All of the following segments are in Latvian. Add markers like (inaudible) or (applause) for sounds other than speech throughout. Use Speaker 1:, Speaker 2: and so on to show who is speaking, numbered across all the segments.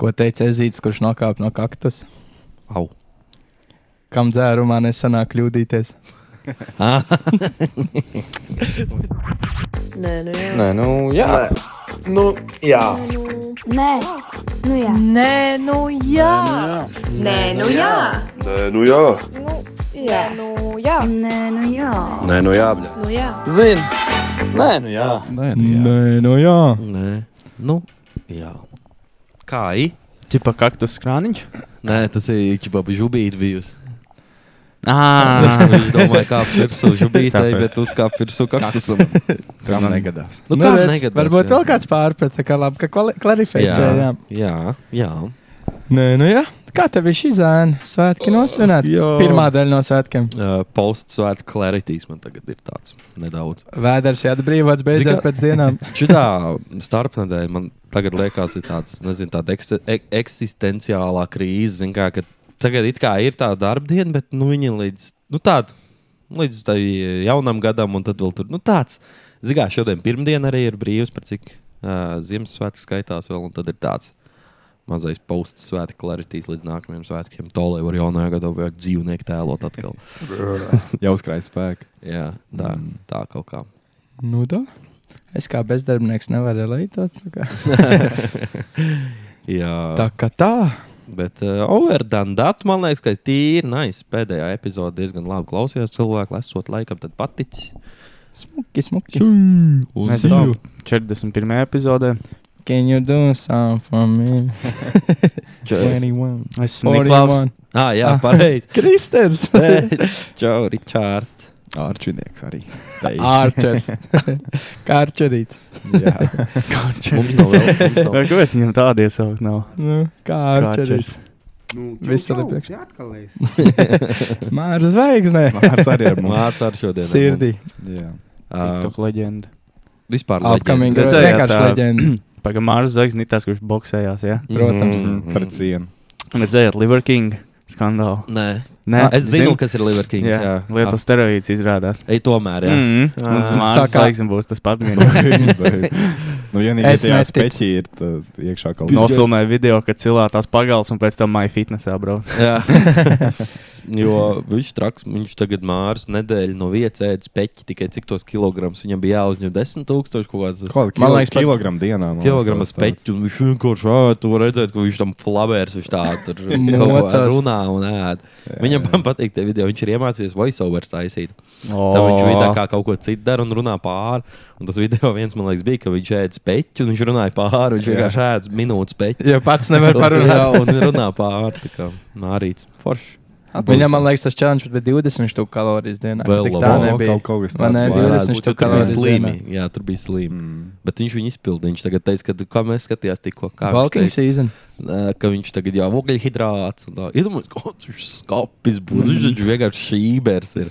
Speaker 1: Ko teica Ezīts, kurš nokāpa no kaktus?
Speaker 2: Au.
Speaker 1: Kam dzērumā nesanāk kļūdīties?
Speaker 3: Nē, nu jā.
Speaker 4: Nē, nu jā.
Speaker 5: Nu, jā.
Speaker 6: Nē, nu jā.
Speaker 3: Nē, nu jā.
Speaker 7: Nē, nu jā.
Speaker 8: Nē, nu jā.
Speaker 3: Nē, nu jā.
Speaker 6: Nē, nu jā.
Speaker 4: Nē, nu jā.
Speaker 3: Nu jā.
Speaker 4: Zini. Nē, nu jā.
Speaker 2: Nē, nu jā.
Speaker 1: Nē, no jā.
Speaker 2: Nē, nu jā. Kā i?
Speaker 9: Čipa kaktus krāniņš.
Speaker 2: Nē, tas ir ķipabi žubīt bijusi. (laughs)
Speaker 9: Ā, (laughs)
Speaker 2: Viņš domāja, kā virsū žubītai,
Speaker 9: Saprat.
Speaker 2: bet uzkāp virsū kaktusam. (laughs)
Speaker 9: tam negadās.
Speaker 2: Nu,
Speaker 1: Nu,
Speaker 2: kā
Speaker 1: redz,
Speaker 2: negadās,
Speaker 1: varbūt
Speaker 2: jā.
Speaker 1: vēl kāds pārprata, ka labi, ka kvali- klarificējām.
Speaker 2: jā, jā.
Speaker 1: Nē, nu jā. Kā tev bija šī zēna? Svētki nosvinēti.
Speaker 2: Oh, Jā.
Speaker 1: Pirmā daļa no svētkiem.
Speaker 2: Uh, Postsvētku klaritīvs man tagad ir tāds nedaudz.
Speaker 1: Vēders ir atbrīvots
Speaker 2: Zini, kā-
Speaker 1: beidzot pēc
Speaker 2: (laughs)
Speaker 1: dienām.
Speaker 2: Šitā starpnedēļa man tagad liekas, ir tāds, nezinu, tāda ekste, ek, eksistenciālā krīze. zini Kā, ka tagad it kā ir tā darba diena, bet nu, viņa līdz, nu, tād, līdz tai jaunam gadam, un tad vēl tur nu, tāds. Zigā, šodien pirmdien arī ir brīvs, par cik uh, Ziemassvētku skaitās vēl, un tad ir tāds. Mazais posms, svētki, klaritīs līdz nākamajam svētkiem. To lai var jaunajā gadā vēl dzīvnieku tēlot atkal.
Speaker 9: Jau uzkrājas spēku.
Speaker 2: Jā, tā, tā kaut kā. (laughs)
Speaker 1: Nu, tā. Es kā bezdarbnieks nevaru leitot. tā kā-
Speaker 2: Jā,
Speaker 1: Tā kā tā.
Speaker 2: Bet uh, overdandat, man liekas, ka tīri nice. Pēdējā epizode diezgan labi klausījās. Cilvēki, esot laikam, tad paticis.
Speaker 1: Smuki, smuki.
Speaker 9: Mēs
Speaker 1: tā.
Speaker 9: esam 41. epizodē.
Speaker 1: Can you do something for
Speaker 2: (laughs)
Speaker 1: me?
Speaker 2: Čau,
Speaker 1: 21.
Speaker 9: Es esmu Niklaus.
Speaker 1: 41.
Speaker 2: ah, jā,
Speaker 1: (laughs)
Speaker 2: pareizi.
Speaker 1: Kristers.
Speaker 2: Čau, Ričārds.
Speaker 9: Ārčinieks arī.
Speaker 1: Ah. Arčers. Kārčerīts. (laughs)
Speaker 9: Jā.
Speaker 2: Mums nav vēl. Mums nav.
Speaker 9: Vai kāpēc viņam tādi iesaukt nav?
Speaker 1: Nu, kā
Speaker 9: (laughs)
Speaker 1: Arčerīts.
Speaker 5: Nu, čau,
Speaker 1: Viss vēl ir
Speaker 5: čau,
Speaker 1: priekšā.
Speaker 5: jā, atkal es.
Speaker 1: Māra zvaigznē.
Speaker 9: Mārs arī
Speaker 1: (laughs)
Speaker 9: ar mums.
Speaker 2: Mācā ar šodien.
Speaker 1: Sirdī.
Speaker 9: Jā.
Speaker 2: Uh,
Speaker 9: TikTok leģenda.
Speaker 2: vispār
Speaker 1: Upcoming.
Speaker 2: leģenda.
Speaker 9: Redzējāt,
Speaker 1: Vienkārši
Speaker 9: tā-
Speaker 1: leģenda.
Speaker 9: Pagaidām, Mārs Zvaigznes ir tas, kurš boxējās. Jā.
Speaker 4: Mm.
Speaker 1: Protams.
Speaker 2: Mhm.
Speaker 4: Pret
Speaker 1: (laughs)
Speaker 4: vienu.
Speaker 9: Redzējāt, Liver King skandālu.
Speaker 2: Nē, Ah,
Speaker 9: Nē,
Speaker 2: es zinu,
Speaker 9: zin-
Speaker 2: kas ir Liver Kings. Jā, Ah,
Speaker 9: Jā, Lietuvas steroīds izrādās.
Speaker 2: Ej, tomēr, jā.
Speaker 9: Mm -hmm.
Speaker 2: Ā.
Speaker 9: Mārs
Speaker 1: Tā kā-
Speaker 9: Zvaigznes būs tas
Speaker 2: (laughs)
Speaker 9: pats. gan.
Speaker 4: Nu, ja
Speaker 1: Es
Speaker 4: nīkais tajā
Speaker 1: neticu.
Speaker 4: speķī ir, tad iekšā kaut kas.
Speaker 9: Nofilmēja video, kad cilvēks pagāls un pēc tam MyFitnessā brauc.
Speaker 2: Jā. Jo viņš traks, viņš tagad mārs nedēļu no vietas ēdas peķi, tikai cik tos kilogramus viņam bija jāuzņem 10,000 kaut kāds. tas-
Speaker 4: Kaut
Speaker 1: Man
Speaker 4: kā
Speaker 1: liekas, pat-
Speaker 4: kilogramu dienā. man
Speaker 2: Kilogramu
Speaker 4: liekas, kaut kas tāds.
Speaker 2: peļķu, un viņš vienkārši ātrāk to redzēja, ka viņš tam flavors viņš tā tur kaut kā
Speaker 1: Mocās.
Speaker 2: runā un ēd. Viņam man patīk tie video, viņš ir iemācījies voiceover taisīt.
Speaker 9: Oh.
Speaker 2: Tā viņš vidē kā kaut ko citu dara un runā pāri. Un tas video viens man liekas bija, ka viņš ēd peļķu un viņš runāja pāri. Viņš vienkārši ēd minūtes peļķu.
Speaker 1: Ja pats nevar parunāt.
Speaker 2: (laughs) un runā pāri. Tā kā nārīts. Forši.
Speaker 1: Viņam, man liekas, tas čāns bija 20 stūku kalorijas dienā.
Speaker 2: Vēl
Speaker 1: Tik
Speaker 2: labāk.
Speaker 1: tā
Speaker 4: Kaut-
Speaker 1: nebija.
Speaker 4: kaut- kaut kas
Speaker 1: Man
Speaker 4: tāds
Speaker 1: nebija
Speaker 4: varētu
Speaker 1: 20
Speaker 2: Būt, jo
Speaker 1: stūku
Speaker 2: tur bija
Speaker 1: kalorijas
Speaker 2: slīmi.
Speaker 1: dienā.
Speaker 2: Jā, tur bija slīmi.
Speaker 4: Mm.
Speaker 2: Bet viņš viņu izpildīja. Viņš tagad teica, ka kā mēs skatījāmies tikko, kā viņš
Speaker 1: Balking
Speaker 2: teica,
Speaker 1: season.
Speaker 2: Nē, ka viņš tagad jau ogļhidrāts un tā. Iedomājos, kāds viņš skapis būs. Viņš taču vienkārši šībers ir.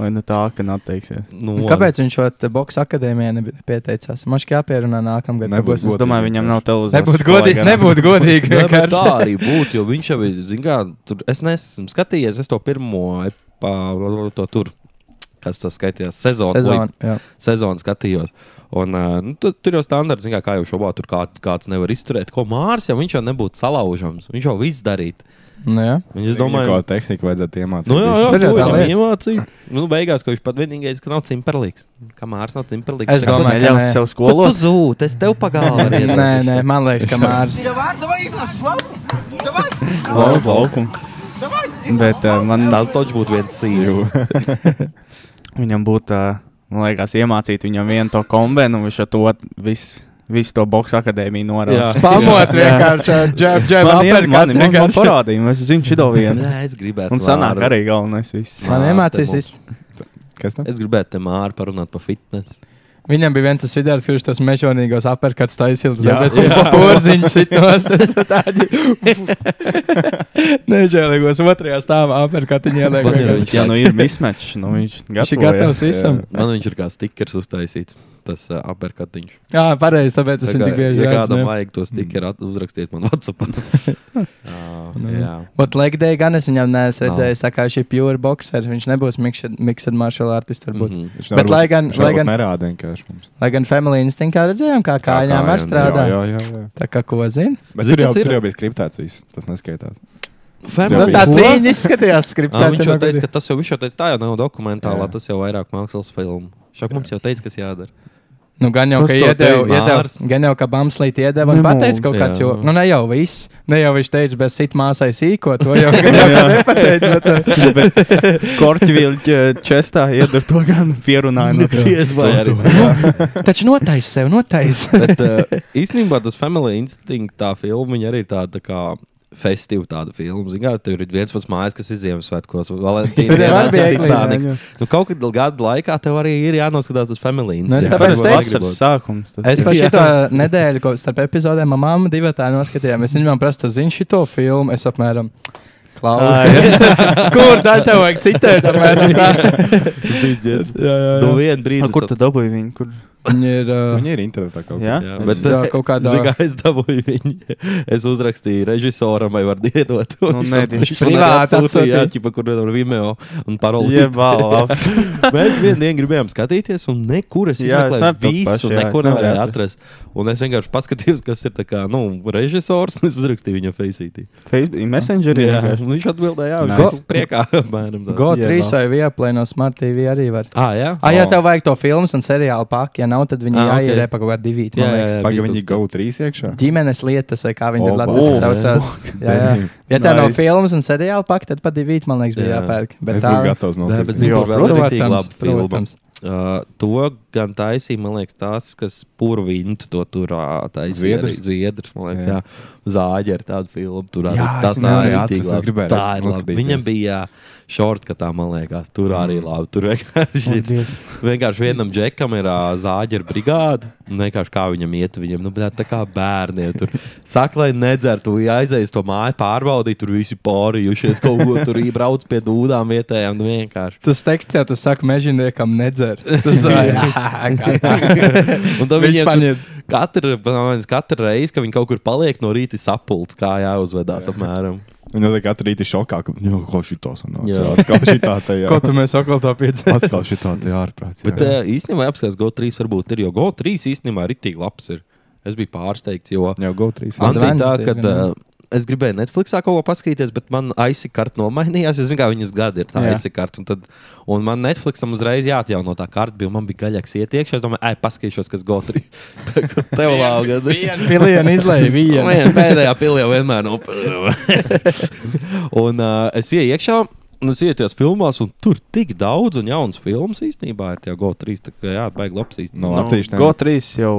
Speaker 9: Vai nu tā, ka nateiksies.
Speaker 2: Nu,
Speaker 1: Un Kāpēc viņš vēl Boks akadēmijā nebija pieteicās? Man šķiet, jāpierunā nākamgad. ka
Speaker 4: Nebūs
Speaker 1: būs-
Speaker 9: Es domāju, viņam nav televizors.
Speaker 1: Nebūtu
Speaker 9: skolā
Speaker 1: godīgi.
Speaker 9: gan.
Speaker 1: Nebūtu godīgi.
Speaker 2: Nē, bet
Speaker 1: vienkārši.
Speaker 2: tā arī būtu, jo viņš jau ir, zin kā, tur, es nesmu skatījies, es to pirmo, epā- to tur, kas tas skaitījās,
Speaker 1: (laughs)
Speaker 2: sezonu,
Speaker 1: Sezona. jā.
Speaker 2: sezonu skatījos. Un, ā, nu, tu, tur jau standarts, zin kā, kā jau šobrīd tur kā, kāds nevar izturēt. Ko Mārs jau viņš jau nebūtu salaužams, viņš jau viss darītu.
Speaker 1: Nu, jā.
Speaker 2: Viņš, es
Speaker 4: Domāju,
Speaker 2: domāju,
Speaker 4: ko tehniku vajadzētu iemācīties.
Speaker 2: Nu, jā, jā,
Speaker 1: Tur jau
Speaker 2: to
Speaker 1: tā
Speaker 2: jau
Speaker 1: lieta.
Speaker 2: iemācīja. Nu, beigās, ka viņš pat vienīgais, ka nav cimperlīgs. Kamēr nav cimperlīgs,
Speaker 1: Es domāju, ka
Speaker 9: Neļaus
Speaker 1: nē.
Speaker 9: sev
Speaker 2: Ko
Speaker 9: skolos.
Speaker 2: zūd? Es tev pagāju.
Speaker 1: Nē, nē, man liekas, ka Mārcis
Speaker 9: Lauz laukumu. Bet
Speaker 1: eh,
Speaker 9: uh, man
Speaker 2: Tas taču būtu viens (laughs) sīvs.
Speaker 9: Viņam būtu, ā, man liekas, iemācīt viņam vienu to kombinu, un viņš ar to visu, visu to boxu akadēmiju (laughs) norādīja.
Speaker 1: pamot vienkārši ar džeku, džeku
Speaker 9: Man ir
Speaker 1: apgabali.
Speaker 9: man, man parādīja, es zinu šito vienu.
Speaker 2: Nē, es gribētu.
Speaker 9: Un sanāk
Speaker 2: Māru.
Speaker 9: arī galvenais viss.
Speaker 1: Man
Speaker 2: Nā,
Speaker 1: iemācījās,
Speaker 2: te
Speaker 1: viss.
Speaker 4: Kas tam?
Speaker 2: Es gribētu te māri parunāt par fitnesu.
Speaker 1: viņam bija viens tas video, kurš tas mežonīgos apgabals taisīja.
Speaker 4: Jā.
Speaker 1: Jā, tas ir porziņš, sitos. Tas ir tādi nežēlīgos otrajā stāvā apgabaliņā.
Speaker 2: Man ir viņš-
Speaker 9: Ja nu ir mismečs, nu viņš
Speaker 1: Viņš ir
Speaker 9: gatavo, (laughs)
Speaker 1: gatavs visam.
Speaker 2: Man viņš ir kā stikers uztaisīts. Tas uh, apgabaliņš.
Speaker 1: Jā, pareizi, tāpēc tas ir tik bieži
Speaker 2: ja
Speaker 1: redzams.
Speaker 2: kādam
Speaker 1: ne? Mm. (laughs)
Speaker 2: vajag to stikeru, at- uzrakstiet man Whatsapp. uh,
Speaker 1: Nu,
Speaker 2: jā.
Speaker 1: Bet Legdei gan es viņam neesmu
Speaker 2: Nav.
Speaker 1: redzējis, tā kā viņš ir pure boxer. Viņš nebūs mixed, mixed martial artists. Varbūt. Mm
Speaker 2: Mhm.
Speaker 4: Viņš
Speaker 1: Bet
Speaker 4: varbūt-
Speaker 1: lai gan-
Speaker 4: viņš
Speaker 1: lai
Speaker 4: varbūt
Speaker 1: gan-
Speaker 4: Nerāda vienkārši mums.
Speaker 1: -hmm. Lai gan Family Instinctā redzējām, kā kājām
Speaker 2: kājām,
Speaker 1: ar strādā.
Speaker 4: Jā, jā, jā. jā.
Speaker 1: Tā kā ko zina?
Speaker 4: Bet
Speaker 2: Zini,
Speaker 4: tur jau,
Speaker 2: kas ir?
Speaker 4: tur jau bija skriptēts viss. Tas neskaitās.
Speaker 1: Nu,
Speaker 2: Family
Speaker 1: tā
Speaker 2: Ko?
Speaker 1: cīņa izskatījās
Speaker 2: Ā,
Speaker 1: skriptā.
Speaker 2: Ah, Viņš jau teica, ka tas jau, viņš jau teica, tā jau nav dokumentālā,
Speaker 4: Jā.
Speaker 2: tas jau vairāk mākslas filmu. Šāk mums jau teica, kas jādara.
Speaker 1: Nu, gan jau, ka
Speaker 9: Kas to
Speaker 1: iedeva,
Speaker 2: teica?
Speaker 1: iedeva,
Speaker 2: Mārs?
Speaker 1: gan jau, ka Bamslīt iedeva un
Speaker 9: Nemo.
Speaker 1: pateica kaut kāds,
Speaker 2: Jā.
Speaker 1: jo, nu, ne jau viss, ne jau viņš teica, bet sit māsai sīko, to
Speaker 2: (laughs)
Speaker 1: jau, gan jau, ka nepateica,
Speaker 9: (laughs)
Speaker 1: bet, uh,
Speaker 9: Korķvīļa čestā iedod to gan
Speaker 1: (laughs)
Speaker 9: pierunāju. no tā.
Speaker 2: vai arī.
Speaker 1: Nu, taču notais sev, notais.
Speaker 2: Bet uh, īstenībā tas Family Instinct tā filma viņa arī tāda tā kā festīva tāda filma. Zināt, kā tur ir viens pats mājas, kas ir Ziemassvētkos. Valentīna
Speaker 1: Tur jau
Speaker 2: dienā
Speaker 1: var
Speaker 2: ir
Speaker 1: viegli,
Speaker 2: Titanics. Nu, kaut kad gada laikā tev arī ir jānoskatās uz Family
Speaker 1: Nu, es
Speaker 2: Instinct.
Speaker 1: tāpēc
Speaker 9: Tas
Speaker 1: teicu-
Speaker 9: vasaras sākums. tas
Speaker 2: Es
Speaker 9: ir.
Speaker 1: Pa
Speaker 2: Jā.
Speaker 1: šito nedēļu, ko starp epizodēm, manā mamā divi tā noskatījām. Es viņam prasu, tu zini šo filmu, es apmēram. Klausies, (laughs) kur tā tev vajag citēt? apmēram tā.
Speaker 2: (laughs)
Speaker 1: jā, jā,
Speaker 2: Nu, vienu brīdi.
Speaker 9: A,
Speaker 2: es
Speaker 9: Kur
Speaker 2: ap-
Speaker 9: tu dabūji viņu?
Speaker 2: (laughs)
Speaker 9: Kur?
Speaker 1: Viņa ir. Uh,
Speaker 4: Viņi ir internetā kaut
Speaker 9: Jā?
Speaker 4: kā.
Speaker 2: Jā,
Speaker 9: Es-
Speaker 2: bet
Speaker 1: jā, kaut kādā-
Speaker 2: (laughs) Zini, kā es dabūju viņu. Es uzrakstīju režisoram, vai var iedot.
Speaker 9: Nu, nē, viņš
Speaker 1: privāti
Speaker 2: Jā,
Speaker 1: atsūtīja.
Speaker 2: ķipa, kur ir Vimeo un paroli.
Speaker 9: Jebā, labs.
Speaker 2: (laughs) Mēs vienu dienu gribējām skatīties, un nekur es
Speaker 9: Jā, es
Speaker 2: izmeklēju
Speaker 9: arī to
Speaker 2: visu,
Speaker 9: pašu,
Speaker 2: un
Speaker 9: jā,
Speaker 2: neko
Speaker 9: es nevarēju
Speaker 2: nevarēju atrast. Un es vienkārši paskatījos, kas ir tā kā, nu, režisors, un es uzrakstīju viņam feisītī.
Speaker 9: Facebook Messengerī.
Speaker 2: Jā,
Speaker 9: vienkārši.
Speaker 2: un viņš atbildēja, jā, viņš
Speaker 9: Nice.
Speaker 2: nice. priekā (laughs) apmēram tā.
Speaker 1: Go
Speaker 9: Jā,
Speaker 1: 3
Speaker 9: vēl.
Speaker 1: vai Vieplay no Smart TV arī var.
Speaker 2: Ah, jā?
Speaker 1: Ah, ja tev vajag to filmu un seriālu pakāpienu, ja nav, tad viņi
Speaker 2: Ah,
Speaker 1: ah,
Speaker 2: ok.
Speaker 1: jāierē okay. pa kaut kādā divi.
Speaker 2: Jā, jā, jā.
Speaker 4: Pagaidām,
Speaker 2: bija
Speaker 4: viņi
Speaker 2: tas-
Speaker 4: go trīs iekšā.
Speaker 1: Ģimenes lietas, vai kā viņi tur
Speaker 4: Opa.
Speaker 1: Latvijas
Speaker 2: O,
Speaker 1: saucās. Jā, jā. Ja tev nav
Speaker 9: Nice.
Speaker 1: filmas un seriāla pakāpienu, tad pa divi, man liekas, bija
Speaker 2: Jā.
Speaker 1: jāpērk. Bet
Speaker 4: Es biju gatavs
Speaker 2: Jā, bet
Speaker 4: nopirkt.
Speaker 2: zinu,
Speaker 9: Jo,
Speaker 2: kur vēl ir
Speaker 1: protams,
Speaker 2: rītīgi laba filma.
Speaker 1: protams.
Speaker 2: Uh, to gan taisīja, man liekas, tās, kas purvintu to tur ā, taisīja.
Speaker 4: Zviedrs?
Speaker 2: arī. Zviedrs, man liekas, jā.
Speaker 4: Jā.
Speaker 2: Zāģi ar tādu filmu. Tur arī
Speaker 4: Jā,
Speaker 2: tā
Speaker 4: es nevarēju
Speaker 2: ir
Speaker 4: atrast,
Speaker 2: rītīgi
Speaker 4: es
Speaker 2: laba.
Speaker 4: gribēju
Speaker 2: Tā ir laba.
Speaker 4: noskatīties.
Speaker 2: Viņam bija šortkatā, man liekas, tur
Speaker 4: Mm.
Speaker 2: arī labi. Tur vienkārši ir.
Speaker 9: Paldies.
Speaker 2: Vienkārši vienam džekam ir uh, zāģeru brigāde. un Vienkārši kā viņam iet, viņam nu, bet tā kā bērniem tur saka, lai nedzertu, ja aizies to māju pārbaudīt, tur visi pārījušies kaut ko tur ībrauc pie dūdām vietējām. Nu, vienkārši.
Speaker 1: Tas teksts jau tas saka, mežoniekam nedzer. Tas ir
Speaker 2: (laughs) Un tad
Speaker 1: Viss
Speaker 2: viņiem tur
Speaker 1: paniet.
Speaker 2: Katra, man liekas, katra reize, kad viņi kaut kur paliek no rīta, ir sapulcē, kā jāuzvedās apmēram.
Speaker 4: Viņi jau katru rītu šokā, ka jau kā šī tā sanāk.
Speaker 2: Jā.
Speaker 4: Jā, atkal šī tā tā
Speaker 1: Ko tu
Speaker 4: jā.
Speaker 1: mēs okol to (laughs) piedzīvojam?
Speaker 4: Atkal šī tā tā ārprāts.
Speaker 2: Bet eh, jā. īstenībā apskatās, Go 3 varbūt ir, jo Go 3 īstenībā ir tik labs. Ir. Es biju pārsteigts, jo
Speaker 4: Jau go trīs.
Speaker 1: An-
Speaker 2: Andrija tā,
Speaker 1: Advanced
Speaker 2: ka
Speaker 1: diezgan,
Speaker 2: uh, es gribēju Netflixā kaut ko paskatīties, bet man aizsikart nomainījās. Es zinu, kā viņas gadi ir tā
Speaker 9: Jā.
Speaker 2: aizsikart. Un, tad- un man Netflixam uzreiz jāatjauno tā karta, bija un man bija gaļāks ietiekšā. Es domāju, ai, paskatīšos, kas Go 3 (laughs) tev lauga.
Speaker 1: (laughs) Pilienu izlaiž vienu.
Speaker 2: Vien, pēdējā pilī vienmēr
Speaker 9: (laughs)
Speaker 2: nopērta. un uh, es ienāku iekšā, un es ietos filmās, un tur tik daudz un jaunas filmas īstenībā ir tie GO3. tā kā Jā, baigi labs
Speaker 4: No
Speaker 2: īstenībā.
Speaker 4: Latvijas.
Speaker 9: Nu, Go 3 jau.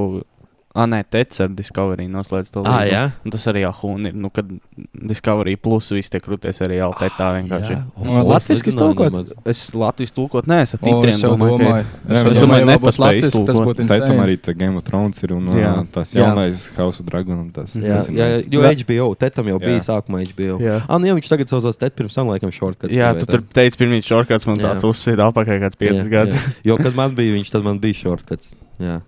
Speaker 9: Ah, nē, teicu, ar Discovery noslēdz to
Speaker 2: Ah, jā?
Speaker 9: Un tas arī Ahūna ir. Nu, kad Discovery plus viss tiek krūties arī
Speaker 2: Ah,
Speaker 9: Altetā vienkārši.
Speaker 1: Un latviski tulkot?
Speaker 9: Es Latvijas tulkot, nē, es ar
Speaker 1: (laughs) O,
Speaker 9: titriem
Speaker 1: es jau
Speaker 9: domāju, ka
Speaker 1: domāju,
Speaker 9: ir.
Speaker 4: Es
Speaker 1: es
Speaker 4: domāju,
Speaker 1: domāju,
Speaker 9: nepaspēj
Speaker 1: nebūs Latvijas,
Speaker 9: iztulkot.
Speaker 1: tas būtu
Speaker 4: Tā ir
Speaker 1: insane.
Speaker 4: arī tā Game of Thrones ir un jā.
Speaker 9: Jā.
Speaker 4: tas
Speaker 2: Jā.
Speaker 4: jaunais House of Dragon. un Tas,
Speaker 2: Jā,
Speaker 4: tas ir
Speaker 2: jā, jā,
Speaker 4: nice.
Speaker 2: jo
Speaker 9: Bet-
Speaker 2: HBO, tetam jau bija
Speaker 4: Jā.
Speaker 2: sākumā HBO. Jā,
Speaker 9: Jā.
Speaker 2: ah, nu, jā viņš tagad saucās Tet pirms tam laikam šortkatā.
Speaker 9: Jā, tu tur teici, pirmie šorkāds man
Speaker 2: Jā.
Speaker 9: tāds uzsita apakā kāds 5 gadus.
Speaker 2: Jo, kad man bija viņš, tad man bija šortkats. Jā.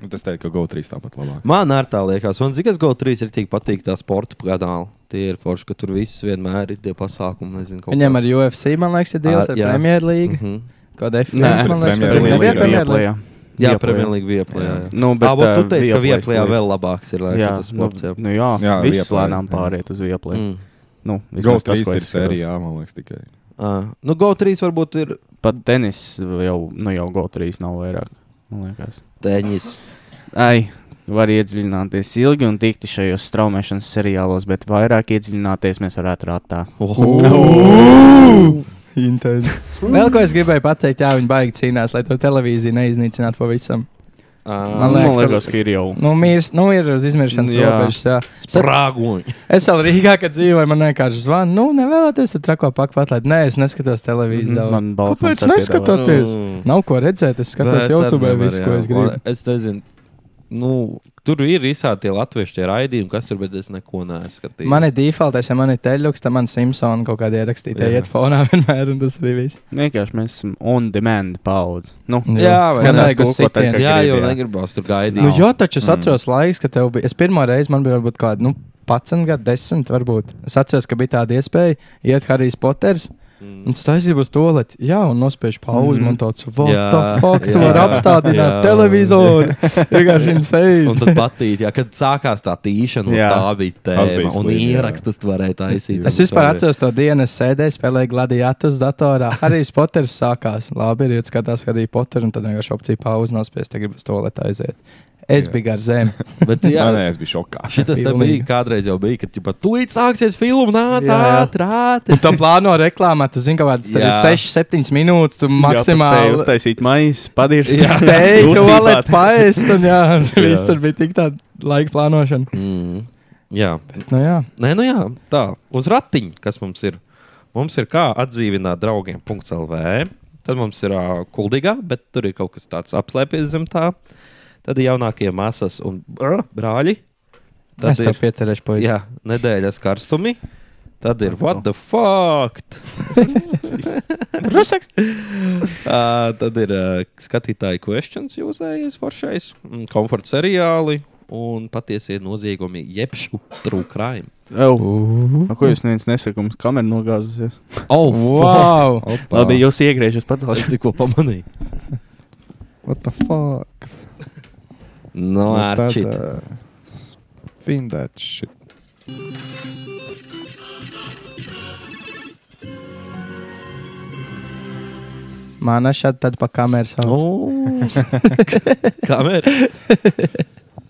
Speaker 4: Un Tas teikt, ka go trīs tāpat labāk.
Speaker 2: Man ar tā liekas, man zina, ka GO3 ir tik patīk tā sporta kanāla. Tie ir forši, ka tur viss vienmēr ir tie pasākumi. Nezinu, kaut
Speaker 1: Viņam
Speaker 2: kāds.
Speaker 1: ar UFC, man liekas, ir deals
Speaker 2: Ā,
Speaker 1: ar
Speaker 2: jā.
Speaker 1: Premjerlīgu.
Speaker 2: Mhm.
Speaker 1: Kaut kāda
Speaker 9: Nē,
Speaker 1: F1, man liekas,
Speaker 4: Premjer-
Speaker 1: vai-
Speaker 4: Premjer-
Speaker 1: Nebija
Speaker 4: Premjer-
Speaker 1: Premjerlīga.
Speaker 2: Jā,
Speaker 9: Viaplay.
Speaker 2: Premjerlīga bija plakāta.
Speaker 9: Nu, bet,
Speaker 2: Tā, bet tu
Speaker 9: ā,
Speaker 2: teici, ka
Speaker 9: Viaplay
Speaker 2: Vieplajā
Speaker 9: slīd.
Speaker 2: vēl labāks ir laikam, tas sports. Jā,
Speaker 9: nu, nu, jā, jā
Speaker 4: Jā,
Speaker 9: viss
Speaker 4: Viaplay,
Speaker 9: lēnām
Speaker 4: jā.
Speaker 9: pāriet uz Vieplay. Mm.
Speaker 2: Mm.
Speaker 9: Nu,
Speaker 4: Go
Speaker 9: vismaz tas,
Speaker 4: trīs
Speaker 9: ko
Speaker 4: ir
Speaker 9: es skatos.
Speaker 4: sērijā, man liekas, tikai.
Speaker 2: Ah, nu, GO3 varbūt ir
Speaker 9: Pat tenis jau, nu, jau Go 3 nav vairāk. man liekas.
Speaker 2: teņģis.
Speaker 9: Ai, var iedziļināties ilgi un tikti šajos straumēšanas seriālos, bet vairāk iedziļināties mēs varētu rātā.
Speaker 1: Intensi. (laughs) Vēl ko es gribēju pateikt, jā, viņi baigi cīnās, lai to televīziju neiznīcinātu pavisam. Man
Speaker 2: Ah.
Speaker 1: liekas,
Speaker 9: Man liekas, man liekas ka ir jau.
Speaker 1: Nu, mīrs, nu ir uz izmiršanas
Speaker 9: Jā.
Speaker 1: robežas, jā.
Speaker 2: Sprāgoņi.
Speaker 1: Es vēl Rīgā, kad dzīvoju, man vienkārši zvana, nu, nevēlaties ar trako paku atlaid. Nē, es neskatos televīziju.
Speaker 9: Man balkons
Speaker 1: Kāpēc
Speaker 9: ar
Speaker 1: neskatāt? Skaties.
Speaker 2: Mm.
Speaker 1: Nav ko redzēt, es skatos
Speaker 2: Nē, es arī
Speaker 1: YouTube
Speaker 2: nevaru,
Speaker 1: visu, ko
Speaker 2: jā.
Speaker 1: es gribu.
Speaker 2: Man- Es nezinu, nu, tur ir visādi tie latviešu tie raidījumi, kas tur, bet es neko neesmu skatījis.
Speaker 1: Man ir defaultais, ja man ir teļuks, tad man Simpsons kaut kādā ierakstītā
Speaker 2: Jā.
Speaker 1: iet fonā (laughs) vienmēr, un tas arī viss.
Speaker 9: Vienkārši mēs esam on demand paudze. Nu,
Speaker 2: Jā, vai
Speaker 1: skanēs,
Speaker 2: ne?
Speaker 1: kas
Speaker 9: Tulkot arī,
Speaker 1: sitien.
Speaker 9: ka
Speaker 2: Jā,
Speaker 9: grib,
Speaker 2: jau
Speaker 9: jā.
Speaker 2: negribās tur gaidīt.
Speaker 1: Nu, jā, taču es atceros mm. laiku, kad tev bija. Es pirmo reizi man bija kaut kāda nu, 11 gadu, 10 varbūt. Es atceros, ka bija tāda iespēja iet Harijs Poters.
Speaker 2: Mm.
Speaker 1: Un tas aizjūta uz to lietu, jā, un nospiež pauzi.
Speaker 9: Mhm.
Speaker 1: Man tāds, what
Speaker 2: Jā,
Speaker 1: the fuck, tu
Speaker 2: jā,
Speaker 1: vari apstādināt
Speaker 2: jā. (laughs)
Speaker 1: televizoru. Vienkārši
Speaker 2: Un
Speaker 1: insane.
Speaker 2: tad patīk, ja, kad sākās tā tīšana,
Speaker 9: Jā.
Speaker 2: jā. tā bija
Speaker 4: Tas bija
Speaker 2: tēma. Un
Speaker 4: slikti, jā.
Speaker 2: ierakstus tu varēji taisīt.
Speaker 1: Es
Speaker 2: un
Speaker 1: vispār
Speaker 2: tā bija.
Speaker 1: atceros to dienu, es sēdēju, spēlēju gladiatus datorā. Arī Poters sākās. Labi, ir jāskatās Harry Potter, un tad vienkārši opcija pauze nospiest, tagad uz to lietu aiziet. Es
Speaker 4: Jā.
Speaker 1: biju gar zemi.
Speaker 2: Bet, jā,
Speaker 4: Jā, nē, es biju šokā.
Speaker 2: Šitas te
Speaker 1: Pilnīgi.
Speaker 2: bija kādreiz jau bija, kad jau tūlīt sāksies filma, nāc,
Speaker 1: Jā, jā.
Speaker 2: ātri, ātri.
Speaker 1: Un to plāno reklāmēt, tu zini, ka kādas
Speaker 2: Jā.
Speaker 1: 6-7 minūtes tu maksimāli.
Speaker 9: uztaisīt maizi, padirst. (laughs)
Speaker 1: Jā,
Speaker 2: (laughs)
Speaker 1: teiktu,
Speaker 9: Uztīpāt.
Speaker 1: valet paēst, un jā, viss tur bija tik tāda laika plānošana.
Speaker 2: Mm. Jā,
Speaker 1: Nu jā,
Speaker 2: Nē, nu jā, tā, uz ratiņa, kas mums ir. Mums ir kā atdzīvināt draugiem, CELV. Tad mums ir uh, kuldīga, bet tur ir kaut kas tāds apslēpies zem tā. Tad ir jaunākie masas un brr, brāļi. Tad
Speaker 1: es tev
Speaker 2: ir
Speaker 1: pieturēšu puisi.
Speaker 2: jā, nedēļas karstumi. Tad ir what the fuck?
Speaker 1: (laughs) Rusaks!
Speaker 2: Uh, tad ir uh, skatītāji questions, jūzējais, foršais, mm, komforta seriāli un patiesie noziegumi, jebšu true crime.
Speaker 9: Au. A, Ko jūs neviens nesakāt? Mums kamera nogāzusies.
Speaker 2: Oh,
Speaker 1: Wow!
Speaker 9: Labi, jūs iegriežat pats.
Speaker 2: Es tikko pamanīju.
Speaker 4: What the fuck? Nu,
Speaker 2: No, ar šit.
Speaker 4: Spin that shit.
Speaker 1: Mana šāda tad pa kameru
Speaker 2: Oh.
Speaker 1: sauc.
Speaker 2: Nu. (laughs) Kamera.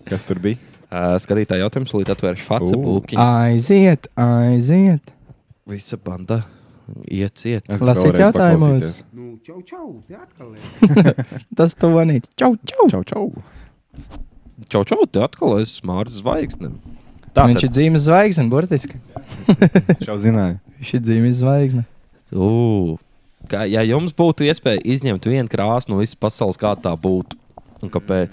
Speaker 4: Kas tur bija?
Speaker 2: Uh, skatītāji jautājums, līdz atvēršu Facebook.
Speaker 1: Aiziet, aiziet!
Speaker 2: Visa banda ieciet.
Speaker 4: Es
Speaker 1: Lasīt
Speaker 4: vēlreiz
Speaker 1: jautājumos.
Speaker 4: paklausīties.
Speaker 5: Nu, čau, čau, te atkal. ej.
Speaker 1: Tas tu vanīt. Čau, čau!
Speaker 4: Čau, čau.
Speaker 2: Čau, čau, te atkal esi Mārcis Zvaigznes.
Speaker 1: Tā,
Speaker 2: Tā
Speaker 1: Viņš ir
Speaker 2: tad.
Speaker 1: dzīves zvaigzne, burtiski.
Speaker 4: Čau, zināju.
Speaker 1: Viņš ir dzīves zvaigzne.
Speaker 2: Ū, Kā, ja jums būtu iespēja izņemt vienu krāsu no visas pasaules, kā tā būtu? Un kāpēc?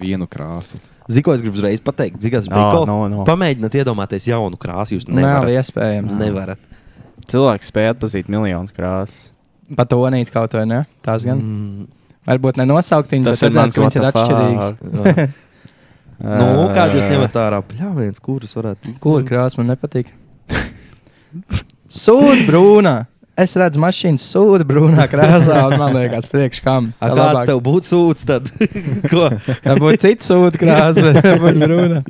Speaker 4: Vienu krāsu.
Speaker 2: Zinu, ko es gribu uzreiz pateikt. Zinu,
Speaker 9: Nā,
Speaker 2: no, no,
Speaker 9: nav,
Speaker 2: no.
Speaker 9: nav.
Speaker 2: Pamēģiniet iedomāties jaunu krāsu. Jūs
Speaker 1: Nav
Speaker 2: nevarat.
Speaker 1: iespējams.
Speaker 2: nevarat.
Speaker 9: Cilvēks spēja atpazīt miljonus krāsas.
Speaker 1: Pat vanīt kaut vai ne? Tās gan.
Speaker 9: (laughs)
Speaker 2: Mm.
Speaker 1: Varbūt nenosaukt viņu, bet redzēt, ka viņš ir atšķirīgs.
Speaker 2: Nu, kā jūs ņemat ārā pļāvienus, kurus varētu
Speaker 1: Kur krāsa man nepatīk? Sūda brūnā! Es redzu mašīnu sūdu brūnā krāsā, un man liekas, priekš kam.
Speaker 2: Ar kāds tev būtu sūds, tad (laughs) ko?
Speaker 1: Tā būtu cita sūdu krāsa, bet tā būtu brūna.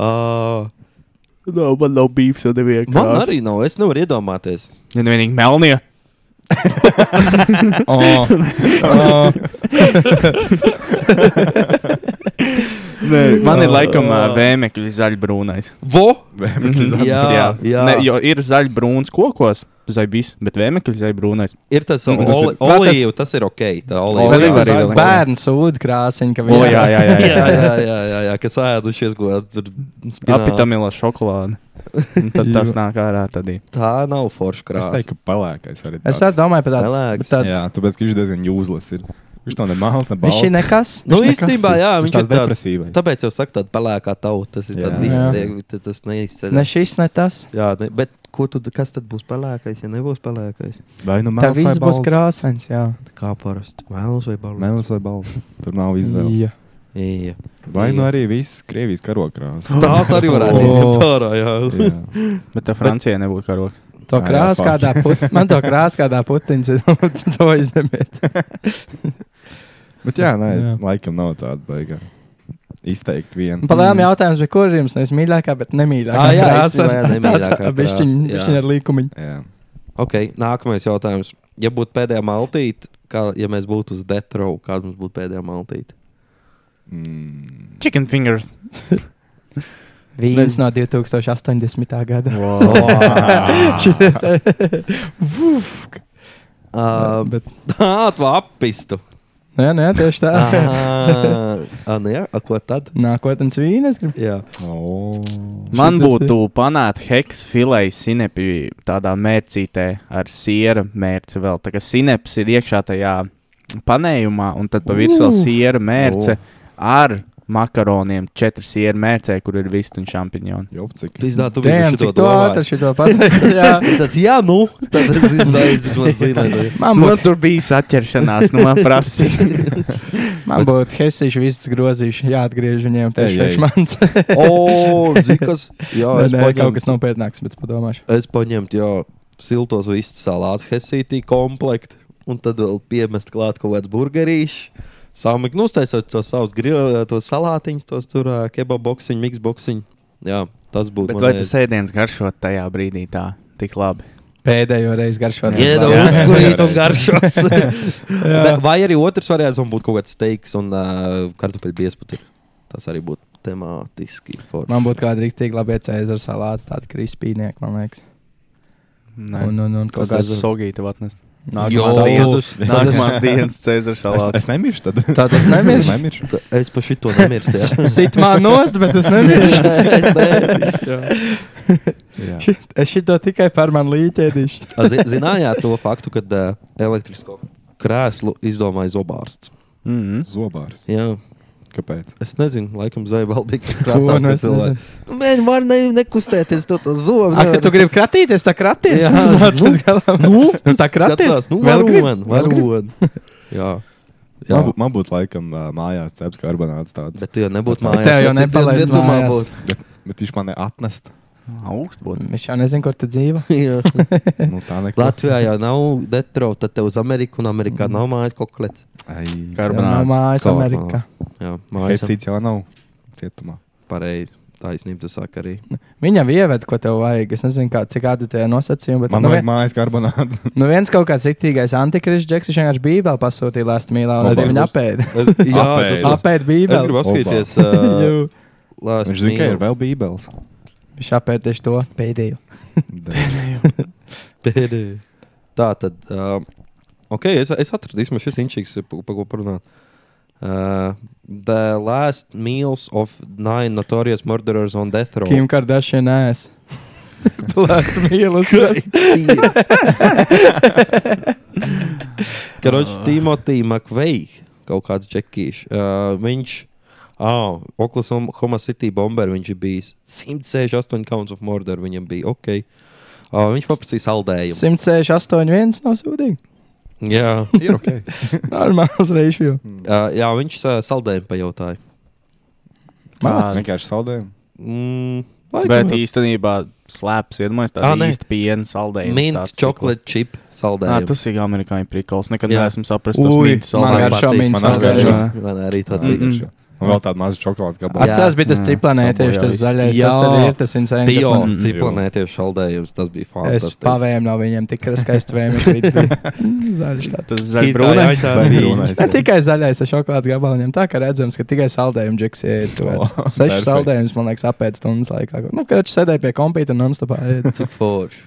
Speaker 2: Uh,
Speaker 9: No, man nav bijis jau neviena.
Speaker 2: man arī nav, es nevaru iedomāties.
Speaker 9: Ja nu vienīgi melnie.
Speaker 1: Oh. Oh.
Speaker 9: (laughs) Nē, man ir laikam ā, vēmekļu zaļbrūnais.
Speaker 2: Vo?
Speaker 9: Mhm.
Speaker 2: Jā, jā.
Speaker 9: Ne, jo ir zaļbrūns kokos, zaļbis, bet vēmekļi zaļbrūnais.
Speaker 2: Ir tas
Speaker 9: Nu, tas
Speaker 2: oli-
Speaker 9: ir-
Speaker 2: olīvu, tas ir ok. Tā olīva
Speaker 9: Olīva
Speaker 1: Vēl
Speaker 9: arī
Speaker 2: (laughs)
Speaker 1: ir
Speaker 9: vēl.
Speaker 1: bērnu sūdu krāsiņa, ka
Speaker 9: O, jā, jā, jā,
Speaker 2: Oh, jā,
Speaker 9: jā.
Speaker 2: jā, jā, jā, jā, kas ēdušies, ko tur
Speaker 9: Apitamilā šokolāde. Un Tad (laughs) tas nāk ārā. Tad ir.
Speaker 2: Tā nav forša
Speaker 4: Es
Speaker 2: krāsa.
Speaker 4: teiktu, ka pelēkais arī.
Speaker 1: Es
Speaker 4: tāds.
Speaker 1: arī domāju par tādu.
Speaker 2: Pelēks.
Speaker 1: bet tād-
Speaker 4: Jā, tāpēc, ka viņš diezgan jūzlis ir. Viņš to nemāls, ne
Speaker 1: Viņš ir
Speaker 4: balts.
Speaker 1: nekas.
Speaker 2: Nu,
Speaker 4: Viņš nekas
Speaker 2: īstenībā,
Speaker 4: ir.
Speaker 2: jā,
Speaker 4: Viņš
Speaker 2: viņš ir
Speaker 4: tāds
Speaker 2: tāds
Speaker 4: depresīvais.
Speaker 2: Tāpēc jau saka, tāda pelēkā tauta, tas ir
Speaker 4: Jā.
Speaker 2: tāds
Speaker 1: Jā.
Speaker 2: izteikti, tas neizceļ.
Speaker 1: Ne šis, ne tas.
Speaker 2: Jā, ne, bet ko tu, kas tad būs pelēkais, ja nebūs pelēkais?
Speaker 4: Vai nu
Speaker 1: Tā
Speaker 4: melns vai
Speaker 1: viss būs
Speaker 4: balts?
Speaker 1: krāsains. Jā,
Speaker 2: Kā parasti, melns vai balons?
Speaker 4: Melns vai balts? Tur nav izvēles.
Speaker 1: jā.
Speaker 2: Jā.
Speaker 4: Vai nu
Speaker 2: Jā.
Speaker 4: arī viss Krievijas karokrās.
Speaker 2: Tās arī
Speaker 1: (laughs)
Speaker 2: varētu
Speaker 1: Oh.
Speaker 2: izņemt ārā, jā.
Speaker 9: Bet tā Francijā nebūtu karoks.
Speaker 1: To
Speaker 4: Ā, jā,
Speaker 1: krāsa
Speaker 4: forši.
Speaker 1: kādā putnā. Man to krāsa kādā putnā. (laughs) To es nemēģinu.
Speaker 4: (laughs) Bet jā, nē, jā.
Speaker 1: Jā.
Speaker 4: laikam nav tāda baigā. Izteikt vienu. Mm.
Speaker 1: Palēm jautājums, bija, kur ir jums nevis mīļākā, bet nemīļākā. ah,
Speaker 2: Ā, Mm. Ah, jā,
Speaker 1: krāsa?
Speaker 2: īstenībā, jā, nemīļākā krāsa, jā.
Speaker 1: Viņa ir līkumiņa.
Speaker 4: Jā.
Speaker 2: Ok, nākamais jautājums. Ja būtu pēdējā maltīte, kā ja mēs būtu uz Death Row, kāda mums būtu pēdējā maltīte?
Speaker 4: Mm.
Speaker 9: Chicken fingers.
Speaker 1: Viens no 2080. gada.
Speaker 4: Mm.
Speaker 1: (laughs)
Speaker 2: Um, (laughs)
Speaker 1: Bet- nu
Speaker 2: Tā, tu
Speaker 1: (laughs)
Speaker 2: apvistu.
Speaker 1: Nē, nē, tieši tā.
Speaker 2: Ah, nu jā, a, ko tad?
Speaker 1: (laughs) Nākotnes vīnes grib.
Speaker 2: Jā,
Speaker 4: Oh.
Speaker 1: Šitas
Speaker 9: Man
Speaker 1: ir-
Speaker 9: būtu panākt heks filēju sinepi tādā mērcītē ar siera mērci vēl. Tā kā sineps ir iekšā tajā panējumā, un tad pa virsmu vēl
Speaker 1: Uh.
Speaker 9: siera mērce ar makaroniem. Četri siera mērcē, kur ir vistu un šampiņoni.
Speaker 4: Jopcik.
Speaker 2: pizdā, tu biji
Speaker 1: Dēļ,
Speaker 2: šito
Speaker 1: cik to ātri
Speaker 2: domājis.
Speaker 1: šito
Speaker 2: (laughs)
Speaker 1: pateikt. jā.
Speaker 2: Tāds, jā, nu, tad es zinu, es vismaz zinu.
Speaker 1: Man
Speaker 9: Man
Speaker 1: būtu
Speaker 9: (laughs) tur bija saķeršanās, nu man nu, prasīja.
Speaker 1: Man būtu Helsīša vistas grozīšana, jāatgriež viņiem tieši
Speaker 4: Ei, ei.
Speaker 1: priekš manis.
Speaker 2: O, zikas!
Speaker 1: (laughs) Nē,
Speaker 2: Jā, Oh, es
Speaker 1: nē,
Speaker 2: paņemu-
Speaker 1: kaut kas nopietnāks, bet padomāšu.
Speaker 2: Es paņemtu jau siltos vistas salātus, hesītī komplektu, un tad vēl piemest klāt kaut kāds burgerīšs. Sāmiņš, nu, uztaisot tos savus grillētos to salātiņus, tos tur uh, kebab boxiņu, mix boxiņu. Jā, tas būtu.
Speaker 9: Bet vai tas ēdiens garšo tajā brīdī tā tik labi?
Speaker 1: Pēdējo reizi garšo.
Speaker 2: (laughs) Iedod
Speaker 9: Jā.
Speaker 2: uzkurīt
Speaker 1: (laughs)
Speaker 2: un garšos. (laughs) Bet vai arī otrs variants man būtu kaut kāds steiks un uh, kartupeļu biesputi. Tas arī būtu tematiski. forši.
Speaker 1: Man būtu kāda rīktīgi labi iecēzta ar salātu, tāda krispīnieka, man liekas.
Speaker 9: Nē.
Speaker 1: Un, un, un kaut
Speaker 9: Kaut
Speaker 1: kāds.
Speaker 9: kāds sogīti atnest.
Speaker 2: Jo!
Speaker 1: (laughs)
Speaker 9: Nākamās dienas, (laughs) nākamās (laughs)
Speaker 2: Es-
Speaker 9: dienas Cēzara salāts.
Speaker 4: Es nemiršu tad.
Speaker 1: Tā tas
Speaker 4: (laughs)
Speaker 1: nemirst?
Speaker 4: nemiršu.
Speaker 2: T- Es par šito nemirstu. jā.
Speaker 1: (laughs) Sit man nost, bet es
Speaker 2: (laughs)
Speaker 1: nemiršu.
Speaker 2: Es nemiršu, jā.
Speaker 1: (laughs)
Speaker 4: Jā.
Speaker 1: Šit- Es šito tikai par mani līķēdīšu.
Speaker 2: A, zi- Zinājāt to faktu, ka uh, elektrisko krēslu izdomāja zobārsts.
Speaker 9: Mm -hmm.
Speaker 4: Zobārs.
Speaker 2: Jā,
Speaker 4: Kāpēc?
Speaker 2: es nezinu, laikam zvaigznāja
Speaker 1: (laughs)
Speaker 2: bija
Speaker 1: Ko, nu, es nezinu.
Speaker 2: Mēģinājums var ne, nekustēties, to, to zobu. nu,
Speaker 1: Ak, ka tu gribi kratīties, tā kraties.
Speaker 2: Jā.
Speaker 1: (laughs) Uzvāc uz galām.
Speaker 2: Nu,
Speaker 1: Nu, tā kraties.
Speaker 2: Nu,
Speaker 1: Vēl
Speaker 2: vēl
Speaker 1: grib?
Speaker 2: grūti.
Speaker 1: Vēl
Speaker 2: Vēl
Speaker 1: grib?
Speaker 2: grūti. Jā. Jā.
Speaker 4: Man, bū, man būtu laikam uh, mājās ceps karbonāts tāds, bet,
Speaker 2: Bet tu jau nebūtu
Speaker 1: Bet
Speaker 2: mājās.
Speaker 1: tev jau
Speaker 2: tu citiem
Speaker 1: nepalaist
Speaker 2: dzimtumā
Speaker 1: mājās.
Speaker 2: būtu. (laughs)
Speaker 4: bet viņš man neatnest.
Speaker 9: Augsts būtu.
Speaker 1: Es jau nezinu, kur tu dzīvo.
Speaker 2: Jā.
Speaker 4: Nu, tā nekā.
Speaker 2: Latvijā jau nav detro, tad tev uz Ameriku un Amerikā
Speaker 1: Mm.
Speaker 2: nav mājas koklets.
Speaker 4: Latvijas.
Speaker 1: Tev Nav
Speaker 9: Karbonāts.
Speaker 1: mājas
Speaker 2: Kaut
Speaker 1: Amerikā.
Speaker 2: Jā,
Speaker 4: Es
Speaker 2: mājas.
Speaker 4: cits jau nav cietumā.
Speaker 2: Pareizi. Taisnība, tu saki arī.
Speaker 1: Viņam ieved, ko tev vajag. Es nezinu, kā, cik kādi tie nosacījumi, bet
Speaker 4: Man
Speaker 1: nu,
Speaker 4: vajag
Speaker 1: vien,
Speaker 4: mājas karbonāts.
Speaker 1: nu viens kaut kāds rīktīgais antikrists, Džeks, viņš vienkārši bībeli pasūtīja last mīlā un
Speaker 4: Labāk
Speaker 1: arī viņa
Speaker 4: būs.
Speaker 1: apēda.
Speaker 2: Es, (laughs) jā,
Speaker 4: Apēd.
Speaker 2: es, atceros-
Speaker 1: Apēda
Speaker 2: es gribu
Speaker 1: bībeli.
Speaker 2: apskatīties.
Speaker 1: Jū.
Speaker 4: (laughs)
Speaker 2: Uh, last
Speaker 4: Viņš zina, ka ir
Speaker 2: meals.
Speaker 4: vēl bībeles.
Speaker 1: Viņš apēda tieši to pēdējo.
Speaker 2: Pēdējā. (laughs) Tā tad, um, ok, es, es atradu, īstenībā šis inčīgs, pa pa ko parunāt. Uh, the last meals of nine notorious murderers on death row.
Speaker 1: Kim Kardashian (laughs) ass. Last meal uz (laughs)
Speaker 2: Christ.
Speaker 4: Ah.
Speaker 2: Короче, Timothy McVeigh, kaut kāds džekīšs. Uh, viņš, ah, Oklahoma City bomber, viņš ir bijis 168 counts of murder, viņam bija ok. Uh, viņš paprasīja saldējumu.
Speaker 1: 168, 1 nav sūdīgi.
Speaker 2: Jā.
Speaker 4: (laughs) Ir ok.
Speaker 1: Normāls reišs.
Speaker 4: hmm.
Speaker 2: Uh, jā, viņš uh, saldējumu pajautāja.
Speaker 1: Māc.
Speaker 4: Vienkārši saldējumu.
Speaker 2: Mm,
Speaker 9: Bet īstenībā slēpjas, iedomājieties,
Speaker 2: Ā,
Speaker 9: tāda
Speaker 2: nē.
Speaker 9: īsta piena saldējuma.
Speaker 2: mints, čokolāde, čip,
Speaker 9: Jā,
Speaker 2: saldējumu.
Speaker 9: tas ir amerikāņu prikals. Nekad
Speaker 2: Jā.
Speaker 9: neesmu sapratis tos
Speaker 1: Ui,
Speaker 9: mītus
Speaker 1: man
Speaker 9: saldējumus.
Speaker 1: garšo mīnus
Speaker 4: man
Speaker 1: saldējumus.
Speaker 4: garšo.
Speaker 9: Jā.
Speaker 2: Man arī tā
Speaker 9: Mm,
Speaker 2: bija.
Speaker 9: mm.
Speaker 4: Vienkārši. Un vēl tāda maza čokolādes gabala.
Speaker 1: Atcerās, bija tas
Speaker 9: Jā.
Speaker 1: ciplanē tieši
Speaker 9: Sabojā
Speaker 1: tas
Speaker 9: visu.
Speaker 1: zaļais.
Speaker 2: Jā.
Speaker 1: Tas arī ir tas insane.
Speaker 2: Bio,
Speaker 1: kas man-
Speaker 9: Mm,
Speaker 2: ciklonē tieši saldējums, tas bija
Speaker 1: Es
Speaker 2: fantastiski.
Speaker 1: pavēmu no viņiem, tik skaisti (laughs) vēmēju. Zaļš tāds.
Speaker 9: (laughs)
Speaker 2: It
Speaker 9: Tas
Speaker 2: kā
Speaker 9: zaļš brūnais.
Speaker 2: jā, (laughs) tā
Speaker 4: Vai
Speaker 2: bija.
Speaker 4: brūnais?
Speaker 1: Ne tikai zaļais ar šokolādes gabalu, viņam tā kā redzams, ka tikai saldējumu džiks iet.
Speaker 4: O,
Speaker 1: Seši
Speaker 4: perfekt.
Speaker 1: saldējums, man liekas, apēc stundas laikā. Nu, kad viņš sēdēja pie kompīta un nonstopā ēd.
Speaker 2: Cik
Speaker 9: (laughs)
Speaker 2: forši.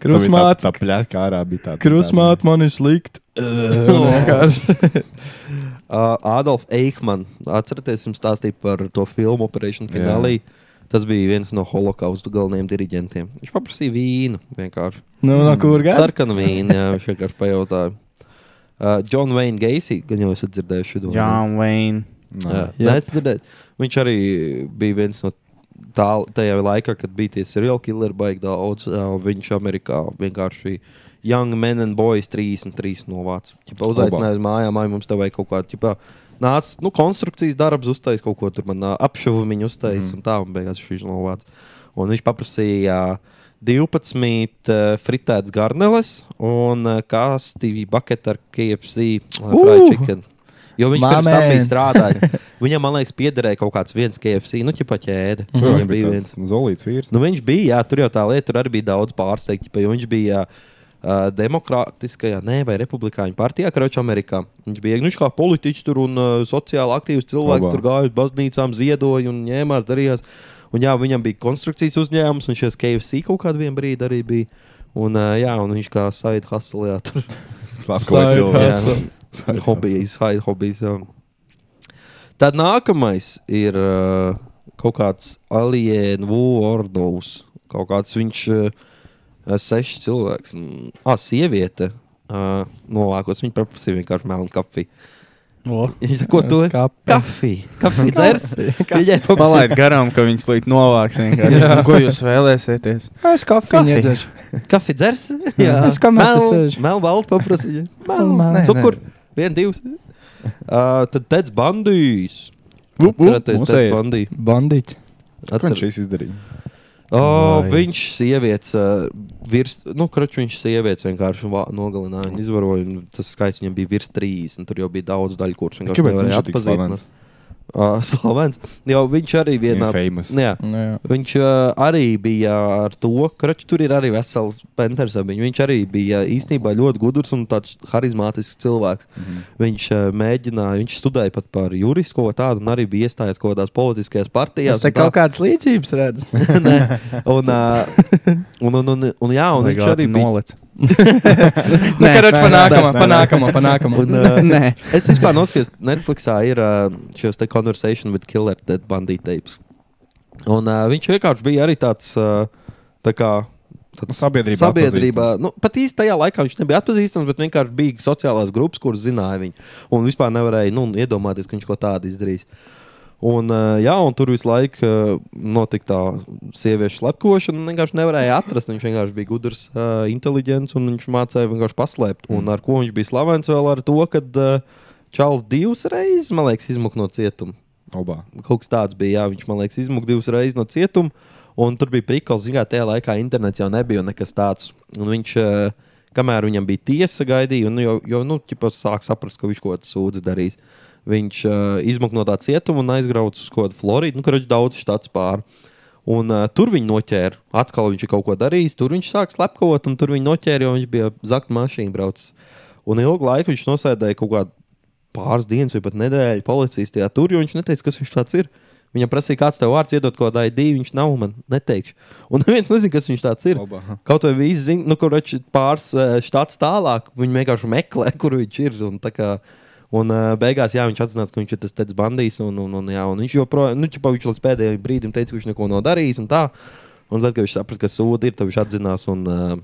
Speaker 1: Krusmāt,
Speaker 4: Tā plēta kā ārā bija tāda.
Speaker 1: krusmāt, man ir slikti. (laughs) Vienkārši.
Speaker 2: (laughs) Uh, Adolf Eichmann, atcerieties, jums stāstīja par to filmu Operation
Speaker 4: Jā.
Speaker 2: Finale. Tas bija viens no holokausta galvenajiem diriģentiem. Viņš paprasīja vīnu, vienkārši
Speaker 1: Nu, no kur gan?
Speaker 2: sarkanu vīnu. Jā, viņš vienkārši pajautāja. Uh, John Wayne Gacy, gan jau esat dzirdējuši šo domu.
Speaker 9: Jā, Wayne.
Speaker 2: Jā,
Speaker 4: Nē.
Speaker 1: Jep.
Speaker 2: nē, es dzirdēju. Viņš arī bija viens no tā, tajā laikā, kad bija tie seriāla killeri, baigi daudz. Uh, viņš Amerikā vienkārši Young Men and Boys 33 novāca. Ķipa, Uzaicināja uz mājām, ai mums te vajag kaut kādu. Ķipa, Nāca, nu, konstrukcijas darbs uztaisīja kaut ko tur, man uh, apšuvumiņu uztaisīja, mm. un tā, un beigās viņš novāca. Un viņš paprasīja uh, 12 uh, fritētas garneles un uh, kastīvi baketu ar KFC uh, fried
Speaker 1: Uh!
Speaker 2: chicken. Jo viņš pirms tam
Speaker 1: Mamēn!
Speaker 2: bija strādājis. Viņam, man liekas, piederēja kaut kāds viens KFC, nu, ķipa ķēde.
Speaker 4: Tur
Speaker 2: Viņam
Speaker 4: jau Mhm. bija
Speaker 2: bija
Speaker 4: tāds zolīts vīrs.
Speaker 2: Nu, viņš bija, jā, tur jau tā lieta, tur arī bija daudz pārsteigti. ķipa, Jo viņš bija uh, demokrātiskajā, nē, vai republikāņu partijā, Kroča Amerikā. Viņš bija nu, viņš kā politiķis tur un uh, sociāli aktīvs cilvēks.
Speaker 4: Labā.
Speaker 2: Tur gāja uz baznīcām, ziedoja un ņēmās, darījās. Un, jā, viņam bija konstrukcijas uzņēmums, un šis KFC kaut kādā brīdī arī bija. Un, uh, jā, un viņš kā Saita Haslajā tur
Speaker 4: Slavkoja cilvēks.
Speaker 2: Jā. Hobijs, high hobijs. jā. Tad nākamais ir uh, kaut kāds aliens, Vordos. Kaut kāds viņš uh, sešs cilvēks. Mm, Ah, sieviete. Uh, Novākos viņa paprasīja vienkārši melnu kafiju. (laughs) Viņa saka, ko tu
Speaker 1: Kāpēc?
Speaker 2: Kafija. Kafija dzers. Viņai paprasīja
Speaker 9: Palaid garām, ka viņš slīd novāks. vienkārši. Ko jūs vēlēsieties?
Speaker 1: Es kafiju
Speaker 2: Kafiju.
Speaker 1: iedzeršu.
Speaker 2: kafiju dzers.
Speaker 1: Es kamerā te sēžu.
Speaker 4: (laughs)
Speaker 2: Melnu baltu paprasīja.
Speaker 1: Melnu, melnu.
Speaker 2: Cukur. Vien, divas. (laughs) Uh, tad Teds Bandīs.
Speaker 1: Vup, vup,
Speaker 2: Atcerieties,
Speaker 4: mums
Speaker 2: Teds
Speaker 4: ejiet.
Speaker 2: Bandī.
Speaker 1: Bandīts.
Speaker 4: Ko
Speaker 2: Atcer-
Speaker 4: viņš šis izdarīja?
Speaker 2: O,
Speaker 9: Vai.
Speaker 2: viņš sievietes, uh, virs, nu, kraču viņš sievietes vienkārši vā- nogalināja un izvaroja. Un tas skaits viņam bija virs 30. Tur jau bija daudz daļu, kuras viņš
Speaker 4: Kāpēc viņš ir tik slavens?
Speaker 2: Uh, (laughs) slavens. Jo viņš arī vienā.
Speaker 4: famous.
Speaker 2: Nu Jā,
Speaker 1: Nu, jā.
Speaker 2: viņš uh, arī bija ar to, ka tur ir arī vesels penters. Viņš arī bija īstenībā ļoti gudrs un tāds harizmātisks cilvēks. Mm
Speaker 4: Mhm.
Speaker 2: -hmm. Viņš uh, mēģināja, viņš studēja pat par juristu kaut ko tādu un arī bija iestājies kaut kādās politiskajās partijās.
Speaker 1: Es te
Speaker 2: un tā.
Speaker 1: kaut kādas līdzības redzu.
Speaker 2: (laughs) Nē. un,
Speaker 1: (laughs)
Speaker 2: uh, un, un, un, un, jā,
Speaker 9: Oh
Speaker 2: un viņš arī bija.
Speaker 9: (laughs)
Speaker 2: Nu,
Speaker 9: nolicis.
Speaker 1: Nē, karoč,
Speaker 4: nē,
Speaker 1: panākamā,
Speaker 4: nē, nē, nē.
Speaker 1: panākamā, panākamā.
Speaker 2: Un, uh,
Speaker 9: Nē.
Speaker 2: es vispār noskatījos, ka Netflixā ir uh, šis te konverzācija with Killer Dead Bandit tapes. Un uh, viņš vienkārši bija arī tāds. Uh, tā kā,
Speaker 4: Nu, Sabiedrībā.
Speaker 2: Sabiedrībā. Nu, pat īsti tajā laikā viņš nebija atpazīstams, bet vienkārši bija sociālās grupas, kuras zināja viņu. Un vispār nevarēja nu, iedomāties, ka viņš kaut ko tādu izdarīs. Un, uh, jā, un tur visu laiku uh, notika tā sieviešu slepkošana. un Vienkārši nevarēja atrast. Viņš vienkārši bija gudrs, uh, inteliģents un viņš mācīja vienkārši paslēpt. Un ar ko viņš bija slavens vēl ar to, ka uh, Čāls divas reizes, man liekas, izmuka no cietuma
Speaker 4: Obā.
Speaker 2: kaut kas tāds bija. Jā, viņš man liekas, izmuka divas reizes no cietuma. Un tur bija prikals, zināmā mērā, tajā laikā internets jau nebija un nekas tāds. Un viņš, eh, kamēr viņam bija tiesa, gaidīja, un jau, jau nu, ķipa, sāk saprast, ka viņš kaut ko sūdzi darīs. Viņš uh, izmuka no tā cietuma un aizbrauca uz kaut kādu Floridu, nu, kur viņš daudz štats pāri. Un, uh, tur viņi noķēra. Atkal viņš ir kaut ko darījis, tur viņš sāk slepkavot, un tur viņi noķēra, jo viņš bija zakta mašīna braucis. Un ilgu laiku viņš nosēdēja kaut kādā pāris dienas vai pat nedēļu policijas tajā tur, jo viņš neteica, kas viņš tāds ir. Viņam prasīja, kāds tev vārds iedot kaut kādā ID, viņš nav man neteikšu. Un (laughs) neviens nezina, kas viņš tāds ir.
Speaker 4: (laughs) Labā.
Speaker 2: Kaut vai visi zina, nu, kur viņš ir pāris eh, štats tālāk, viņi vienkārši meklē, (laughs) kur viņš ir. Un, tā kā, un eh, beigās jā, viņš atzīst, ka viņš ir tas teicis bandīs. Un, un, un, jā, un viņš joprojām, nu, ķipa, viņš līdz pēdējiem brīdim teica, ka viņš neko nav darījis. Un, tā. un tad, kad viņš saprata, ka sūdi ir, tad viņš atzinās. Un, eh,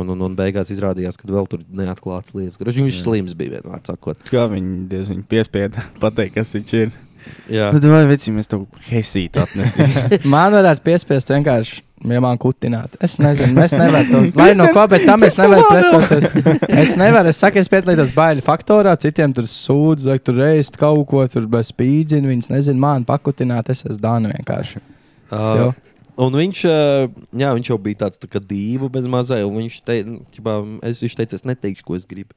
Speaker 2: un, un, un beigās izrādījās, ka vēl tur neatklāts lietas. Kurš viņš slims bija vienmēr sakot.
Speaker 9: Kā viņi diezgan piespieda pateikt, kas viņš ir.
Speaker 2: (laughs) Jā.
Speaker 9: Bet vai veci mēs to hesītu
Speaker 2: (laughs)
Speaker 9: atnesīsim?
Speaker 1: Man varētu piespiest vienkārši. Ja man kutināt, es nezinu, (laughs) es nevaru to lai no ko, bet tam es nevaru pretoties. (laughs) Es nevaru, es saku, es pietlīdos bailju faktorā, citiem tur sūdz, vai tur reizes kaut ko tur bez spīdzina, viņas nezinu, man pakutināt, es esmu Dāna vienkārši. Es
Speaker 2: Ā,
Speaker 1: jau-
Speaker 2: Uh, Un viņš, eh, jā, viņš jau bija tāds tā kā dīvains, bez mazā. Viņš, tei, nu, ķipā, es, viņš teica, es neteikšu, ko es gribu.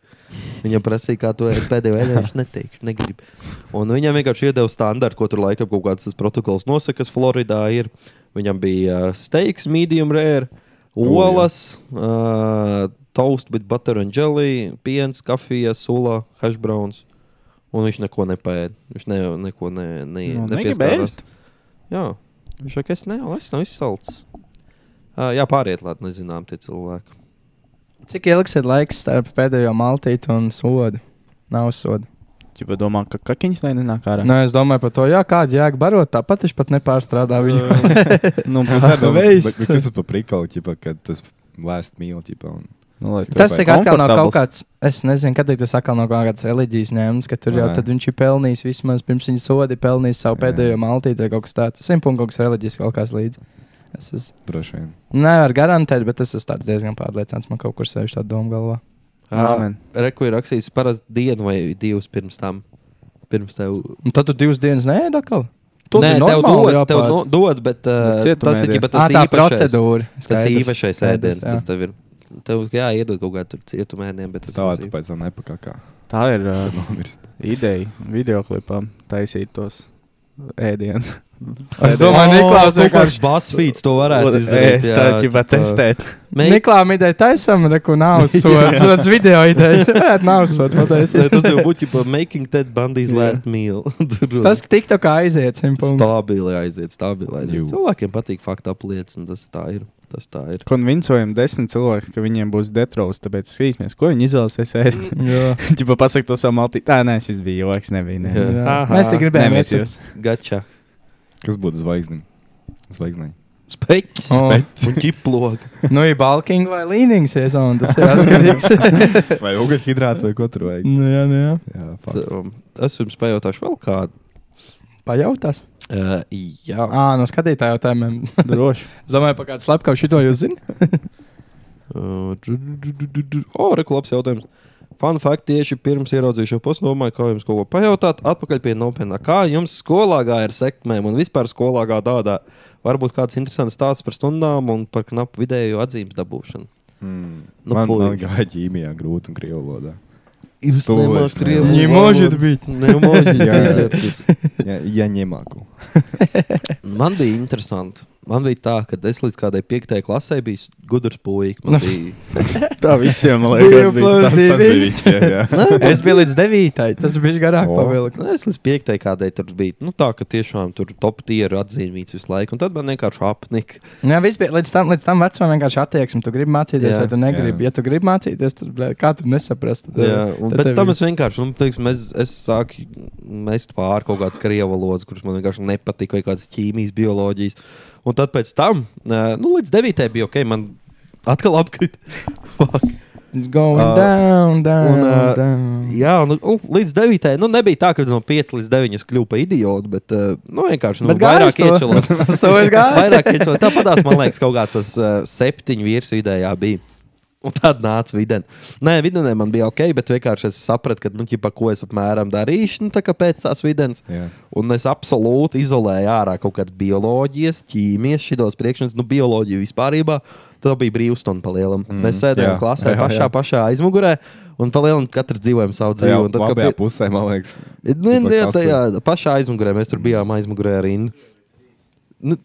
Speaker 2: Viņam prasīja, kā to pēdējo ēdienu. Viņš neteikšu, negribu. Un viņam vienkārši iedeva standartu, ko tur laikam kaut kāds tas protokols nosaka, kas Floridā ir. Viņam bija uh, steiks, medium rare,
Speaker 9: Oh,
Speaker 2: olas, uh, toast, bet butter and jelly, piens, kafija, sula, hash browns. Un viņš neko nepēda. Viņš ne, neko ne, ne,
Speaker 9: Nu, negrib
Speaker 2: nepieskārās.
Speaker 9: ēst.
Speaker 2: Jā, viņš saka, es neesmu, es nav izsalcis. Uh, jā, pāriet, lai nezinām, tie cilvēki.
Speaker 1: Cik ilgs ir laiks starp pēdējo maltīti un sodu? Nav sodu.
Speaker 9: Čipa domā, ka kakiņš nenāk ārā.
Speaker 1: Nē, es domāju par to, jā, kāda jēga barot, tāpat viņš pat nepārstrādā viņu.
Speaker 2: (laughs)
Speaker 1: (laughs)
Speaker 9: nu,
Speaker 4: Es arī domāju,
Speaker 1: Veist.
Speaker 4: bet- bet kas ir pa prikalu, ķipa, kad tas lēst mīl, ķipa, un
Speaker 9: nu, lai
Speaker 1: Tas
Speaker 9: tāpēc
Speaker 1: ir atkal no kaut kāds,
Speaker 9: komfortabls.
Speaker 1: es nezinu, kad tas atkal no kaut kādas reliģijas ņēmums, ka tur jau
Speaker 4: Nē.
Speaker 1: tad viņš ir pelnījis vismaz pirms viņa sodi, pelnījis savu
Speaker 4: Jā.
Speaker 1: pēdējo maltīti vai kaut kas tāds. Simtpunkts kaut kas reliģijas kaut kāds līdzi. Es esmu,
Speaker 4: droši vien.
Speaker 1: nevaru garantēt, bet es esmu tāds diezgan pārliecināts, man kaut kur sevišķi tā doma galvā.
Speaker 9: Āmen.
Speaker 2: Reku ir rakstījis parasti dienu vai divas pirms tam. Pirms tev.
Speaker 1: Un tad tu divas dienas nē, atkal?
Speaker 2: Nē, tev dod, tev no, dod bet uh,
Speaker 9: Bet cietumā
Speaker 2: tas ir
Speaker 9: iedod.
Speaker 1: Nu,
Speaker 2: ģipa,
Speaker 1: Tā
Speaker 2: tas
Speaker 1: ir
Speaker 2: īpašais-
Speaker 1: procedūra.
Speaker 2: Tas ir īpašais
Speaker 1: skaidrs,
Speaker 2: ēdiens,
Speaker 1: jā.
Speaker 2: tas tev ir. Tev jā, iedod kaut kādu tur cietumēdienu, bet tas
Speaker 4: Stāvēt
Speaker 2: ir.
Speaker 4: pēc tam nepakakā.
Speaker 9: Tā ir uh,
Speaker 4: (laughs) Nomirst.
Speaker 9: ideja videoklipam taisīt tos ēdienus.
Speaker 1: Es domāju, Niklaus,
Speaker 2: Oh, kaut
Speaker 1: vienkārši
Speaker 2: kāds basfīts to varētu izdarīt.
Speaker 9: Es tā ķipa testēt.
Speaker 2: Meik,
Speaker 1: Niklāma ideja taisām, reku nav
Speaker 2: (laughs)
Speaker 1: sots. Tas video (laughs) ideja. Varētu nav sots,
Speaker 2: Nē,
Speaker 1: patiesi.
Speaker 2: tas
Speaker 1: (laughs)
Speaker 2: jau būtu ģipa making Ted Bundy's last meal. (laughs) Tur-
Speaker 1: Tas tik tā kā aiziet simt punktu.
Speaker 2: Stabili aiziet, stabili aiziet.
Speaker 4: Jū.
Speaker 2: Cilvēkiem patīk faktu aplietas, un tas tā ir. Tas tā ir.
Speaker 9: Konvincojam desmit cilvēkus, ka viņiem būs detrols, tāpēc skatīsimies, ko viņi izvēlēsies ēst.
Speaker 1: (laughs) Jā.
Speaker 9: Čipa pasaka to savu maltīti. Tā, nē, šis bija joks, nebija. Nē.
Speaker 2: Jā.
Speaker 1: Jā.
Speaker 2: Aha.
Speaker 1: Mēs te gribējām
Speaker 9: Nemirt
Speaker 1: iet
Speaker 9: jūs.
Speaker 2: Gača.
Speaker 4: Kas būtu zvaigznim? Zvaigznai.
Speaker 2: Spēķis.
Speaker 1: O.
Speaker 2: Oh. Un ķiploka.
Speaker 1: Nu, ir balking vai līnija sezona. Tas ir atkarīgs.
Speaker 4: (laughs)
Speaker 1: (laughs)
Speaker 4: Vai ugļhidrāti vai ko tur vajag?
Speaker 1: nu, jā, nu, jā.
Speaker 4: Jā, fakts.
Speaker 2: Um, Es jums pajautāšu vēl kādu.
Speaker 1: Pajautās.
Speaker 4: Eh,
Speaker 2: Uh, jā.
Speaker 1: Ā, no skatītāja jautājumiem.
Speaker 9: Droši.
Speaker 1: Es (laughs) domāju, par kādu slepkavu šito jūs zināt.
Speaker 2: Uh, dru- dru- dru- dru- dru- dru. O, reku labs jautājums. Fun fact, tieši pirms ieraudzīju šo posmu, domāju, kā jums kaut ko pajautāt. Atpakaļ pie nopietnā. Kā jums skolā gāja ar sekmēm un vispār skolā gāja tādā? Varbūt kāds interesants stāsts par stundām un par knapu vidēju atzīmes dabūšanu.
Speaker 4: Nu, man,
Speaker 2: puiši.
Speaker 4: man gāja ķīmijā grūti un krievu valodā.
Speaker 2: Jūs
Speaker 4: To nemāt es krievu
Speaker 1: Не может быть.
Speaker 2: Ne možete
Speaker 4: (laughs) Jā.
Speaker 2: biti.
Speaker 4: Ja, ja nemāku.
Speaker 2: Man bija interesanti. Man bija tā, ka es līdz kādai piektajai klasē biju gudrs puika.
Speaker 1: (laughs)
Speaker 2: Man bija
Speaker 4: Tā visiem man
Speaker 1: Divi
Speaker 4: liekas, bija
Speaker 1: plus
Speaker 4: tas, tas bija
Speaker 1: divi.
Speaker 4: visiem. Jā.
Speaker 1: (laughs) Es biju līdz devītajai, tas bija garāk
Speaker 4: O.
Speaker 1: pavilkt.
Speaker 2: Nu, es līdz piektajai kādai tur biju. Nu, tā, ka tiešām tur top tier atzīmīts visu laiku. Un tad man vienkārši apnika.
Speaker 1: Jā, viss bija līdz tam, līdz tam vecumam vienkārši attieksme. Tu gribi mācīties,
Speaker 2: Jā.
Speaker 1: vai tu negribi.
Speaker 4: Jā.
Speaker 1: Ja tu gribi mācīties, tad blē, kā tu nesaprast? Tad,
Speaker 2: Jā, un
Speaker 1: tad
Speaker 2: pēc
Speaker 1: tev
Speaker 2: tam
Speaker 1: ir-
Speaker 2: es vienkārši, nu, teiksim, es, es sāku mest pāri kaut kādas krievu valodas, kuras man vienkārši nepatika, vai kādas ķīmijas, bioloģijas. Un tad pēc tam, eh, nu, līdz devītajai bija ok, man atkal apkrita. Fuck.
Speaker 1: It's going
Speaker 2: Ā,
Speaker 1: uh, down, down,
Speaker 2: un,
Speaker 1: un,
Speaker 2: ā,
Speaker 1: uh, down.
Speaker 2: Jā, un, un līdz 9. Nu, nebija tā, ka no 5 līdz 9 es kļuvu par idiotu, bet eh, nu, vienkārši nu,
Speaker 1: Bet gāja uz
Speaker 2: vairāk
Speaker 1: to. (laughs)
Speaker 2: iečelot.
Speaker 1: Uz to es gāju.
Speaker 2: Vairāk iečelot. Tāpat, man liekas, kaut kāds tas eh, septiņu virs vidējā bija. Un tad nāca vidienē. Nē, vidienē man bija ok, bet vienkārši es sapratu, ka, nu, ķipa, ko es apmēram darīšu nu, tā kā pēc tās vidienas.
Speaker 4: Jā.
Speaker 2: Un es absolūti izolēju ārā kaut kādas bioloģijas, ķīmijas, šitos priekšmetus, nu, bioloģiju vispār. Tad bija brīvstunde pa lielam. Mm, Mēs sēdējām jā,
Speaker 4: jā,
Speaker 2: klasē jā,
Speaker 4: jā,
Speaker 2: pašā, jā.
Speaker 4: jā.
Speaker 2: pašā aizmugurē. Un palielinām, katrs dzīvojam savu dzīvi.
Speaker 4: Jā,
Speaker 2: un tad, kad
Speaker 4: labajā
Speaker 2: pie-
Speaker 4: pusē, man liekas.
Speaker 2: Nu,
Speaker 4: Tipa
Speaker 2: jā,
Speaker 4: kasē.
Speaker 2: tajā pašā aizmugurē mēs tur bijām aizmugurē ar Innu. Nu,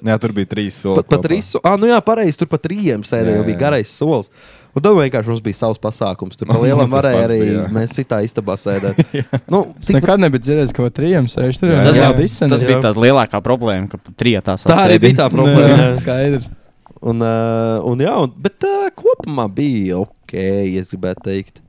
Speaker 4: Jā, tur bija trīs soli.
Speaker 2: pat, pat risu, ah, nu jā, pareizi, tur pat rījiem sēdēja,
Speaker 4: Jā,
Speaker 2: jau bija
Speaker 4: jā.
Speaker 2: garais solis. Un tad vienkārši mums bija savs pasākums. Tur
Speaker 4: (laughs) Mums
Speaker 2: palielam
Speaker 4: tas
Speaker 2: varēja
Speaker 4: pats bija,
Speaker 2: arī
Speaker 4: jā.
Speaker 2: mēs citā istabā
Speaker 4: (laughs)
Speaker 2: sēdēt. nu,
Speaker 1: Es nekad nebiju dzirdējis, ka pa trijiem, seši tur ir.
Speaker 4: Jā,
Speaker 1: Tas
Speaker 4: jā.
Speaker 1: jau disen.
Speaker 9: Tas
Speaker 2: Jā.
Speaker 9: bija tā lielākā problēma, ka pa trijotā
Speaker 2: Tā arī
Speaker 9: sasēdi.
Speaker 2: bija tā problēma. jā.
Speaker 1: (laughs) Skaidrs.
Speaker 2: Un, uh, un, jā, un, bet uh, kopumā bija ok, es gribētu teikt.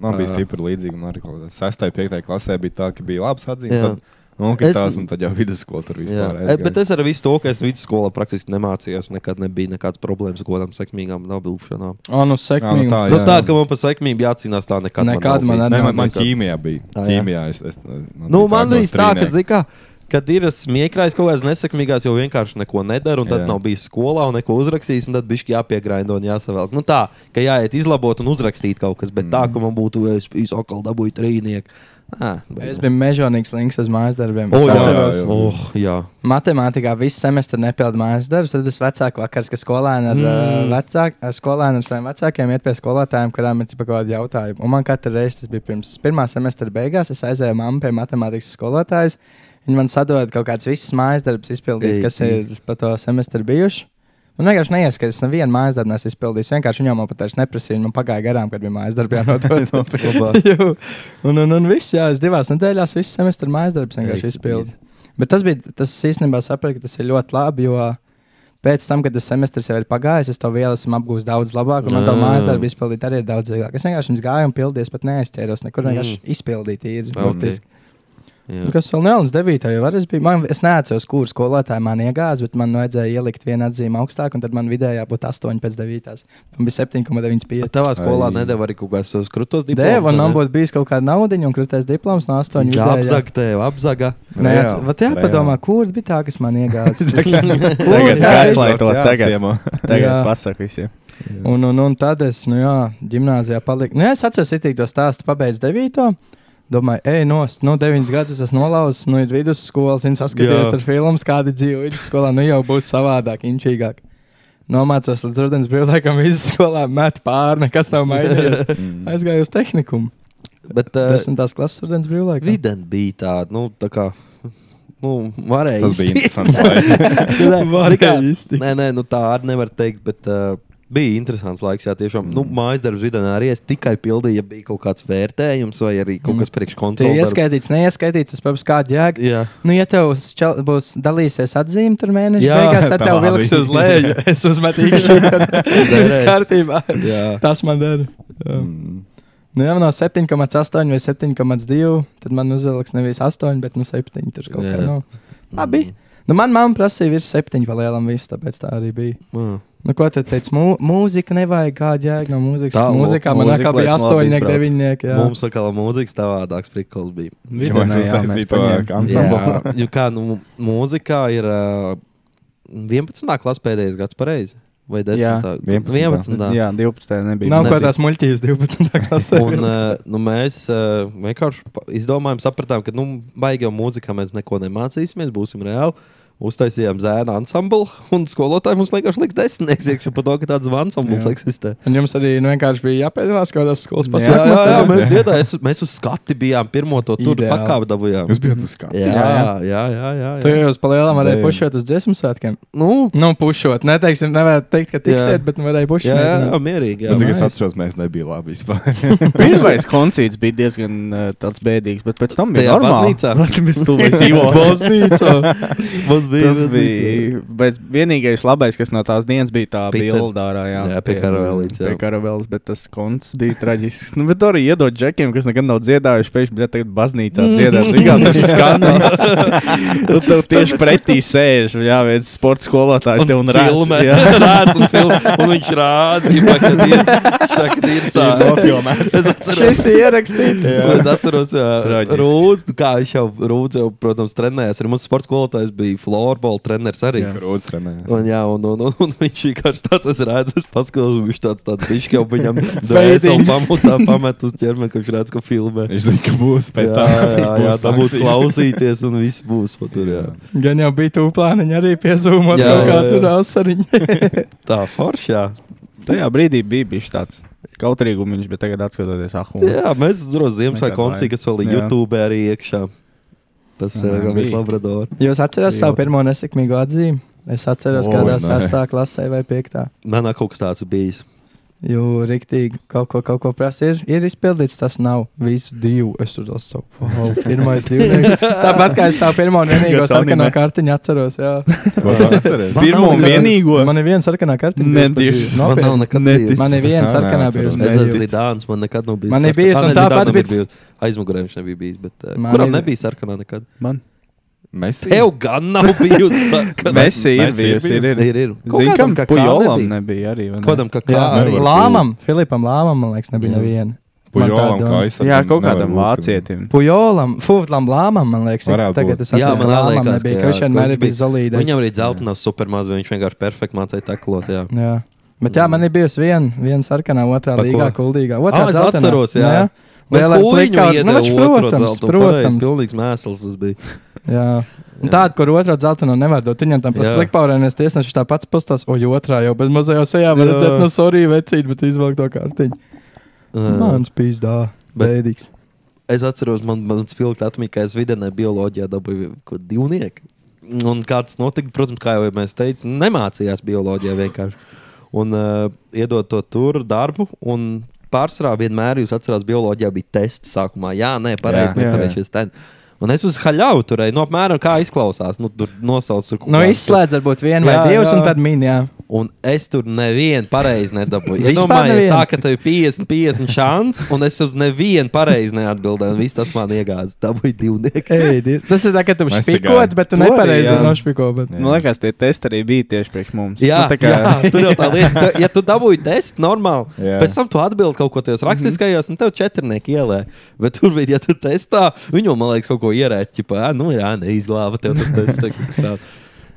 Speaker 4: Man bija
Speaker 2: Ā.
Speaker 4: stipri līdzīga. Man arī kaut kādā sestajā, piektajā klasē bija tā, ka bija labs atzīmes.
Speaker 2: Jā.
Speaker 4: tad Nokritās,
Speaker 2: Es-
Speaker 4: un tad jau vidusskola tur
Speaker 2: Jā.
Speaker 4: vispār.
Speaker 2: E, Bet es ar visu to, ka es vidusskolā praktiski nemācījos, nekad nebija nekādas problēmas ar kaut kādām sekmīgām nobildšanām.
Speaker 1: O, nu,
Speaker 4: Jā, nu
Speaker 1: sekmīgi.
Speaker 4: tā,
Speaker 2: Nu,
Speaker 1: mums-
Speaker 4: jā.
Speaker 2: tā kā man par sekmību jācīnās, tā nekad.
Speaker 1: Nekad man
Speaker 2: nav bijis.
Speaker 1: arī
Speaker 4: Nē, man, man
Speaker 1: nekad.
Speaker 4: ķīmijā bija.
Speaker 2: Ā, jā.
Speaker 4: Ķīmijā es, es, man
Speaker 2: Nu,
Speaker 4: bija
Speaker 2: man
Speaker 4: no
Speaker 2: bija tā, ka,
Speaker 4: strīnieka.
Speaker 2: zini kā, kad ir smieklājis kaut kādas nesekmīgās, jau vienkārši neko nedara, un tad
Speaker 4: Jā.
Speaker 2: jā. nav bijis skolā un neko uzrakstījis, un tad bija jāpiegrindo un jāsavelk. Nu, tā, ka jāiet izlabot un uzrakstīt kaut kas, bet mm. tā, ka man būtu, ja es biju atkal dabūju trīnieku. Ah,
Speaker 1: Es biju mežonīgs links uz mājas darbiem.
Speaker 2: Oh,
Speaker 1: Es
Speaker 2: jā, jā,
Speaker 1: atceros,
Speaker 2: jā. Oh, jā.
Speaker 1: Matemātikā visu semestri nepildu mājas darbus. Tad es vecāku vakars, ka skolēni ar, mm. vecāk, ar skolēnu un saviem vecākiem iet pie skolotājiem, kurām ir ķipa kaut kādi jautājumi. Un man katru reizi tas bija pirms pirmā semestra beigās. Es aizēju mammu pie matemātikas skolotājas. Viņa man sadod kaut kādas visas mājas darbus izpildīt,
Speaker 2: Ei,
Speaker 1: kas
Speaker 2: ei.
Speaker 1: ir pa to semestru bijuši. Man vienkārši neieskaitās, es nevienu mājas darbu neesmu izpildījis. Vienkārši viņa jau man pat vairs neprasīja, un man pagāja garām, kad bija mājas darbā jānodod. (laughs) Jū. un, un, un viss, jā, es divās nedēļās visu semestru mājas darbus
Speaker 2: Ei,
Speaker 1: vienkārši izpildīju. Bet tas bija, tas es īstenībā sapratu, ka tas ir ļoti labi, jo pēc tam, kad tas semestris jau ir pagājis, es to vielu esmu apgūstis daudz labāk, un man to
Speaker 2: Ā.
Speaker 1: mājas darbu izpildīt arī ir daudz vieglāk. Es vienkārši viņus gāju un pildījos, pat neaizķēros nekur, vienkārši izpildīt īri.
Speaker 2: Ok.
Speaker 1: Okay.
Speaker 2: Mm. jā.
Speaker 1: Nu, Kas vēl nelīdz 9. jau var, es biju. Man, es neatceros, kur skolotāja man iegāzās, bet man vajadzēja ielikt vienu atzīmi augstāk, un tad man vidējā būtu 8 pēc 9. Man bija 7,95.
Speaker 2: Tavā skolā
Speaker 4: Ai.
Speaker 2: nedēļa arī kaut kādas krūtos
Speaker 1: Dēļ, un man būtu bijis kaut kāda naudiņa, un krutēs diploms no 8.
Speaker 2: Jā,
Speaker 1: vidējā.
Speaker 2: apzaga tev, apzaga.
Speaker 1: Nē,
Speaker 4: Reāli,
Speaker 1: bet jāpadomā,
Speaker 4: reāli.
Speaker 1: kur bija tā, kas man iegāzās.
Speaker 4: (laughs)
Speaker 1: (laughs)
Speaker 9: Tagad
Speaker 1: Jā,
Speaker 9: aizslēgt to
Speaker 4: jā,
Speaker 9: tagad.
Speaker 4: ciemā.
Speaker 1: Jā.
Speaker 9: Tagad pasaku visiem.
Speaker 1: Un, un, un tad es, nu jā, gimnāzijā paliku. Nu, jā, es atceros, ka to stāstu pabeidz 9. Domāju, ej, no, no 9 gadus es esmu nolauzis, nu, ir vidusskolas, un saskaties
Speaker 2: Jā.
Speaker 1: ar filmu, kāda dzīvo vidusskolā. Nu, jau būs savādāk, inčīgāk. Nomācos līdz rudens brīvlaikam vidusskolā, met pāri, nekas nav
Speaker 4: (laughs)
Speaker 1: mainījies. Aizgāju uz tehnikumu.
Speaker 2: (laughs) Bet
Speaker 4: Eh.
Speaker 2: uh,
Speaker 1: Desmitās klases rudens brīvlaikā.
Speaker 2: viden bija tāda, nu, tā kā. Nu, varēja
Speaker 4: Tas bija
Speaker 2: iztikt.
Speaker 4: interesants laiks.
Speaker 2: (laughs) Nē,
Speaker 1: Varēja
Speaker 2: nekā-
Speaker 1: iztikt.
Speaker 2: Nē, nē, nu tā arī nevar teikt, bet uh, bija interesants laiks. Jā, tiešām. Mm. Nu, mājas darbs vidienā arī es tikai pildīju, ja bija kaut kāds vērtējums vai arī kaut kas
Speaker 1: Tie
Speaker 2: priekškontrols.
Speaker 1: ieskaitīts, neieskaitīts, tas pats kāda jēga.
Speaker 2: Jā,
Speaker 1: Nu, ja tev s- čel- būs dalīsies atzīme tur mēnešā,
Speaker 2: Jā,
Speaker 1: beigās, tad
Speaker 4: tā
Speaker 1: tev
Speaker 4: labi.
Speaker 1: vilks uz leju. Es (laughs) uzmetīšu, ka viss kārtībā.
Speaker 2: Jā.
Speaker 1: Tas man der. Jā.
Speaker 4: Mm.
Speaker 1: Nu, ja man no 7,8 vai 7,2, tad man uzvilks nevis 8, bet nu 7. Tur kaut kā
Speaker 2: Jā.
Speaker 1: nav. Labi. Nu, man mamma prasīja virs 7 vai lielam visam, tāpēc tā arī bija.
Speaker 2: Mm.
Speaker 1: Nu, ko tad teica? Mū mūzika nevajag kādu jēgu no mūzikas. Tā,
Speaker 2: Tā, mu-
Speaker 1: mūzikā man
Speaker 2: mūzika,
Speaker 1: nākā
Speaker 2: lai
Speaker 1: bija
Speaker 2: es labi
Speaker 1: 8,
Speaker 2: izbraucu.
Speaker 1: 9. Jā,
Speaker 2: Mums atkal mūzikas tādāks prikols bija.
Speaker 4: Jau es
Speaker 1: Vidienā, jā, mēs
Speaker 4: uztaisīju to
Speaker 1: paņēmām.
Speaker 4: ansamblu.
Speaker 2: Jā, jo kā nu, mūzikā ir uh, 11. klases pēdējais gads pareizi. vai
Speaker 9: Jā.
Speaker 2: 10.
Speaker 4: 11.
Speaker 2: 11.
Speaker 9: Jā, 12. nebija.
Speaker 1: Nav
Speaker 2: nebija.
Speaker 1: kaut kādas muļķības 12. klasē.
Speaker 2: Un,
Speaker 1: (laughs)
Speaker 2: uh, nu, mēs uh, vienkārši pa- izdomājām, sapratām, ka nu, baigā mūzikā mēs neko nemācīsimies, būsim reāli. Uztaisījām zēna ansambli, un skolotāji mums vienkārši lika desmitnieks (laughs) iekšā par to, ka tāds ansamblis
Speaker 9: Jā.
Speaker 2: eksistē.
Speaker 1: Un jums arī nu, vienkārši bija jāpēdās kaut kādās skolas
Speaker 2: Jā,
Speaker 9: Jā,
Speaker 2: jā,
Speaker 1: pasākumos.
Speaker 2: jā, mēs dziedājām, mēs uz skati bijām pirmo to tur
Speaker 1: Ideāli.
Speaker 2: pakāpju dabūjām.
Speaker 4: Jūs bijat uz skatu.
Speaker 2: Jā, jā, jā. jā, jā,
Speaker 1: Tu
Speaker 2: jā.
Speaker 1: jau palielinām, varēja
Speaker 4: Dēļ.
Speaker 1: pušot uz dziesmu svētkiem.
Speaker 2: Nu,
Speaker 1: Nu, pušot. Neteiksim, nevarētu teikt, ka tiksiet,
Speaker 2: Jā.
Speaker 1: bet nu varēja
Speaker 2: jā, jā, jā,
Speaker 1: pušot.
Speaker 2: mierīgi.
Speaker 4: Un,
Speaker 2: Jā.
Speaker 4: cik
Speaker 1: nice.
Speaker 4: es atceros, mēs nebija labi vispār.
Speaker 9: Pirmais koncerts bija diezgan uh, tāds bēdīgs, bet pēc tam bija
Speaker 2: Tajā
Speaker 9: normāli.
Speaker 2: baznīcā?
Speaker 9: Tas bija
Speaker 2: (laughs)
Speaker 9: stulbais
Speaker 1: (laughs)
Speaker 9: dzīvo.
Speaker 2: Mums bija
Speaker 9: Tas bija bez, vienīgais labais, kas no tās dienas bija tā
Speaker 2: Pica.
Speaker 9: bildārā. Jā,
Speaker 2: Jā, pie karavēlītes, jā.
Speaker 9: Pie karavēlis, bet tas konts bija traģisks. Nu, bet to arī iedod džekiem, kas nekad nav dziedājuši, pēkšņi bija tagad baznīcā
Speaker 2: Mm.
Speaker 9: dziedāt. (laughs) Viņā
Speaker 2: (laughs)
Speaker 9: tur skanēs. Un tev tieši pretī sēž, jā, viens sports skolotājs tev un
Speaker 2: filmē. (laughs)
Speaker 9: rāda. Jā,
Speaker 2: Rāds un, film, un viņš rāda, ģipā, kad ir, šā, kad ir sā.
Speaker 4: nofilmēts.
Speaker 2: Es atceros,
Speaker 1: Šis ir ierakstīts.
Speaker 2: un es atceros jā,
Speaker 9: Traģiski.
Speaker 2: Rūdzu, nu kā viņš jau, Rūdzu jau, protams, trenējās. Arī mūsu sports skolotājs bija florbola treneris arī.
Speaker 9: Jā.
Speaker 4: Rūdz trenējās.
Speaker 2: Un, jā, un, un, un, un viņš vienkārši tāds es redzu, es paskatos, viņš tāds tāds viņš jau viņam
Speaker 1: Fading.
Speaker 2: dvēseli pamatā pamet uz ķermeni, ka viņš redz, ka filmē.
Speaker 4: Viņš zina, ka būs pēc
Speaker 2: jā,
Speaker 4: tam.
Speaker 2: jā, jā, tā būs klausīties un viss būs pa tur, jā.
Speaker 1: Gan jau bija tūplāniņa arī piezūmot
Speaker 2: Jā,
Speaker 1: kaut kā
Speaker 2: jā, jā.
Speaker 1: tur asariņa.
Speaker 2: Tā, forši, jā.
Speaker 9: tajā brīdī bija bijis tāds. Kaut arī gumiņš, bet tagad atskatoties, ah, un
Speaker 2: Jā, mēs zinām, Ziemassvētku
Speaker 9: Nekad
Speaker 2: koncertu, kas vēl ir
Speaker 9: Jā.
Speaker 2: YouTube arī iekšā. Tas
Speaker 9: Jā,
Speaker 2: ir kā
Speaker 9: bija.
Speaker 2: mēs Labrador.
Speaker 1: (laughs) Jūs atcerieties savu
Speaker 9: Jūt.
Speaker 1: pirmo nesekmīgo atzīmi? Es atceros,
Speaker 4: Oi,
Speaker 1: kādā
Speaker 4: nē.
Speaker 1: sastāvā klasē vai piektā.
Speaker 2: Nē, nē, kaut kas tāds ir bijis.
Speaker 1: Jo rīktīgi kaut ko, kaut ko prasa. Ir, ir izpildīts, tas nav visu divu. Es tur esmu savu wow, (laughs) pirmo divu. Tāpat kā es savu pirmo un vienīgo
Speaker 9: Kāds
Speaker 1: sarkano
Speaker 9: anime.
Speaker 1: kartiņu atceros. Jā.
Speaker 4: To tu atceries?
Speaker 9: pirmo un vienīgo.
Speaker 1: Man ir viena sarkanā kartiņa.
Speaker 9: Nē,
Speaker 1: bijusi pa
Speaker 9: tieši.
Speaker 1: dzīvi.
Speaker 2: Man
Speaker 1: Nopietni.
Speaker 2: nav nekad
Speaker 9: Neticu.
Speaker 2: bijis.
Speaker 1: Man ir
Speaker 4: tas
Speaker 1: viena
Speaker 4: nav
Speaker 1: sarkanā
Speaker 4: neatceros.
Speaker 1: bijusi.
Speaker 2: Es esmu
Speaker 1: Mēģinājums.
Speaker 2: Zidāns, man nekad nav bijis.
Speaker 1: Man ir
Speaker 2: sarkanā-
Speaker 1: bijis,
Speaker 2: Ah,
Speaker 1: un
Speaker 2: ne, Zidāns
Speaker 1: tāpat
Speaker 2: nav
Speaker 1: bija-
Speaker 2: bijis. Aizmugurē viņš nebija bijis, bet uh,
Speaker 1: Man
Speaker 2: kuram
Speaker 1: ir-
Speaker 2: nebija sarkanā nekad?
Speaker 9: Man.
Speaker 4: Mēs
Speaker 2: Tev gan
Speaker 1: (laughs)
Speaker 2: nav bijusi sarkanā.
Speaker 9: Mēs ir
Speaker 4: Messi ir
Speaker 9: bijis, ir, ir.
Speaker 2: ir, ir. Kaut
Speaker 9: Zinu, kam
Speaker 2: kādam kā kā
Speaker 9: pujolam
Speaker 2: nebija.
Speaker 9: nebija arī. vai ne?
Speaker 2: Kodam, kā
Speaker 1: Jā,
Speaker 2: kā
Speaker 1: arī
Speaker 4: nevar būt.
Speaker 1: Lāmam, Filipam Lāmam, man liekas, nebija neviena. Man tā
Speaker 4: pujolam
Speaker 1: doma.
Speaker 4: kājām.
Speaker 9: Jā, kaut kādam vācietim.
Speaker 1: Pujolam, Fūtlam Lāmam, man liekas, ir.
Speaker 4: Varētu
Speaker 1: tagad
Speaker 4: būt.
Speaker 1: es
Speaker 2: Jā,
Speaker 1: atceros,
Speaker 2: man
Speaker 1: ka Lāmam
Speaker 2: liekas,
Speaker 1: nebija, ka
Speaker 2: ka jā,
Speaker 1: viņš
Speaker 2: ka
Speaker 1: vienmēr
Speaker 2: viņš
Speaker 1: ir bijis
Speaker 2: bija-
Speaker 1: zolīdais.
Speaker 2: Viņam arī dzeltenās supermāz, viņš vienkārši perfekti mācīja teklot. Jā.
Speaker 1: Jā. Bet jā, man ir bijusi viena, viena sarkanā, otrā
Speaker 2: Pa ko?
Speaker 1: līgā, kuldīgā. Otrā
Speaker 2: Ah, es
Speaker 1: dzeltenā.
Speaker 2: atceros, jā. Nu,
Speaker 1: Lielā
Speaker 2: kuliņu
Speaker 1: plakā, nu,
Speaker 2: iedeva
Speaker 1: taču,
Speaker 2: otro
Speaker 1: protams,
Speaker 2: dzeltu, pareizi,
Speaker 1: protams.
Speaker 2: Pilnīgs mēsls tas bija.
Speaker 1: Jā. Un Tāda, kur otrā dzeltenā nevar dot. Viņam tam
Speaker 2: Jā.
Speaker 1: plakāpēnēs tiesneši tā pats pastās, o jau otrā jau bez mazajā sejā var
Speaker 2: Jā.
Speaker 1: redzēt, nu, sorry, vecīt, bet izvelk to kārtiņu.
Speaker 2: Uh,
Speaker 1: Mans pīzdā,
Speaker 2: Bet-
Speaker 1: bēdīgs.
Speaker 2: Es atceros, man bija spilgti atmiņā, ka es vidienē bioloģijā dabūju kaut kādu divnieku. Un kāds notika, protams, kā jau mēs teicām, nemācījās bioloģijā vienkārši. Un uh, iedod to tur darbu. un Pārsvarā vienmēr jūs atceraties, bioloģijā bija tests sākumā. Jā, nē, pareizi,
Speaker 9: Jā, jā,
Speaker 2: nepareizi šis ten. Un es uz haļauju turēju, nu, apmēram kā izklausās. Nu, tur nosauc, tur kaut
Speaker 1: Nu,
Speaker 2: kāds-
Speaker 1: izslēdz varbūt vienu vai
Speaker 2: Jā,
Speaker 1: divus,
Speaker 2: jā.
Speaker 1: un tad min, jā.
Speaker 2: Un es tur nevienu pareizi nedabūju. Es
Speaker 1: Vispār
Speaker 2: domāju,
Speaker 1: nevienu?
Speaker 2: tā, ka tev ir 50, 50 šāds, un es uz nevienu pareizi neatbildēju. Un viss tas man iegāzās. Dabūju divnieku.
Speaker 1: Ei, dievs. tas ir tā, ka tu
Speaker 4: Mēs
Speaker 1: špikot,
Speaker 4: tikai-
Speaker 1: bet tu
Speaker 9: To arī,
Speaker 1: nepareizi
Speaker 9: jā.
Speaker 1: nošpiko. Bet...
Speaker 9: Man liekas, tie testi arī bija tieši priekš mums.
Speaker 2: Jā,
Speaker 9: nu, tā kā
Speaker 2: jā, tur jau tā lieta. Ja tu dabūji testu, normāli, jā.
Speaker 4: Jā.
Speaker 2: pēc tam tu atbildi kaut ko tajos rakstiskajos, un tev četrnieki ielē. Bet tur bija, ja tu testā, viņu, man liekas, kaut ko ierēķi, ka, nu, jā, neizglāba tev tas tests. vai kaut kas tāds.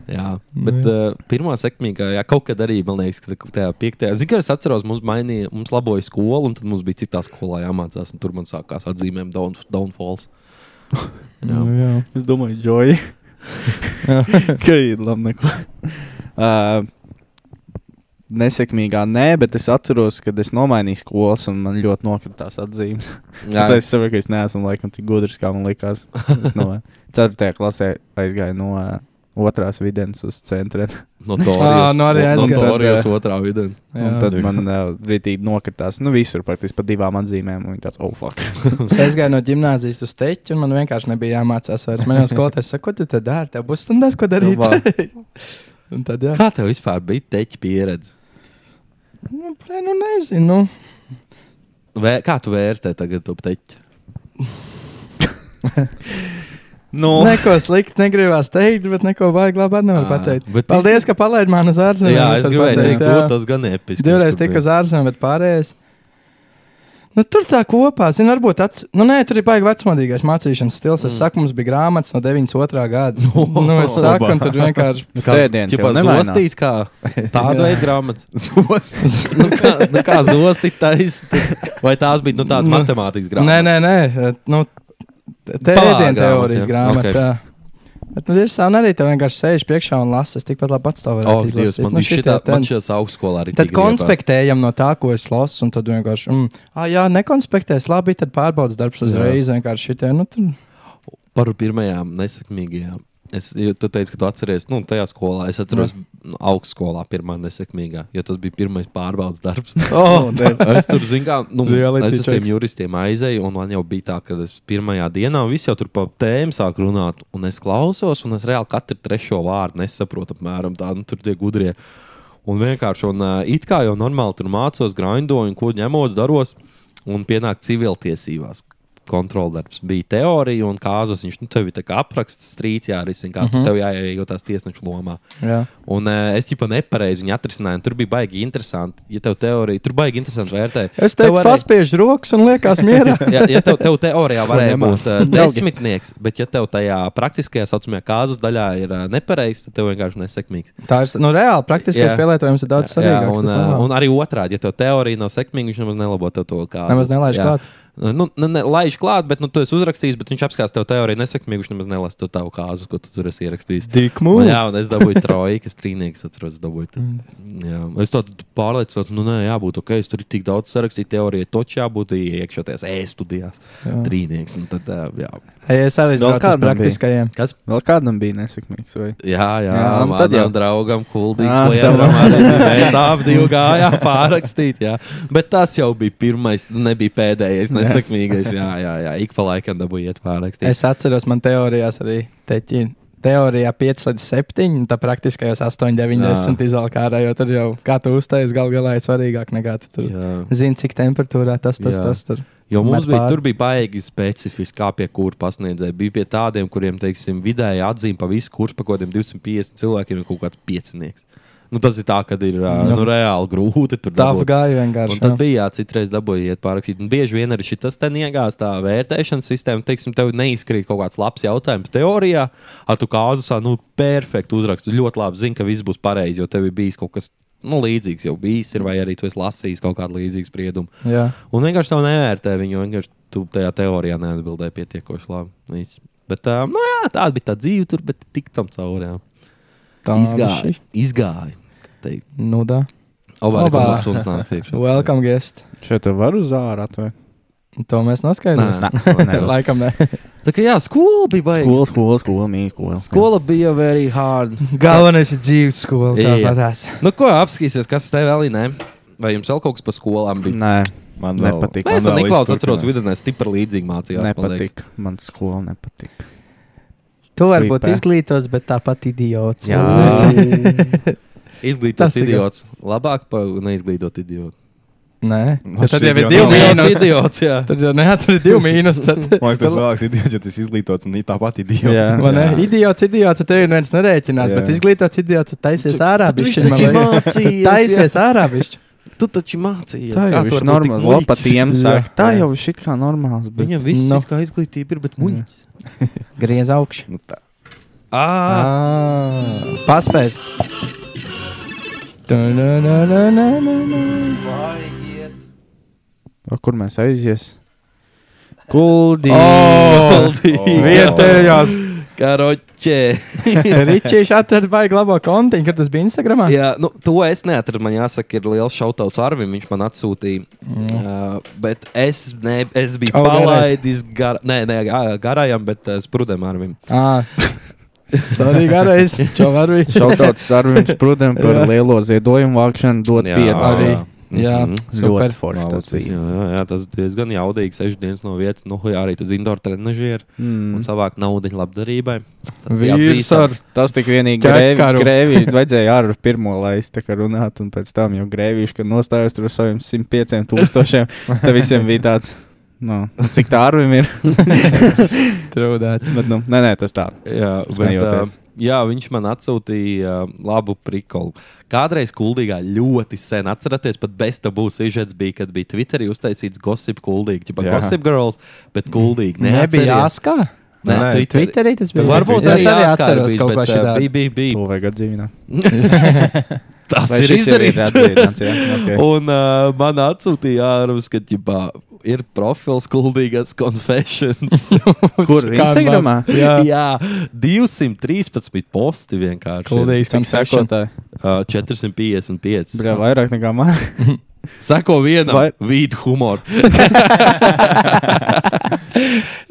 Speaker 2: Jā, bet uh, pirmā sekmīgā, jā, kaut kad arī, man liekas, ka tajā piektajā, zinu, ka es atceros, mums mainīja, mums laboja skolu, un tad mums bija citā skolā jāmācās, un tur man sākās atzīmēm down, downfalls. Jā.
Speaker 1: Nu, jā.
Speaker 9: (laughs) Es domāju,
Speaker 1: (laughs)
Speaker 9: Džoji. Ka ir labi. Neko. (laughs) Uh, Nesekmīgā, nē, bet es atceros, kad es nomainīju skolas un man ļoti nokritās atzīmes. Jā, es saprotu, ka es neesmu laikam tik gudrs, kā man likās. Es
Speaker 2: (laughs)
Speaker 9: no 4. klasē aizgāju no uh, otrās vidienas uz centra.
Speaker 1: (laughs) Ā, nu arī aizgāja.
Speaker 2: Notorijas otrā vidē.
Speaker 9: Un
Speaker 1: Jā.
Speaker 9: tad man uh, rītīgi nokritās. Nu, visur praktiski pa divām atzīmēm. Un viņi tāds, oh, fuck.
Speaker 1: Es aizgāju no gimnāzijas uz steigtu, un man vienkārši nebija jāmācās. Vairs. Man jau skolotājs saka, ko tu te dari? Tev būs stundās, ko darīt. (laughs) un tad, jā,
Speaker 2: Kā tev vispār bija teķa pieredze?
Speaker 1: nu, plē, nu nezinu. Nu.
Speaker 2: Vē, kā tu vērtē tagad to teķi?
Speaker 9: Nu,
Speaker 1: Neko sliktu negribās teikt, bet neko vajag labi nevar
Speaker 2: Ā,
Speaker 1: pateikt.
Speaker 2: bet-
Speaker 1: Paldies, ka palaidi mani uz ārzemēm.
Speaker 2: Jā,
Speaker 1: Nu, es
Speaker 2: es
Speaker 1: varu
Speaker 2: gribēju nu,
Speaker 1: pateikt,
Speaker 2: teikt,
Speaker 1: jā.
Speaker 2: to, tas gan episki.
Speaker 1: Divreiz tiku uz ārzemēm, bet pārējais. Nu, tur tā kopā, zinu, varbūt tāds, nu, nē, tur ir baigi vecmodīgais mācīšanas stils. Es mm. saku, mums bija grāmatas no 92.
Speaker 2: (laughs)
Speaker 1: gada. nu, es saku, un tur vienkārši.
Speaker 2: nu,
Speaker 9: Pēdējā
Speaker 2: jau tādā
Speaker 9: nemainās.
Speaker 2: mazā (laughs) kā
Speaker 1: (laughs)
Speaker 2: tāda veida grāmata.
Speaker 4: Zostas.
Speaker 2: nu, kā, nu, kā zostīt taisnība. Vai tās bija nu, tādas
Speaker 1: Nu,
Speaker 2: matemātikas
Speaker 1: Nē,
Speaker 2: grāmatas?
Speaker 1: nē, nē, nu,
Speaker 2: Palā
Speaker 1: tēdienas teorijas
Speaker 2: grāmata, jā.
Speaker 1: grāmata.
Speaker 2: Ok.
Speaker 1: Okay. Bet, nu, ir sāni arī te vienkārši sēž priekšā un lasa. Es tikpat labi pats to varu
Speaker 2: O, Oh, Dievs, man viņš šitā, man šajās augstskolā arī
Speaker 1: Tad
Speaker 2: tik griebās.
Speaker 1: konspektējam no tā, ko es lasu, un tad vienkārši, mm, ah, jā, nekonspektēs, labi, tad pārbaudas darbs uzreiz. Vienkārši šitie, nu, tur.
Speaker 2: Par pirmajām nesekmīgajām. Es jo tu teicu, ka tu atceries, nu, tajā skolā. Es atceros, nu, augstskolā pirmā nesekmīgā, jo tas bija pirmais pārbaudas darbs.
Speaker 1: Oh,
Speaker 2: (laughs) Es tur zinu, kā nu,
Speaker 1: Reality
Speaker 2: es uz tiem
Speaker 1: checks.
Speaker 2: juristiem aizēju, un man jau bija tā, ka es pirmajā dienā viss jau tur pa tēmu sāku runāt, un es klausos, un es reāli katru trešo vārdu nesaprotu, apmēram tādu nu, tur tie gudrie. Un vienkārši, un uh, it kā jau normāli tur mācos, grindoju, ko ņemos, daros, un pienāk civiltiesībās. Kontroldarbs bija teorija, un kāzos viņš nu, tevi tā kā apraksta strīds, jārisina, kā mm
Speaker 1: Mhm.
Speaker 2: -hmm. tev jāiejūtās tiesneša lomā.
Speaker 1: jā.
Speaker 2: Un uh, es jau nepareizi viņu atrisināju, un tur bija baigi interesanti. Ja tev teorija, tur baigi interesanti vērtē.
Speaker 1: Es teicu,
Speaker 2: Tev varēja-
Speaker 1: paspiež rokas un liekas mierā.
Speaker 2: ja, ja tev, tev teorijā varēja
Speaker 4: nemaz.
Speaker 2: būt uh, desmitnieks, bet ja tev tajā praktiskajā saucamajā kāzus daļā ir uh, nepareizs, tad tev vienkārši nesekmīgs.
Speaker 1: (laughs) Tā ir nu, reāli. Praktiskais
Speaker 2: Jā.
Speaker 1: spēlētājums ir daudz svarīgāk.
Speaker 2: un, uh, un arī otrādi, ja tev teorija nav sekmīga, viņš nemaz nelabo tev to kā.
Speaker 1: Nemaz nelaiž klāt.
Speaker 2: Nu, ne, ne, laiž klāt, bet nu, tu esi uzrakstījis, bet viņš apskās tev teoriju nesekmīgu, viņš nemaz nelasa to tavu kāzu, ko tu tur esi ierakstījis.
Speaker 1: Tik
Speaker 2: Un,
Speaker 1: mūžīgi.
Speaker 2: jā, un es dabūju troju, kas trīnieks atceros, dabūju. tad. Jā, es tādu pārliecinos, nu, nē, jābūt ok, es tur ir tik daudz sarakstīju teoriju, točā jābūt iekšoties e-studijās. Trīnieks, un tad, ā, jā.
Speaker 1: Es arī
Speaker 9: Vēl
Speaker 1: braucu uz
Speaker 9: kādam bija?
Speaker 1: praktiskajiem.
Speaker 2: Kas?
Speaker 9: Vēl kādam bija nesekmīgs. Vai?
Speaker 2: Jā, jā, jā
Speaker 9: Jā, nu
Speaker 2: manam
Speaker 9: tad
Speaker 2: jau.
Speaker 9: jau.
Speaker 2: draugam, kuldīgs
Speaker 9: Ah, tev.
Speaker 2: lietām. Mēs abi divi gājām pārrakstīt, jā. Bet tas jau bija pirmais, nu, nebija pēdējais, nesakmīgais. Jā, jā, jā. Ik pa laikam dabūju iet pārrakstīt.
Speaker 1: Es atceros, man teorijās arī teķi. Teorijā 5 līdz 7, un tā praktiskajos 8, 9,
Speaker 2: Jā.
Speaker 1: 10 izvēlkārā, jo tur jau kā tu uztais gal galā ir svarīgāk nekā tu tur.
Speaker 2: Jā.
Speaker 1: Zini, cik temperatūrā tas, tas,
Speaker 2: Jā.
Speaker 1: tas tur.
Speaker 2: Jo mums
Speaker 1: Met
Speaker 2: bija,
Speaker 1: pāri.
Speaker 2: tur bija baigi specifiski, kā pie kura pasniedzēja. Bija pie tādiem, kuriem, teiksim, vidēji atzīme pa visu kursu, pa kaut kādiem 250 cilvēkiem ir kaut kāds piecinieks. Nu, tas ir tā, kad ir ā,
Speaker 1: Nu.
Speaker 2: nu, reāli grūti tur
Speaker 1: Tā
Speaker 2: dabūt.
Speaker 1: gāja
Speaker 2: Un
Speaker 1: vienkārši.
Speaker 2: tad bija jā, citreiz dabūjiet pārrakstīt. Un bieži vien arī šis te iegāzās tā vērtēšanas sistēma. Teiksim, tev neizkrīt kaut kāds labs jautājums teorijā, ar tu kāzusā, nu, perfekti uzrakstu. Ļoti labi zini, ka viss būs pareizi, jo tev ir bijis kaut kas nu, līdzīgs, jau bijis, ir, vai arī tu esi lasījis kaut kādu līdzīgu spriedumu.
Speaker 1: Jā.
Speaker 2: Un vienkārši tev nevērtē viņu, jo vienkārši tu tajā teorijā neatbildēji pietiekoši labi. Viss. Bet, um, nu, jā, tā bija tā dzīve tur, bet tik tam caurē.
Speaker 1: Tā
Speaker 2: Izgāja. Izgāja.
Speaker 1: Nu, tā.
Speaker 2: Obā,
Speaker 1: Obā.
Speaker 2: kā mums suns nāks iekšā.
Speaker 1: Welcome, guest.
Speaker 9: Šo te var uz ārā atvērt.
Speaker 1: To mēs
Speaker 9: Nu,
Speaker 1: noskaidrosim.
Speaker 2: Nā, (laughs) nē.
Speaker 1: Laikam, ne.
Speaker 2: Tā kā jā, skola bija baigta.
Speaker 9: Skola, skola, skola, mīkola.
Speaker 2: Skola bija very hard.
Speaker 1: Galvenais ir dzīves skola.
Speaker 2: Jā.
Speaker 1: tāpatās.
Speaker 2: (laughs) Nu, ko apskatīsies, kas tev vēl ir? ne? Vai jums vēl kaut kas par skolām bija?
Speaker 9: Nē,
Speaker 4: Man vēl-
Speaker 9: nepatīk.
Speaker 2: Mēs ar
Speaker 4: Man vēl
Speaker 2: Niklausu
Speaker 4: izturpināt.
Speaker 2: atceros, vidusdaļā stipri līdzīgi mācījās. man liekas.
Speaker 9: Nepatīk. Man skola nepatīk.
Speaker 1: Tu vari būt
Speaker 9: Flipē.
Speaker 1: izglītots, bet tāpat idiots.
Speaker 9: Jā.
Speaker 2: Izglītots
Speaker 1: Tas ir
Speaker 2: idiots. Labāk par neizglītotu idiotu.
Speaker 1: (laughs) Nē,
Speaker 4: Man
Speaker 1: tad jau
Speaker 4: šī
Speaker 1: ir
Speaker 4: jau
Speaker 1: divi
Speaker 4: nav.
Speaker 2: Idiots,
Speaker 1: mīnus.
Speaker 2: idiots, jā.
Speaker 1: Tad jau neatrādīja divi mīnus. Tad...
Speaker 4: Man liekas,
Speaker 1: (laughs)
Speaker 4: tas vēlāks idiots, ja tas izglītots un tāpat
Speaker 9: Jā.
Speaker 4: idiots.
Speaker 1: Vai ne? Idiots, idiots, ar tevi neviens nerēķinās,
Speaker 4: Jā.
Speaker 1: bet izglītots idiots, tu taisies ārā,
Speaker 2: viņš
Speaker 1: bišķi.
Speaker 2: taču
Speaker 1: man liekas. (laughs)
Speaker 2: mācījies,
Speaker 1: Taisies ārā, bišķi.
Speaker 2: Tu taču mācījies.
Speaker 9: Tā
Speaker 2: kā
Speaker 9: jau
Speaker 2: tu vari būt
Speaker 9: ir
Speaker 2: tik
Speaker 9: normāla.
Speaker 2: muļķis?
Speaker 9: Lopatiem
Speaker 1: Jā.
Speaker 9: saka, tā
Speaker 1: Jā.
Speaker 9: jau ir šit kā normāls. Bet...
Speaker 2: Viņam viss
Speaker 1: Nu.
Speaker 2: ir kā izglītība, ir, bet muļķis.
Speaker 1: Griez augšu.
Speaker 4: Nu tā.
Speaker 2: Ā,
Speaker 1: Ah. Paspēs. Kuldīgs
Speaker 9: O, kur mēs aizies? Kuldi.
Speaker 4: Vietējās.
Speaker 2: Karoķē.
Speaker 1: Ričijs atrada baigi labo kontiņu, kad tas bija Instagramā.
Speaker 2: Jā, nu, to es neatradu. Man jāsaka, ir liels šautauts Arvim. Viņš man atsūtīja. Mm. Uh, bet es, ne, es biju
Speaker 1: Au,
Speaker 2: oh,
Speaker 1: vēlreiz.
Speaker 2: palaidis gar, nē, nē, ā, garajam, bet uh, sprudēm Arvim.
Speaker 1: Ah. Sorry, garais. Čo var bija?
Speaker 9: Šautauts Arvim Sprudem par lielo ziedojumu vākšanu dot
Speaker 2: Jā.
Speaker 9: pieci.
Speaker 1: Arī. Jā,
Speaker 2: Mhm.
Speaker 9: Super
Speaker 1: super.
Speaker 9: forši tas
Speaker 2: Tas,
Speaker 9: bija.
Speaker 2: jā, jā, jā, tas ir diezgan jaudīgi. Sešas dienas no vietas, nu, jā, arī tur zina, tur trenižēra
Speaker 9: Mm.
Speaker 2: un savāk naudu labdarībai. Tas
Speaker 1: Vīrs ar
Speaker 9: Tas tik vienīgi
Speaker 1: Ķekaru.
Speaker 9: grēvīši vajadzēja ar pirmo laist, tā kā runāt, un pēc tam jau grēvīši, kad nostājos tur ar saviem 105 tūkstošiem, tad visiem bija tāds, Nu, cik tā ar viņu ir?
Speaker 1: Trūdēt.
Speaker 9: Bet, nu, nē, nē, tas tā.
Speaker 2: Jā, bet, uh,
Speaker 9: Smejoties.
Speaker 2: jā, viņš man atsūtīja uh, labu prikolu. Kādreiz kuldīgā ļoti sen, atcerieties, pat bez tā būs īžets, bija, kad bija Twitterī uztaisīts gossip kuldīgi. Tipā
Speaker 4: Jā.
Speaker 2: gossip girls, bet kuldīgi.
Speaker 1: Nebija jāskā.
Speaker 2: Nē,
Speaker 4: Nē,
Speaker 2: Twitterī.
Speaker 1: Twitterī tas bija.
Speaker 2: Varbūt
Speaker 1: es arī
Speaker 2: Jāskar
Speaker 1: atceros
Speaker 2: bija,
Speaker 1: kaut ko
Speaker 2: bet, uh,
Speaker 1: šādu.
Speaker 2: Bija, bija, bija.
Speaker 9: To vajag atdzīvināt. (laughs)
Speaker 2: Tas
Speaker 9: Vai
Speaker 2: ir
Speaker 9: šis jau ir
Speaker 2: izdarīts.
Speaker 9: atdzīvināts, jā? Ok.
Speaker 2: (laughs) Un uh, man atsūtīja ārpus, ka ģibā, ir profils Kuldīgas
Speaker 1: (laughs)
Speaker 2: Confessions.
Speaker 9: Kur? Instagramā?
Speaker 1: Jā,
Speaker 2: Jā, 213 posti vienkārši. ir.
Speaker 1: kuldīgs.
Speaker 9: Cik sekotāji?
Speaker 2: Uh, 455.
Speaker 9: Brā, vairāk nekā (laughs) man.
Speaker 2: Sako vienam,
Speaker 9: Vai-
Speaker 2: vīdu
Speaker 1: (laughs)
Speaker 2: humoru.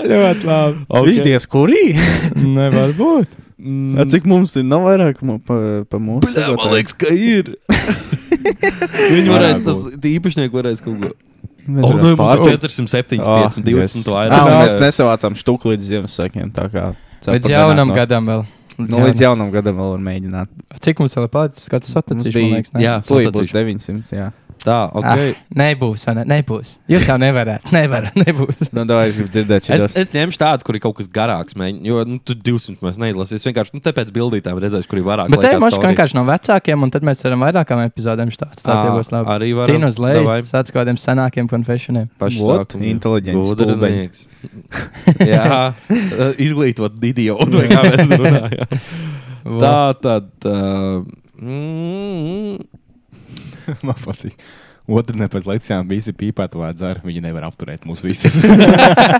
Speaker 1: Ļoti labi.
Speaker 2: Ok.
Speaker 9: Viņš diez kurī?
Speaker 1: Nevar būt.
Speaker 2: Mm,
Speaker 9: A, Cik mums ir? Nav vairāk mu- pa, pa mūsu.
Speaker 2: Bļā, man
Speaker 9: sekotājiem?
Speaker 2: liekas, ka
Speaker 1: (laughs)
Speaker 2: ir. Viņi varēs,
Speaker 1: nu.
Speaker 4: Varētu
Speaker 2: tas tie īpašnieki varēs kaut ko.
Speaker 9: Mēs
Speaker 2: O,
Speaker 9: varam Ah,
Speaker 2: nu, mums
Speaker 9: pār-
Speaker 2: ir 407,
Speaker 1: Ah,
Speaker 2: 520
Speaker 9: Jā, un
Speaker 2: vairāk.
Speaker 9: Ah, mēs nesavācām štuku līdz Ziemassvētkiem. tā kā ceru,
Speaker 1: Līdz
Speaker 9: ka
Speaker 1: jaunam
Speaker 9: nenāk no-
Speaker 1: gadam vēl.
Speaker 9: Nu, līdz jaunam gadam vēl var mēģināt.
Speaker 1: Cik mums vēl ir palicis? Kāds satacīšu,
Speaker 9: bija-
Speaker 1: man liekas. ne?
Speaker 2: Jā,
Speaker 9: Tūlīt
Speaker 2: Satacīšu.
Speaker 9: būs 900. Jā.
Speaker 2: Tā, ok.
Speaker 1: Ah, nebūs, vai ne? Nebūs. Jūs jau (laughs) nevarat. Nevarat, nebūs.
Speaker 9: Nu, tā es gribu dzirdēt,
Speaker 2: Es, (laughs)
Speaker 9: šitos.
Speaker 2: es ņemšu tādu, kur ir kaut kas garāks, mēģi, jo nu, tu 200 mēs neizlasīsim. Es vienkārši nu, te pēc bildītēm redzēšu, kur ir vairāk.
Speaker 1: Bet te
Speaker 2: laikā
Speaker 1: mums
Speaker 2: stāvīt.
Speaker 1: vienkārši no vecākiem, un tad mēs varam vairākām epizodēm štāstīt. Tā
Speaker 2: Ā,
Speaker 1: tie būs labi.
Speaker 2: Arī var
Speaker 1: Tīna uz leju. Sāc kaut kādiem senākiem konfesioniem.
Speaker 9: What? Inteliģents,
Speaker 2: Gudrinieks. (laughs) Jā, eh, izglītot idiotu. vai Kā (laughs) mēs runājam. Tā tad. Uh, mm, (laughs)
Speaker 4: (laughs) Man patīk. Otru nepēc lecījām, visi pīpēta vai dzēra. Viņi nevar apturēt mūs visus.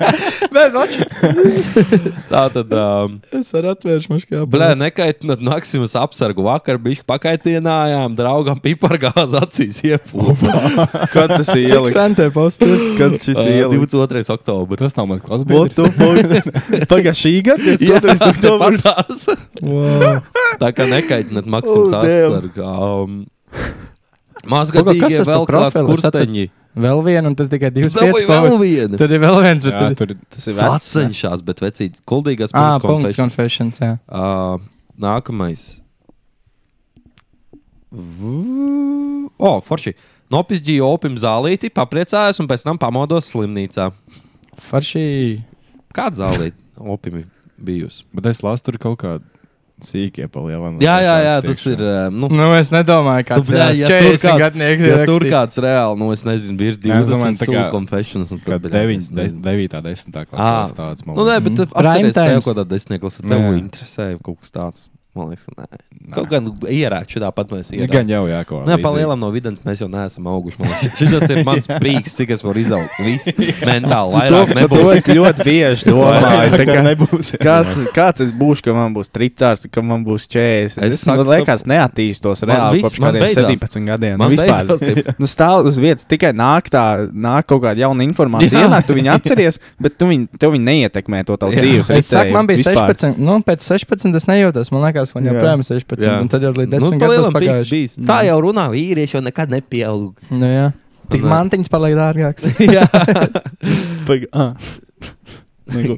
Speaker 4: (laughs)
Speaker 2: (laughs) tā tad. Um,
Speaker 1: Es varu atvērst maškā.
Speaker 2: Blē, nekaitinot Maksimus apsargu. Vakar bija pakaitinājām draugam pipargāzi acīs iepūpa.
Speaker 9: Kad tas ir
Speaker 1: Cik sen te postur?
Speaker 9: Kad šis ir
Speaker 2: Uh,
Speaker 9: ielikt?
Speaker 2: 22. oktobrs.
Speaker 4: Tas nav
Speaker 9: Ah,
Speaker 4: mans
Speaker 9: What
Speaker 4: klasbiedrs.
Speaker 9: the (laughs) fuck? Pagā šī gada?
Speaker 2: Jā,
Speaker 9: (laughs) Jā, tas ir oktobrs.
Speaker 2: patās. Tā kā nekaitināt Maksimu
Speaker 9: Oh, damn.
Speaker 2: Sārtsvergu. Um,
Speaker 1: Kaut kā, kas
Speaker 2: Mazgadīgie
Speaker 1: tas par
Speaker 2: vēl kāds
Speaker 1: profilu? Es atceru-
Speaker 2: kursteņi.
Speaker 1: Vēl viena, un tur tikai divas
Speaker 2: Dabūj vēl
Speaker 1: piecas.
Speaker 2: vienu.
Speaker 1: Tur ir vēl viens, bet
Speaker 4: Jā,
Speaker 1: tur ir.
Speaker 4: tur ir
Speaker 9: Tas ir vecs. ne?
Speaker 2: Atceņšās, bet vecīt. Kuldīgās
Speaker 1: Ah,
Speaker 2: punkts
Speaker 1: punkts
Speaker 2: konfesijas.
Speaker 1: confessions, jā.
Speaker 2: Uh, nākamais. V- O, forši. Nopisģīju opim zālīti, papriecājos un pēc tam pamodos slimnīcā.
Speaker 1: Faršī.
Speaker 2: Kāda zālīte (laughs) opim ir bijusi?
Speaker 4: Bet es lasu, tur kaut kāda sīkā palielināta.
Speaker 2: Jā, jā, jā, tas ir. eh, Nu,
Speaker 1: Nu, es nedomāju, kāds
Speaker 2: Nu, bļā,
Speaker 1: ir
Speaker 2: ja tur
Speaker 1: 40
Speaker 2: kāds-
Speaker 1: gadnieks.
Speaker 2: Ja
Speaker 1: ir
Speaker 2: tur
Speaker 1: rakstīt.
Speaker 2: kāds reāli, nu, es nezinu, ir
Speaker 4: Jā, es domāju,
Speaker 2: 20
Speaker 4: tā
Speaker 2: sūdu
Speaker 4: kā-
Speaker 2: konfesijas.
Speaker 4: Kā 9, 9, 10.
Speaker 2: Ā.
Speaker 4: klasē tāds. man
Speaker 2: Nu, nē,
Speaker 4: liekas.
Speaker 2: bet
Speaker 1: Mhm. Prime times.
Speaker 2: apcerieties, tev kaut kādā desmit klasē tev
Speaker 4: Jā.
Speaker 2: interesēja kaut kas tāds. Man liekas, ka nē. Kaut gan ierēt, šitā pat mēs
Speaker 4: Nu, Gan
Speaker 2: ierēt.
Speaker 4: jau, jā, kaut
Speaker 2: Nē, pa
Speaker 4: (laughs)
Speaker 2: lielam no videns mēs jau neesam auguši. man liekas. Šis ir mans pīks, cik es varu izaugt. Viss mentāli
Speaker 9: To,
Speaker 2: vairāk
Speaker 9: par to
Speaker 2: nebūs.
Speaker 9: es ļoti
Speaker 2: (laughs)
Speaker 9: bieži domāju. tā kā-
Speaker 4: nebūs.
Speaker 9: Kāds, kāds es būšu, kad man būs 30, kad man būs
Speaker 2: Es
Speaker 9: 40? Es, es man
Speaker 2: saku,
Speaker 9: liekas, neattīstos
Speaker 2: Man
Speaker 9: reāli
Speaker 2: viss-
Speaker 9: kopš
Speaker 2: man
Speaker 9: kādiem
Speaker 2: beidzās.
Speaker 9: 17 gadiem.
Speaker 2: Man
Speaker 9: Nu, vispār.
Speaker 2: beidzās tie-
Speaker 9: (laughs) nu, stāv uz vietas, tikai nāk tā, nāk kaut kāda jauna
Speaker 2: (laughs)
Speaker 9: informācija.
Speaker 2: Jā.
Speaker 9: Ienāk, tu viņu atceries, bet tu viņu, tev viņa neietekmē to tavu
Speaker 2: Jā.
Speaker 9: dzīves.
Speaker 1: Es saku, man bija
Speaker 9: ritēju
Speaker 1: 16, nu, pēc 16 es nejūtos. Man liekas, man
Speaker 9: Jā.
Speaker 1: joprojām ir 16,
Speaker 2: Jā.
Speaker 1: un tad jau ir līdz
Speaker 2: Nu,
Speaker 1: 10
Speaker 2: pa
Speaker 1: gadiem
Speaker 2: lielam pīks
Speaker 1: pagājuši.
Speaker 2: bijis. Tā jau runā, vīrieši jau nekad nepieaug.
Speaker 1: Nu, jā. Tik
Speaker 2: Un, ā,
Speaker 1: mantiņas paliek dārgāks.
Speaker 2: (laughs) Jā.
Speaker 9: Pag- (laughs) ah. Neko.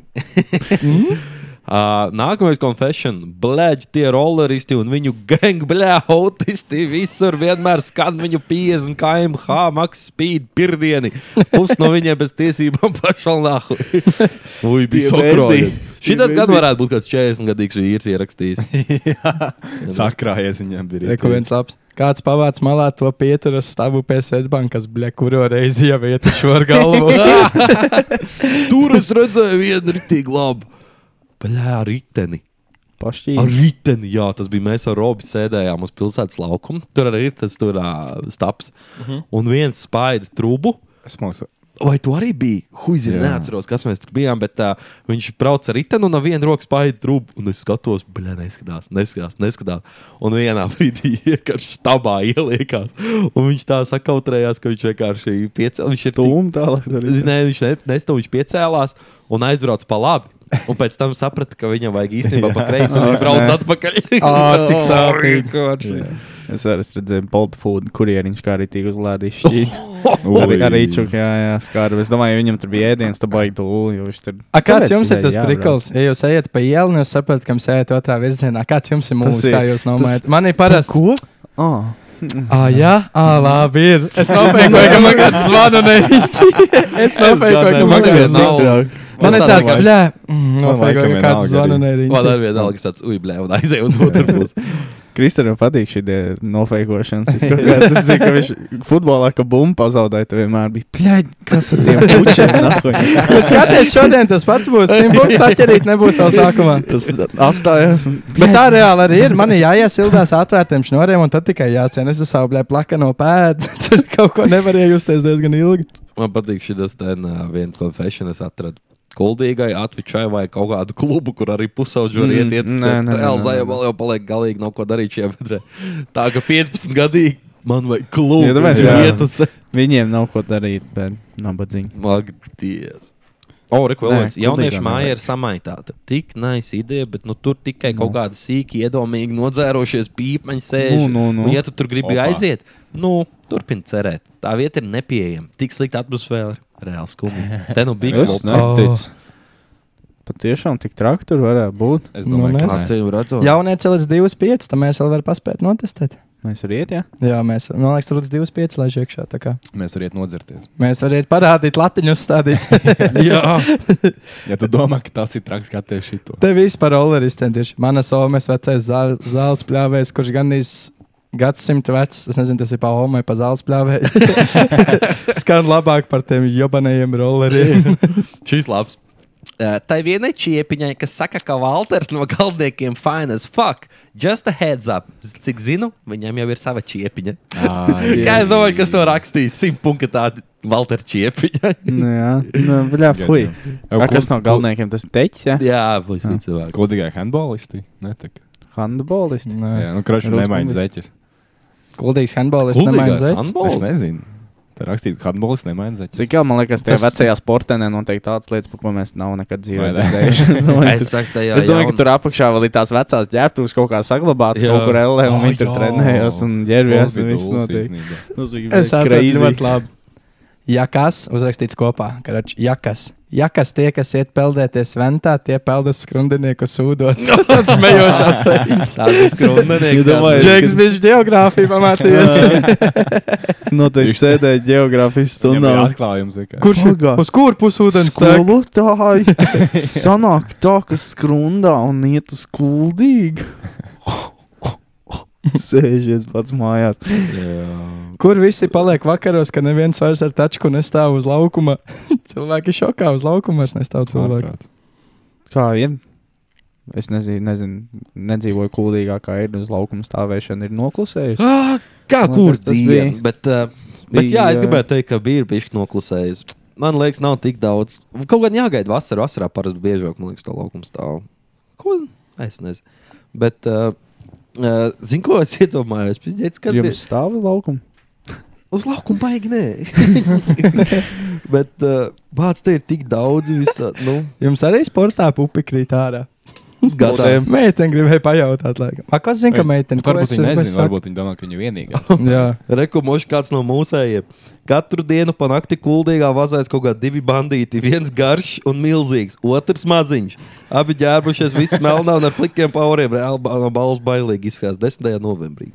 Speaker 2: Uh, nākamais konfession. Blēģi, tie rolleristi un viņu gang, blē, autisti visur vienmēr skan viņu 50 km/h max speed pirdieni. Pus no viņiem bez tiesībām (laughs) pašalnāhu. Ui, bija
Speaker 9: Tie
Speaker 2: sokrojis.
Speaker 9: bezdi.
Speaker 2: Šitas
Speaker 9: Tie
Speaker 2: gan
Speaker 9: bezdi.
Speaker 2: varētu būt kāds 40 gadīgs vīrs ierakstījis.
Speaker 4: Sakrājies viņam bija.
Speaker 1: Reku viens labs. Kāds pavāc malā to pieturas stabu pie Svetbankas, bļa, kuro reizi jau iet uz šo ar
Speaker 2: (laughs)
Speaker 1: galvu.
Speaker 2: Tur es redzēju vienu rītīgi labu. Blē, riteni. Ar
Speaker 9: Pašķīri.
Speaker 2: riteni, jā, tas bija. Mēs ar Robu sēdējām uz pilsētas laukuma. Tur arī ir tas tur, uh, stāps. Uh -huh. Un viens spaida trūbu.
Speaker 4: Es mums
Speaker 2: Vai tu arī biji? Huizi,
Speaker 4: Jā.
Speaker 2: neatceros, kas mēs tur bijām, bet uh, viņš brauca ar riteni un no vienas rokas paēda trūku. Un es skatos, blē, neskatās, neskatās, neskatās. Un vienā (laughs) brīdī vienkārši stabā ieliekās. Un viņš tā sakautrējās, ka viņš vienkārši piecēlās. Viņš ir tik-
Speaker 9: Stūm tālāk. tur ir.
Speaker 2: Nē, viņš ne, nestūmīja, viņš piecēlās un aizbrauca pa labi. Un pēc tam saprata, ka viņam vajag īstenībā pa kreisi, un viņš
Speaker 9: Ak,
Speaker 2: brauc
Speaker 9: nē.
Speaker 2: atpakaļ.
Speaker 1: Ā,
Speaker 2: (laughs)
Speaker 1: cik sāpīgi.
Speaker 2: sāpīgi.
Speaker 9: Es arī redzēju, Baltfūdu kurjeriņš kā arī tika uzlādījis šķīdi. Arī, arī čuk, jā, jā, skāru. Es domāju, viņam tur bija ēdiens, tu baigi dūli, jo viņš tur...
Speaker 1: A, kāds
Speaker 9: Kāpēc
Speaker 1: jums ir
Speaker 9: viņai
Speaker 1: tas
Speaker 9: jābrauc?
Speaker 1: brīnums? Ja jūs ejat pa ielu, nu un jūs saprotat, kam sēžat otrā virzienā, kāds jums ir mūzika,
Speaker 9: ir-
Speaker 1: kā jūs
Speaker 9: tas-
Speaker 1: nomājat? Man ir parasti.
Speaker 9: Ko? Oh.
Speaker 1: Ah, jā, ah, labi. Ir. Es nofēkoju, ka man kāds zvana neīt. Es nofēkoju, ka man kāds
Speaker 2: nav.
Speaker 1: zvana. Man ir tāds,
Speaker 4: laikam-
Speaker 1: blē, mm,
Speaker 4: man
Speaker 1: nofēkoju, ka
Speaker 4: laikam
Speaker 1: kāds
Speaker 4: vienalga
Speaker 1: zvana
Speaker 4: arī.
Speaker 2: Man
Speaker 1: neīt.
Speaker 2: ir viena alga, kas tāds, ui, blē, un aizēja uz otru pusi.
Speaker 9: Kristānam patīk šī nofēkošana. Es
Speaker 1: (laughs)
Speaker 9: kaut kādā veidā zinu, ka viņš futbolā, ka bumba pazaudēja, tad vienmēr bija pļaļ, kas ar tiem pučiem nāk.
Speaker 1: Bet skaties, šodien tas pats būs. Simbols atķerīt nebūs vēl sākumā.
Speaker 9: Tas apstājās. un
Speaker 1: Bet tā reāli arī ir. Man ir jāiesildās atvērtiem šnoriem, un tad tikai jāciena. Es esmu savu blē, plakano pēdu. (laughs) Tur kaut ko nevarēju justies diezgan ilgi.
Speaker 2: Man patīk šis ten uh, viens confession, es atradu. Kuldīgai atvičai vai kaut kādu klubu, kur arī pusauģi var
Speaker 9: Mm,
Speaker 2: iet, iet
Speaker 9: nē,
Speaker 2: uz
Speaker 9: nē, nē,
Speaker 2: reāli
Speaker 9: nē,
Speaker 2: zāja,
Speaker 9: nē.
Speaker 2: vēl jau paliek galīgi nav ko darīt šajā bedrē. Tā ka 15 gadīgi man vajag klubu.
Speaker 9: Jā, tāpēc,
Speaker 2: kur
Speaker 9: jā.
Speaker 2: iet uz
Speaker 9: Viņiem nav ko darīt, bet nabadzīgi.
Speaker 2: Magdies. O,
Speaker 9: Nē,
Speaker 2: rekvizīts. Jauniešu
Speaker 9: kuldīgā
Speaker 2: māja
Speaker 9: nevajag.
Speaker 2: ir samaitāta. Tik nice ideja, bet nu, tur tikai kaut kādi sīki, iedomīgi nodzērošies pīpaņi sēž.
Speaker 9: Nu, nu, nu.
Speaker 2: Un, ja tu tur gribi
Speaker 4: Opa.
Speaker 2: Opa. aiziet, nu, turpini cerēt. Tā vieta ir nepieejama. Tik slikta atmosfēra. Reāli skumja. Te nu bija
Speaker 9: Es
Speaker 2: klips.
Speaker 9: neticu. Patiešām tik traki tur varētu būt.
Speaker 4: Es
Speaker 1: Nu,
Speaker 4: domāju,
Speaker 1: mēs-
Speaker 4: ka
Speaker 2: Acīm redzot.
Speaker 1: Jaunieci līdz 2,5, tad mēs vēl varam paspēt notestēt.
Speaker 9: Mēs
Speaker 1: (laughs)
Speaker 9: varam iet, jā?
Speaker 1: Jā, mēs, man liekas, tur līdz 2,5 laiž iekšā. tā kā.
Speaker 4: nē. mēs varam iet nodzerties.
Speaker 1: Mēs varētu parādīt, latiņu (laughs) uzstādīt.
Speaker 2: Jā,
Speaker 4: Ja tu domā, ka tas ir traks, kā te šito.
Speaker 1: Te viss par rolleristiem tieši. Mana somas vecais zā- zāles pļāvējs, kurš gan iz gadsimtu vecs, es nezinu, tas ir pa homu vai pa zāles pļāvēju. (laughs) Skan labāk par tiem jobanajiem rolleriem.
Speaker 2: (laughs) šis labs. Uh, tai vienai čiepiņai, kas saka, ka Walters no galdniekiem fine as fuck, just a heads up. Z- Cik zinu, viņam jau ir sava čiepiņa. (laughs) Kā es domāju, kas to rakstīs? Simtpunkta tāda Walter Čiepiņa.
Speaker 9: Nu, jā, nu, bļā, fui. A, Kas no galvenajiem tas teķis, jā?
Speaker 2: Jā, būs visticamāk.
Speaker 4: Kodīgai handbolisti? Nē, tā kā.
Speaker 9: Handbolisti.
Speaker 4: Jā, nu, kroši
Speaker 9: Rūs
Speaker 4: nemaina
Speaker 9: kuldīgs.
Speaker 4: zeķis.
Speaker 1: Kuldīgs handbolists nemaina zeķes.
Speaker 4: Es
Speaker 2: Handbols.
Speaker 4: nezinu. Tā rakstīts, ka handbolists nemaina zeķis.
Speaker 9: Cik jau man liekas, tajā
Speaker 1: Tas-
Speaker 9: vecajā sportā noteikti tādas lietas, par ko mēs nav nekad dzīvē
Speaker 4: Vai ne?
Speaker 9: dzirdējuši. Es domāju,
Speaker 2: Es
Speaker 9: tas-
Speaker 2: saku, tajā
Speaker 9: es domāju, ka
Speaker 2: jaun-
Speaker 9: tur apakšā vēl ir tās vecās ģērbtuves kaut kā saglabātas
Speaker 2: Jā.
Speaker 9: kaut kur LE, un
Speaker 4: Ā,
Speaker 9: viņi tur
Speaker 4: jā.
Speaker 9: trenējās un ģērbjās. un viss notiek. Tas bija
Speaker 1: Es saprotu,
Speaker 9: crazy.
Speaker 1: ļoti labi. Jakas uzrakstīts kopā, ka rač jakas. Jakas tie, kas iet peldēties ventā, tie peldas skrundinieku sūdos.
Speaker 2: (laughs)
Speaker 1: Tas mejošās sejas.
Speaker 2: Tādas krūmenieks.
Speaker 9: Ja domāju,
Speaker 2: gan-
Speaker 1: Džeks bija geogrāfija
Speaker 4: (laughs)
Speaker 1: pamācījies.
Speaker 9: Noteikti sēdēja geogrāfijas
Speaker 4: Tur nav
Speaker 9: stundā.
Speaker 4: atklājums. vienkārši.
Speaker 1: Kurš
Speaker 9: Oh, God.
Speaker 1: uz kur pusūdens tek?
Speaker 9: Skolotāji (laughs) sanāk tā, ka skrundā un iet uz
Speaker 4: (laughs)
Speaker 9: kuldīgi. Sēžies pats mājās.
Speaker 1: Kur visi paliek vakaros, kad neviens vairs ar tačku nestāv uz laukuma? (laughs) Cilvēki šokā uz laukuma vairs nestāv cilvēki.
Speaker 4: Ārprāt.
Speaker 9: Kā ir? Es nezinu, nezinu nedzīvoju kuldīgā, kā ir uz laukuma stāvēšana, ir
Speaker 2: Ā,
Speaker 9: noklusējusi.
Speaker 2: Ah, Kā
Speaker 9: Man
Speaker 2: kur
Speaker 9: liekas, tas
Speaker 2: tas bija?
Speaker 9: bija-
Speaker 2: Bet, uh, bet jā, es gribēju teikt, ka bija pišķi noklusējis. Man liekas, nav tik daudz. Kaut gan jāgaida vasarā, vasarā parasti biežāk, man liekas, to laukums stāv. Ko? Es nezinu. Bet, uh, uh, zinu, ko es iedomājos? Pizdiet,
Speaker 9: ka
Speaker 2: kad
Speaker 9: jums stāv uz laukuma.
Speaker 2: Uz laukuma baigi nē. (laughs) Bet uh, bācis te ir tik daudz visādi. Nu,
Speaker 1: Jums arī sportā pupi krīt ārā.
Speaker 2: Gadās.
Speaker 1: Meitene gribēja pajautāt, laikam. A, kas zina, ka meitene
Speaker 4: Bet Varbūt viņi nezina, varbūt viņi domā, ka viņi ir vienīgie.
Speaker 1: Jā,
Speaker 2: Rekomoši kāds no mūsējiem. Katru dienu pa nakti kuldīgā vazājas kaut kādi divi bandīti. Viens garš un milzīgs, otrs maziņš. Abi ģērbušies, viss melnā un ar plikiem pauriem. Reāli ba- no balvas bailīgi izskatās 10. novembrī.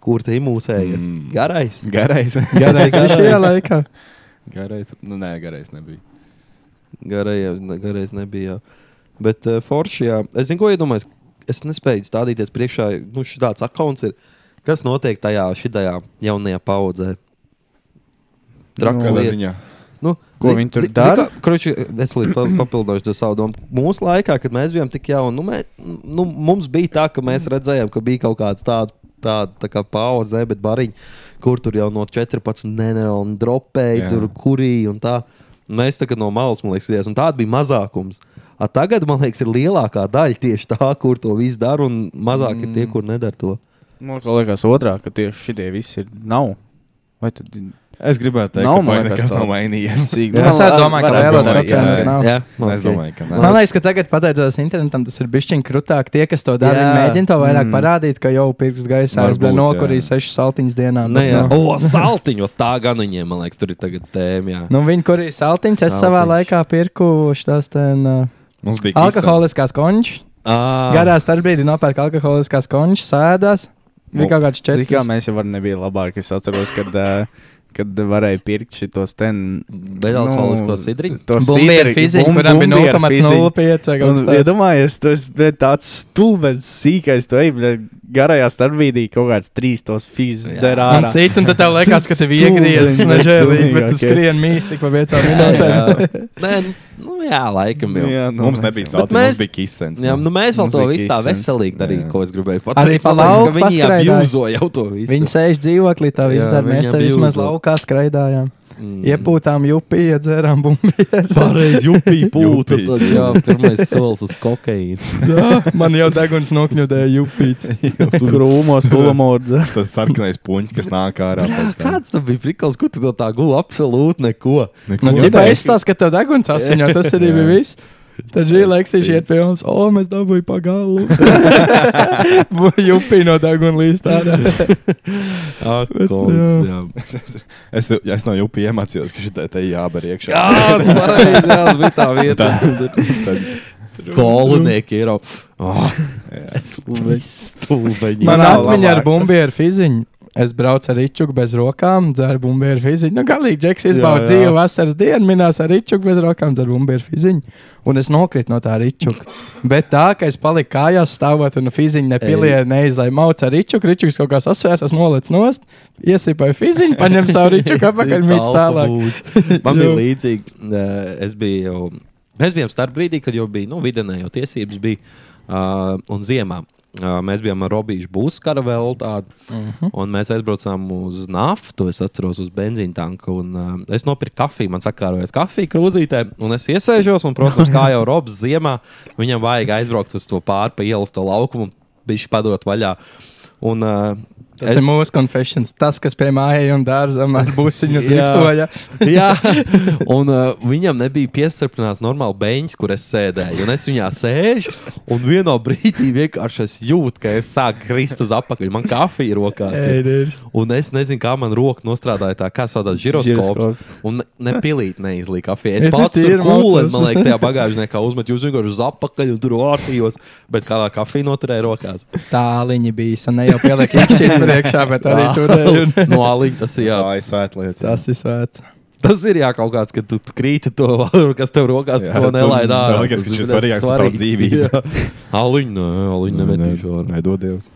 Speaker 2: Kur tie mūsēji? Mm.
Speaker 4: Mm.
Speaker 2: Garais.
Speaker 4: Garais.
Speaker 1: (laughs) garais bija šajā laikā.
Speaker 4: Garais. Nu, nē, garais nebija.
Speaker 2: Garajā, garais nebija. Jā. Bet uh, foršajā, es zinu, ko iedomājos. Es nespēju stādīties priekšā, nu, šāds akauns ir. Kas notiek tajā šajā jaunajā paudzē? Trakas
Speaker 4: Kādā
Speaker 2: lietas.
Speaker 4: ziņā?
Speaker 2: Nu,
Speaker 9: Ko
Speaker 2: zi-
Speaker 9: viņi tur
Speaker 2: zi- zi-
Speaker 9: dara?
Speaker 2: kā- Kruči, es līdz pa, papildināšu to savu domu. Mūsu laikā, kad mēs bijām tik jauni, nu, mē- nu, mums bija tā, ka mēs redzējām, ka bija kaut kāds tāds. Tā, tā kā pauzē, bet bariņš, kur tur jau no 14 nenormāli dropēja,
Speaker 4: Jā.
Speaker 2: tur kurīja un tā. Mēs tā kā no malas, man liekas, skatījāmies, un tāda bija mazākums. A, tagad, man liekas, ir lielākā daļa tieši tā, kur to visu dara, un mazāk mm. ir tie, kur nedara to.
Speaker 9: Man kaut liekas, otrā, ka tieši šie visi ir nav. Vai tad (laughs) ir
Speaker 4: Es gribētu teikt,
Speaker 9: Nav,
Speaker 4: ka
Speaker 9: man
Speaker 4: vai
Speaker 9: liekas,
Speaker 4: nekas
Speaker 9: tā.
Speaker 4: nav
Speaker 9: (laughs)
Speaker 4: mainījies.
Speaker 9: sīga?
Speaker 1: Es arī domāju, ka
Speaker 4: es
Speaker 1: lielos
Speaker 4: domāju,
Speaker 1: vecumos
Speaker 4: jā.
Speaker 1: nav.
Speaker 2: Jā,
Speaker 4: Es domāju, ka nē.
Speaker 1: Man liekas, ka tagad, pateicoties internetam, tas ir bijis grūtāk. Tie, kas to dara,
Speaker 2: Jā.
Speaker 1: viņi mēģina to vairāk
Speaker 9: Mm.
Speaker 1: mm. parādīt, ka jau pirksts gaisā
Speaker 4: Varbūt,
Speaker 1: aizbēga
Speaker 4: jā.
Speaker 1: nokurīja sešas saltiņas dienā.
Speaker 2: Nē,
Speaker 1: bet
Speaker 2: jā.
Speaker 1: nu.
Speaker 2: O, saltiņo, tā gan viņiem, man liekas, tur ir tagad tēma. Jā.
Speaker 1: Nu, viņi kurīja saltiņas. Es savā
Speaker 2: Saltiņš.
Speaker 1: laikā pirku šos uh,
Speaker 4: Mums bija
Speaker 1: alkoholiskās končus.
Speaker 2: Ah.
Speaker 1: Garā starpbrīdī nopērk alkoholiskās končas, sēdās. Bija kaut kāds
Speaker 9: Cik kā
Speaker 1: četri.
Speaker 9: mēs jau varam nebija labāk. Es atceros, kad, ā, kad varēja pirkt šitos ten. nu,
Speaker 2: Bezalkoholisko sidriņu?
Speaker 9: to
Speaker 1: Bumbieru
Speaker 9: sidri-
Speaker 1: fizika,
Speaker 9: bum-
Speaker 1: kuram bija 0,05
Speaker 9: bumbieru
Speaker 1: vai
Speaker 9: Un,
Speaker 1: kaut kas tāds.
Speaker 9: Iedomājies, tu esi bļa, tāds stulbens, sīkais, tu ej, bļa, garajā starpbrīdī kaut kāds trīs tos fizes
Speaker 1: Un
Speaker 9: dzerā.
Speaker 1: sit, un tad tev liekas, ka tev ir
Speaker 9: Stulbi,
Speaker 1: iegriezis
Speaker 9: bet
Speaker 1: nežēlīgi, bet
Speaker 9: pilnīgi,
Speaker 1: tu
Speaker 9: ok.
Speaker 1: skrien mīsti pa
Speaker 2: (laughs)
Speaker 1: piecām
Speaker 2: jā.
Speaker 1: minūtēm.
Speaker 2: Nē, nu jā, laikam jau. Jā.
Speaker 9: nu,
Speaker 4: Mums
Speaker 9: mēs-
Speaker 4: nebija
Speaker 2: Bet
Speaker 4: salti, mums
Speaker 2: mēs-
Speaker 4: bija kisens.
Speaker 2: Jā, (laughs) nu mēs vēl
Speaker 4: Mums
Speaker 2: to
Speaker 4: bija
Speaker 2: visu tā
Speaker 4: kisens.
Speaker 2: veselīgi darījām,
Speaker 4: Jā.
Speaker 2: ko es gribēju pateikt.
Speaker 1: Arī pa
Speaker 2: Man liekas,
Speaker 1: lauku
Speaker 2: ka Viņi
Speaker 1: paskraidāja.
Speaker 2: abjūzo jau to visu.
Speaker 1: Viņi sēž dzīvoklī, tā
Speaker 2: Jā,
Speaker 1: viss dara. Mēs
Speaker 2: viņiem
Speaker 1: te
Speaker 2: bija
Speaker 1: vismaz
Speaker 2: uzlūk.
Speaker 1: laukā skraidājām.
Speaker 2: Mm.
Speaker 1: Iepūtām jupi, iedzērām
Speaker 2: (laughs)
Speaker 1: bumbieru.
Speaker 2: Pareizi, jūpī pūta.
Speaker 4: pūta,
Speaker 2: Tad (laughs) jau pirmais solis uz kokaīnu.
Speaker 1: Man jau deguns nokļūdēja jupīts.
Speaker 9: Tur (laughs) krūmos, tulumordze.
Speaker 4: Tas sarkanais puņķis, kas nāk ārā. pēc tam.
Speaker 2: Kāds tam bija prikals, kur tu no tā guvi absolūti neko?
Speaker 4: Neko.
Speaker 1: Nu, ja
Speaker 4: Jā,
Speaker 1: tā
Speaker 4: tā-
Speaker 1: aizstās, ka tev deguns asiņo, tas arī
Speaker 4: Jā.
Speaker 1: bija viss. Tad šī leksija iet pie mums, o, mēs dabūjām pa
Speaker 2: (laughs)
Speaker 1: galu. (laughs) Jupī no deguna līdz tādā.
Speaker 2: Ak,
Speaker 1: Bet,
Speaker 2: kungs, jā.
Speaker 4: Es, es no jupi iemācījos, ka šī te jāber iekšā.
Speaker 2: Jā, nu, pareizi, jā, (laughs) tas bija tā vieta.
Speaker 4: Tad,
Speaker 2: Kolonieki ir. Oh,
Speaker 4: jā.
Speaker 2: Stulbeņi.
Speaker 1: Man
Speaker 9: nav
Speaker 1: atmiņā ar
Speaker 9: labāk.
Speaker 1: bumbieru fiziņu. Es braucu ar rīčuku bez rokām, dzeru bumbieru fiziņu. Nu, galīgi, Džeks,
Speaker 2: Jā,
Speaker 1: izbaudīju
Speaker 2: jā.
Speaker 1: dzīvu vasaras dienu, minēs ar rīčuku bez rokām, dzeru bumbieru fiziņu. Un es nokritu no tā rīčuka. Bet tā, ka es paliku kājās stāvot un fiziņu nepilēju, neizlēju maucu ar rīčuku, rīčuks kaut kā sasvērs, es nolicu nost, iesīpēju fiziņu, paņem savu
Speaker 2: (laughs)
Speaker 1: rīčuku apakaļ, mīt tālāk. (laughs) Nu.
Speaker 2: Man bija
Speaker 1: Jā.
Speaker 2: līdzīgi. eh, Es biju jau. Mēs bijām starp brīdī, kad jau bija nu, vidienē, jau tiesības bija. Uh, un ziemā uh, mēs bijām ar Robīšu Buskara vēl tādu. Uh
Speaker 1: Mhm.
Speaker 2: -huh. Un mēs aizbraucām uz naftu, es atceros, uz benzīna tanku. Un, uh, es nopirku kafiju, man sakārojas kafija krūzītē. Un es iesēžos, un, protams, kā jau Robs ziemā, viņam vajag aizbraukt uz to pāri pa ielas to laukumu, bija padot vaļā. Un, uh,
Speaker 1: Tas es... ir mūsu konfessions. Tas, kas pie mājām dārza
Speaker 2: (laughs)
Speaker 1: ar busiņu
Speaker 2: Jā.
Speaker 1: driftoja.
Speaker 2: (laughs) Jā, un uh, viņam nebija piesprādzināts normāli beigts, kur es sēdēju. Un es viņā sēžu, un vienā brīdī vienkārši es jūtu, ka es sāku krist uz apakšu. Man kafija ir rokās.
Speaker 1: Ei,
Speaker 2: Ir.
Speaker 1: dievs.
Speaker 2: Un es nezinu, kā man roka nostrādāja tā, kā saucās
Speaker 9: Žiroskops.
Speaker 2: žiroskops. Un nepilīt neizlīk kafiju.
Speaker 1: Es
Speaker 2: Es pats
Speaker 1: ne
Speaker 2: tur
Speaker 1: tīri
Speaker 2: kūlēju,
Speaker 1: mācos.
Speaker 2: man liekas, tajā bagāžnē, kā uzmet jūs vienkārši uz apakšu un tur ārtījos. Bet kādā kafija noturēja rokās.
Speaker 1: Tāliņi bija. Un ne jau pieliek īkšķīt
Speaker 2: (laughs)
Speaker 1: priekšā, bet arī
Speaker 2: Ā,
Speaker 1: tur bija.
Speaker 2: (laughs) no aliņa tas ir jā.
Speaker 4: Tā ir svēta lieta.
Speaker 1: Tas ir svēts.
Speaker 2: Tas ir jā, kaut kāds, kad tu tu krīti to valodu, kas tev rokās, jā,
Speaker 4: Jā,
Speaker 2: to
Speaker 4: tu
Speaker 2: nelaid ārā.
Speaker 4: nelaidies, ka
Speaker 2: Tas
Speaker 4: šis
Speaker 2: ir
Speaker 4: svarīgāks par tavu
Speaker 2: svarīgs,
Speaker 4: dzīvību. Nu,
Speaker 2: jā. Aliņu, nē, aliņu nemetīšu ārā.
Speaker 4: Nedod Dievs.